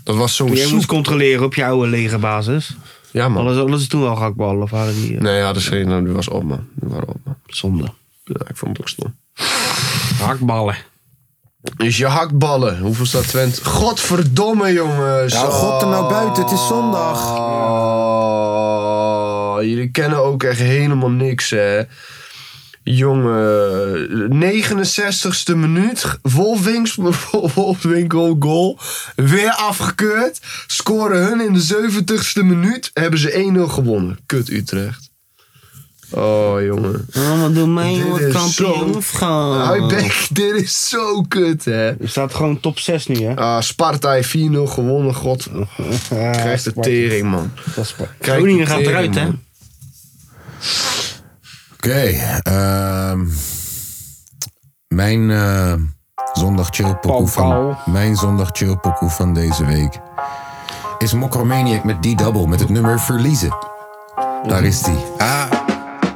S3: dat was zo'n
S2: Jij
S3: soep.
S2: moest controleren op je oude legerbasis.
S3: Ja, man.
S2: Alles, alles toen wel hakballen, of hadden die... eh,
S3: Nee, ja, dat schreef nou, die was op, man. Die waren op, man.
S2: Zonde.
S3: Ja, ik vond het ook stom.
S2: Hakballen.
S3: Dus je hakballen. Hoeveel staat Twent? Godverdomme, jongens.
S1: Nou, god er nou buiten, het is zondag.
S3: Oh, jullie kennen ook echt helemaal niks, hè. Jongen, 69ste minuut. Wolfwinks, Wolfwinkel goal. Weer afgekeurd. Scoren hun in de 70ste minuut. Hebben ze 1-0 gewonnen. Kut Utrecht. Oh, jongen.
S2: Oh, wat doen mij,
S3: Dit
S2: jongen,
S3: is Nou,
S2: kampioen
S3: zo- Uitbek, dit is zo kut, hè? Je
S2: staat gewoon top 6 nu, hè?
S3: Ah, Sparta heeft 4-0 gewonnen, god. Krijgt de
S2: Sparta.
S3: tering, man.
S2: Dat is waar.
S3: Krijgt
S2: Groningen
S3: de
S2: gaat
S3: tering,
S2: eruit, hè?
S3: man.
S1: Oké, ehm, mijn eh, zondag chillpokoe van, mijn zondag chillpokoe van deze week is Mokromaniac met D-Double met het nummer Verliezen. Daar is die.
S8: Ah,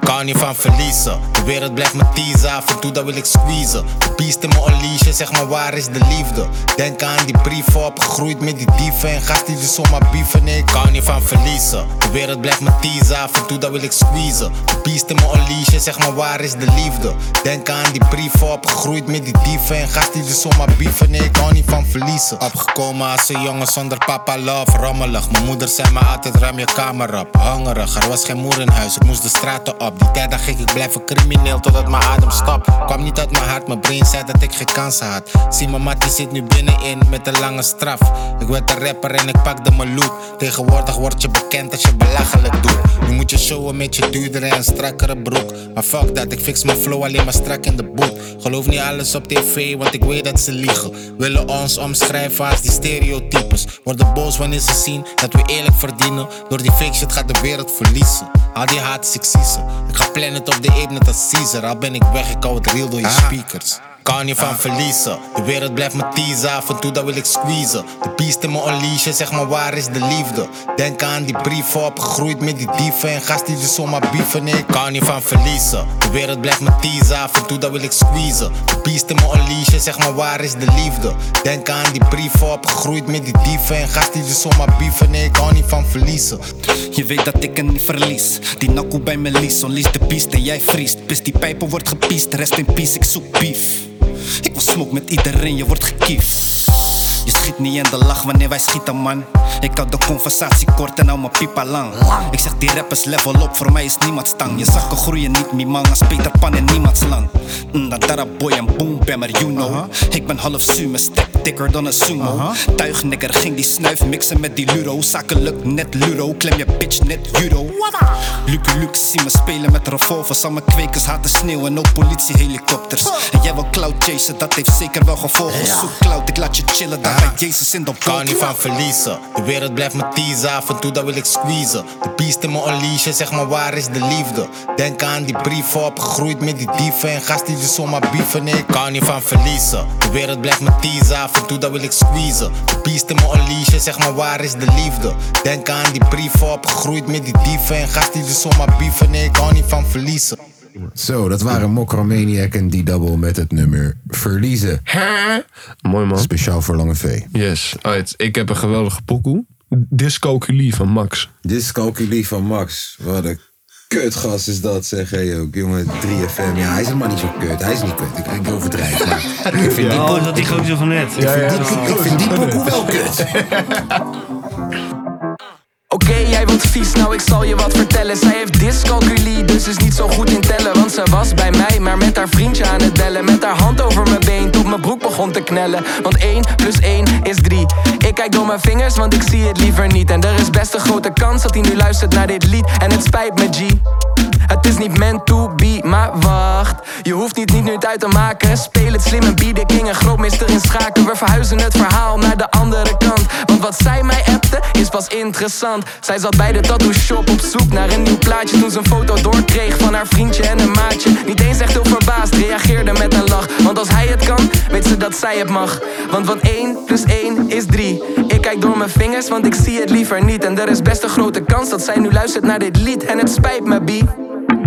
S8: kan niet van verliezen. De wereld blijft me teasen, af en toe dat wil ik squeezen. De beest in me unleashen, zeg maar waar is de liefde? Denk aan die brieven, opgegroeid met die dieven. En gasten die zomaar bieven, nee, ik kan niet van verliezen. De wereld blijft me teasen, af en toe dat wil ik squeezen. De beest in me unleashen, zeg maar waar is de liefde? Denk aan die brieven, opgegroeid met die dieven. En gasten die zomaar bieven, nee, ik kan niet van verliezen. Opgekomen als een jongen zonder papa love, rommelig. Mijn moeder zei me altijd, ruim je kamer op. Hongerig, er was geen moer in huis, ik moest de straten op. Die tijd dacht ik, ik blijf een crimineel totdat mijn adem stopt. Kwam niet uit mijn hart, mijn brain zei dat ik geen kansen had. Zie mijn mattie zit nu binnenin met een lange straf. Ik werd een rapper en ik pakte mijn loot. Tegenwoordig word je bekend als je belachelijk doet. Nu moet je showen met je duurdere en strakkere broek. Maar fuck dat, ik fix mijn flow alleen maar strak in de boot. Geloof niet alles op tv, want ik weet dat ze liegen. Willen ons omschrijven als die stereotypes. Worden boos wanneer ze zien dat we eerlijk verdienen. Door die fake shit gaat de wereld verliezen. Al die haat is ik zie ze. Ik ga plannen op de evenet als Caesar. Al ben ik weg, ik hou het real door je speakers. Kan niet van verliezen. De wereld blijft me teasen, af en toe dat wil ik squeezen. De beest in me unleashen, zeg maar waar is de liefde? Denk aan die brieven, opgegroeid met die dieven. En gast die dus zomaar bieven, nee, ik kan niet van verliezen. De wereld blijft me teasen, af en toe dat wil ik squeezen. De beest in me unleashen, zeg maar waar is de liefde? Denk aan die brieven, opgegroeid met die dieven. En gast die dus zomaar bieven, nee, ik kan niet van verliezen.
S10: Je weet dat ik er niet verlies. Die nakkoe bij me lies, onleash de beest en jij vriest. Pis die pijpen wordt gepiest, rest in peace, ik zoek beef. Ik wil smoke met iedereen, je wordt gekiefd. Je schiet niet in de lach wanneer wij schieten, man. Ik hou de conversatie kort en hou mijn pipa lang. Ik zeg die rappers level op, voor mij is niemand stang. Je zakken groeien niet, mi man, als Peter Pan en niemands land. Mm, dat daar boy en boom bammer, you know. Ik ben half sume, stek dikker dan een sumo. Tuignikker ging die snuif mixen met die luro. Zakelijk net luro, klem je bitch net euro. Luke Luke zie me spelen met revolvers. Al mijn kwekers haten sneeuw en ook politiehelikopters. En jij wil cloud chasen, dat heeft zeker wel gevolgen.
S8: Ja.
S10: Zoek cloud, ik laat je chillen, daar bij Jezus in de
S8: Kan niet van verliezen. De wereld blijft me teasen, af en toe dat wil ik squeezen. De beest in me unleashen, zeg maar waar is de liefde? Denk aan die brieven, opgegroeid met die dieven. En gast die dus zomaar bieven, nee, ik kan niet van verliezen. De wereld blijft me teasen, af en toe dat wil ik squeezen. De beest in me unleashen, zeg maar waar is de liefde? Denk aan die brieven, opgegroeid met die dieven. En gast die dus zomaar bieven, nee, ik kan niet van verliezen.
S1: Zo, dat waren Mokromaniac en D-Double met het nummer Verliezen.
S3: Mooi man.
S1: Speciaal voor Lange V.
S3: Yes, alright. Ik heb een geweldige pokoe. Discoculi van Max.
S1: Discalculie van Max. Wat een kutgast is dat, zeg jij ook. Jongen, 3FM. Ja, hij is helemaal niet zo kut. Hij is niet kut. Ik, ik overdrijf. Maar ik vind die
S2: Oh,
S1: pokoe-
S2: dat die gozer van net.
S1: Ik vind die- ik vind die pokoe wel kut.
S12: Oké, jij wordt vies, nou ik zal je wat vertellen. Zij heeft dyscalculie, dus is niet zo goed in tellen. Want ze was bij mij, maar met haar vriendje aan het bellen. Met haar hand over mijn been, tot mijn broek begon te knellen. Want 1 plus 1 is 3. Ik kijk door mijn vingers, want ik zie het liever niet. En er is best een grote kans dat hij nu luistert naar dit lied. En het spijt me, G. Het is niet meant to be, maar wacht Je hoeft niet niet nu het uit te maken Speel het slim en be de king, een grootmeester in schaken We verhuizen het verhaal naar de andere kant Want wat zij mij appte, is pas interessant Zij zat bij de tattoo shop op zoek naar een nieuw plaatje Toen ze een foto doorkreeg van haar vriendje en een maatje Niet eens echt heel verbaasd, reageerde met een lach Want als hij het kan, weet ze dat zij het mag Want wat 1 plus 1 is 3 Ik kijk door mijn vingers, want ik zie het liever niet En er is best een grote kans dat zij nu luistert naar dit lied En het spijt me, Bie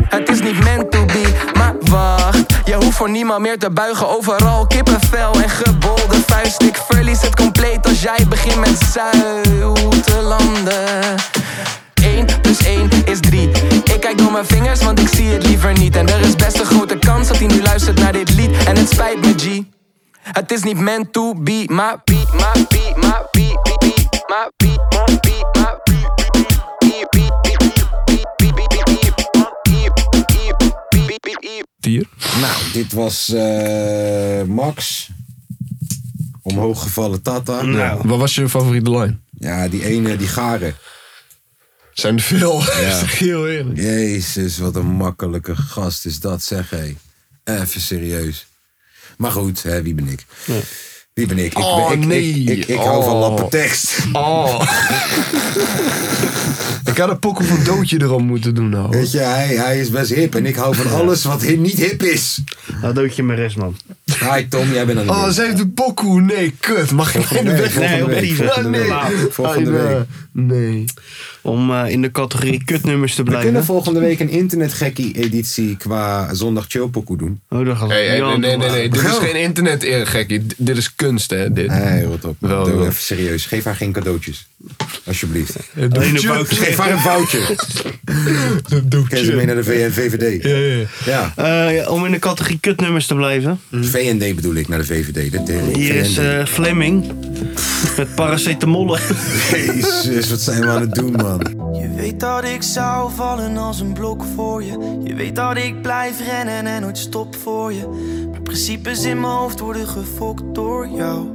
S12: het is niet meant to be, maar wacht Je hoeft voor niemand meer te buigen Overal kippenvel en gebolde vuist Ik verlies het compleet als jij begint met Zuid-landen 1 plus 1 is 3 Ik kijk door mijn vingers, want ik zie het liever niet En er is best een grote kans dat hij nu luistert naar dit lied En het spijt me G Het is niet meant to be, maar be, maar be, maar be, be, be, maar be, maar be, maar be, be, be, be, be, be, be, be, be, be.
S3: Dier.
S1: Nou, dit was eh, Max. Omhoog gevallen Tata.
S3: Nou. Wat was je favoriete line?
S1: Ja, die ene, die garen.
S3: Zijn er veel. Zeg heel eerlijk.
S1: Jezus, wat een makkelijke gast is dat, zeg hé. Even serieus. Maar goed, hè, wie ben ik? Wie ben ik? Ik,
S3: Oh,
S1: ik, ik-
S3: nee.
S1: ik, ik, ik hou van
S3: Oh.
S1: lappe tekst.
S3: Ik had een pokoe van Doodje erop moeten doen nou.
S1: Weet je, hij, hij is best hip en ik hou van alles wat hi- niet hip is.
S2: Nou, Doodje mijn rest, man.
S1: Hi Tom, jij bent aan de
S3: Oh, ze heeft de pokoe. Nee, kut. Mag ik
S2: Volgende
S3: in de
S2: week,
S3: weg?
S2: volgende week, volgende
S3: nee. eh,
S2: week.
S3: Volgende
S2: Ah,
S3: week. Nee.
S2: Om eh, in de categorie kutnummers te
S1: We
S2: blijven.
S1: kunnen volgende week een internetgekkie-editie qua zondag chillpokoe doen.
S2: Oh, dat gaat
S3: Hey, hey, nee, nee, nee, nee. Dit is
S1: Bro.
S3: geen internet eer, gekkie. D- Dit is kunst, hè? Dit.
S1: Nee, wat op.
S3: Wel,
S1: Doe
S3: wel.
S1: even serieus. Geef haar geen cadeautjes. Alsjeblieft.
S3: Alleen een boutje.
S1: Geef haar een boutje. Ken ze mee naar de V- VVD. Ja, ja.
S2: Eh, om in de categorie kutnummers te blijven.
S1: VND bedoel ik, naar de VVD. Dat, eh,
S2: Hier is
S1: VND.
S2: eh, Fleming. Met paracetamol.
S1: Jezus, wat zijn we aan het doen, man.
S15: Je weet dat ik zou vallen als een blok voor je. Je weet dat ik blijf rennen en nooit stop voor je. Maar principes in mijn hoofd worden gefokt door jou.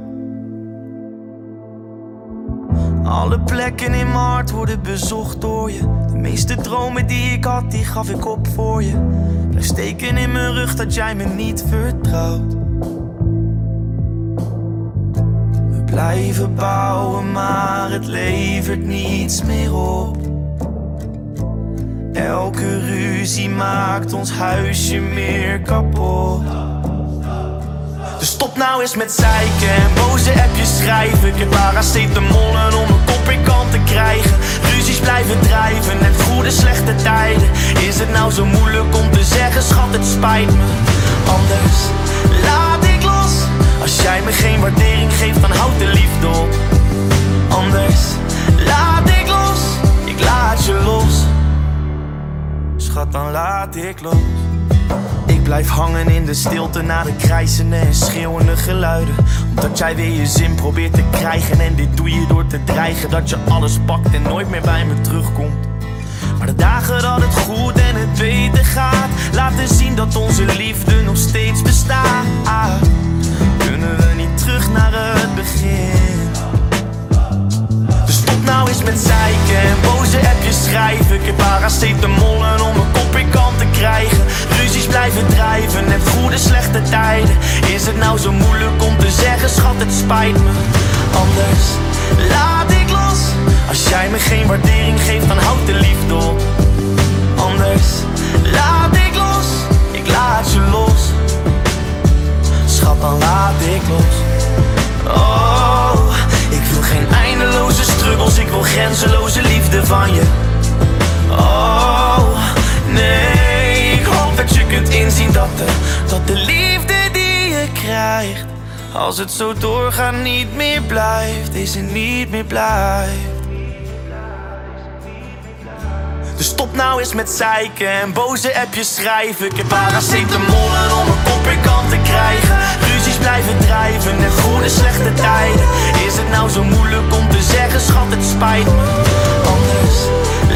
S15: Alle plekken in mijn hart worden bezocht door je. De meeste dromen die ik had, die gaf ik op voor je. Blijf steken in mijn rug dat jij me niet vertrouwt. We blijven bouwen, maar het levert niets meer op. Elke ruzie maakt ons huisje meer kapot. Dus stop nou eens met zeiken en boze appjes schrijven. Ik heb paracetamol en om mijn kop in kant te krijgen. Ruzies blijven drijven, net goede slechte tijden. Is het nou zo moeilijk om te zeggen, schat, het spijt me. Anders laat ik los. Als jij me geen waardering geeft, dan houd de liefde op. Anders laat ik los. Ik laat je los. Schat, dan laat ik los. Ik blijf hangen in de stilte na de krijzende en schreeuwende geluiden. Omdat jij weer je zin probeert te krijgen. En dit doe je door te dreigen dat je alles pakt en nooit meer bij me terugkomt. Maar de dagen dat het goed en het beter gaat, laten zien dat onze liefde nog steeds bestaat. Kunnen we niet terug naar het begin? Dus stop nou eens met zeiken en boze appjes schrijven. Ik heb paracetamol en om mijn kop in kant te krijgen. Ruzies blijven drijven, net goede slechte tijden. Is het nou zo moeilijk om te zeggen, schat, het spijt me. Anders laat ik los. Als jij me geen waardering geeft, dan houd de liefde op. Anders laat ik los. Ik laat je los. Schat, dan laat ik los. Oh, ik wil geen eindeloze struggles, ik wil grenzeloze liefde van je. Oh, nee, ik hoop dat je kunt inzien dat de, dat de liefde die je krijgt, als het zo doorgaat, niet meer blijft. Is er niet meer blijft. Dus stop nou eens met zeiken en boze appjes schrijven. Ik heb paracetamol en om mijn kop in kant te krijgen. Ruzies blijven drijven en goede slechte tijden. Is het nou zo moeilijk om te zeggen, schat, het spijt me. Anders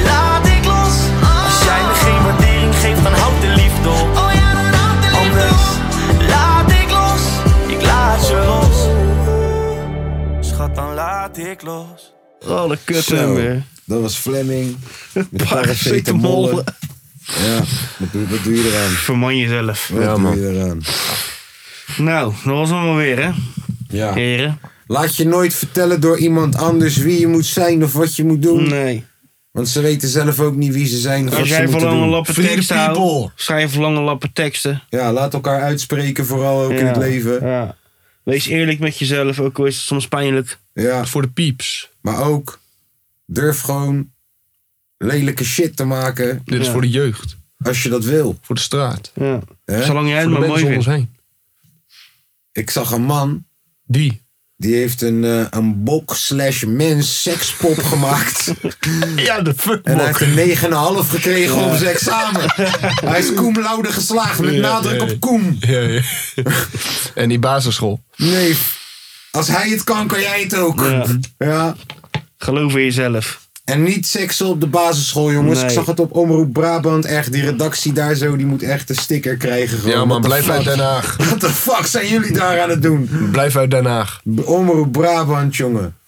S15: laat ik los. Als jij me geen waardering geeft, dan houd de liefde op. Anders laat ik los. Ik laat je los. Schat, dan laat ik los.
S2: Oh, de kut
S1: Zo,
S2: nummer.
S1: Dat was Fleming. Met
S2: Paracetamol.
S1: paracetamol. Ja, wat doe, wat doe je eraan?
S2: Verman jezelf.
S1: Wat doe je eraan?
S2: Nou, dat was hem alweer, hè?
S1: Ja.
S2: Heren.
S1: Laat je nooit vertellen door iemand anders wie je moet zijn of wat je moet doen.
S2: Nee.
S1: Want ze weten zelf ook niet wie ze zijn of wat
S2: Als
S1: ze
S2: jij
S1: moeten
S2: van lange
S1: doen.
S2: lappen teksten houdt, schrijf lange lappen teksten.
S1: Ja, laat elkaar uitspreken vooral ook in het leven.
S2: Ja. Wees eerlijk met jezelf, ook al is het soms pijnlijk.
S1: Ja.
S2: Voor de pieps.
S1: Maar ook, durf gewoon lelijke shit te maken.
S2: Dit is Ja. voor de
S1: jeugd. Als je dat wil.
S3: Voor de straat.
S2: Ja.
S1: Hè?
S2: Zolang jij het maar mooi vindt.
S1: Ik zag een man. Die? Die heeft een, eh, een bok slash mens sekspop gemaakt.
S3: Ja, de fuck
S1: En hij heeft een 9,5 gekregen
S3: Ja.
S1: op zijn examen. hij is cum laude geslaagd met
S3: Ja,
S1: nadruk
S3: ja, ja.
S1: op cum.
S3: Ja, ja. en die basisschool.
S1: Nee, als hij het kan, kan jij het ook. Ja.
S2: Geloof in jezelf.
S1: En niet seksen op de basisschool, jongens.
S2: Nee.
S1: Ik zag het op Omroep Brabant echt. Die redactie daar zo, die moet echt een sticker krijgen. Gewoon.
S3: Ja, man,
S1: What the
S3: blijf
S1: fuck?
S3: uit Den Haag.
S1: What the fuck zijn jullie daar aan het doen?
S3: Blijf uit Den Haag.
S1: Omroep Brabant, jongen.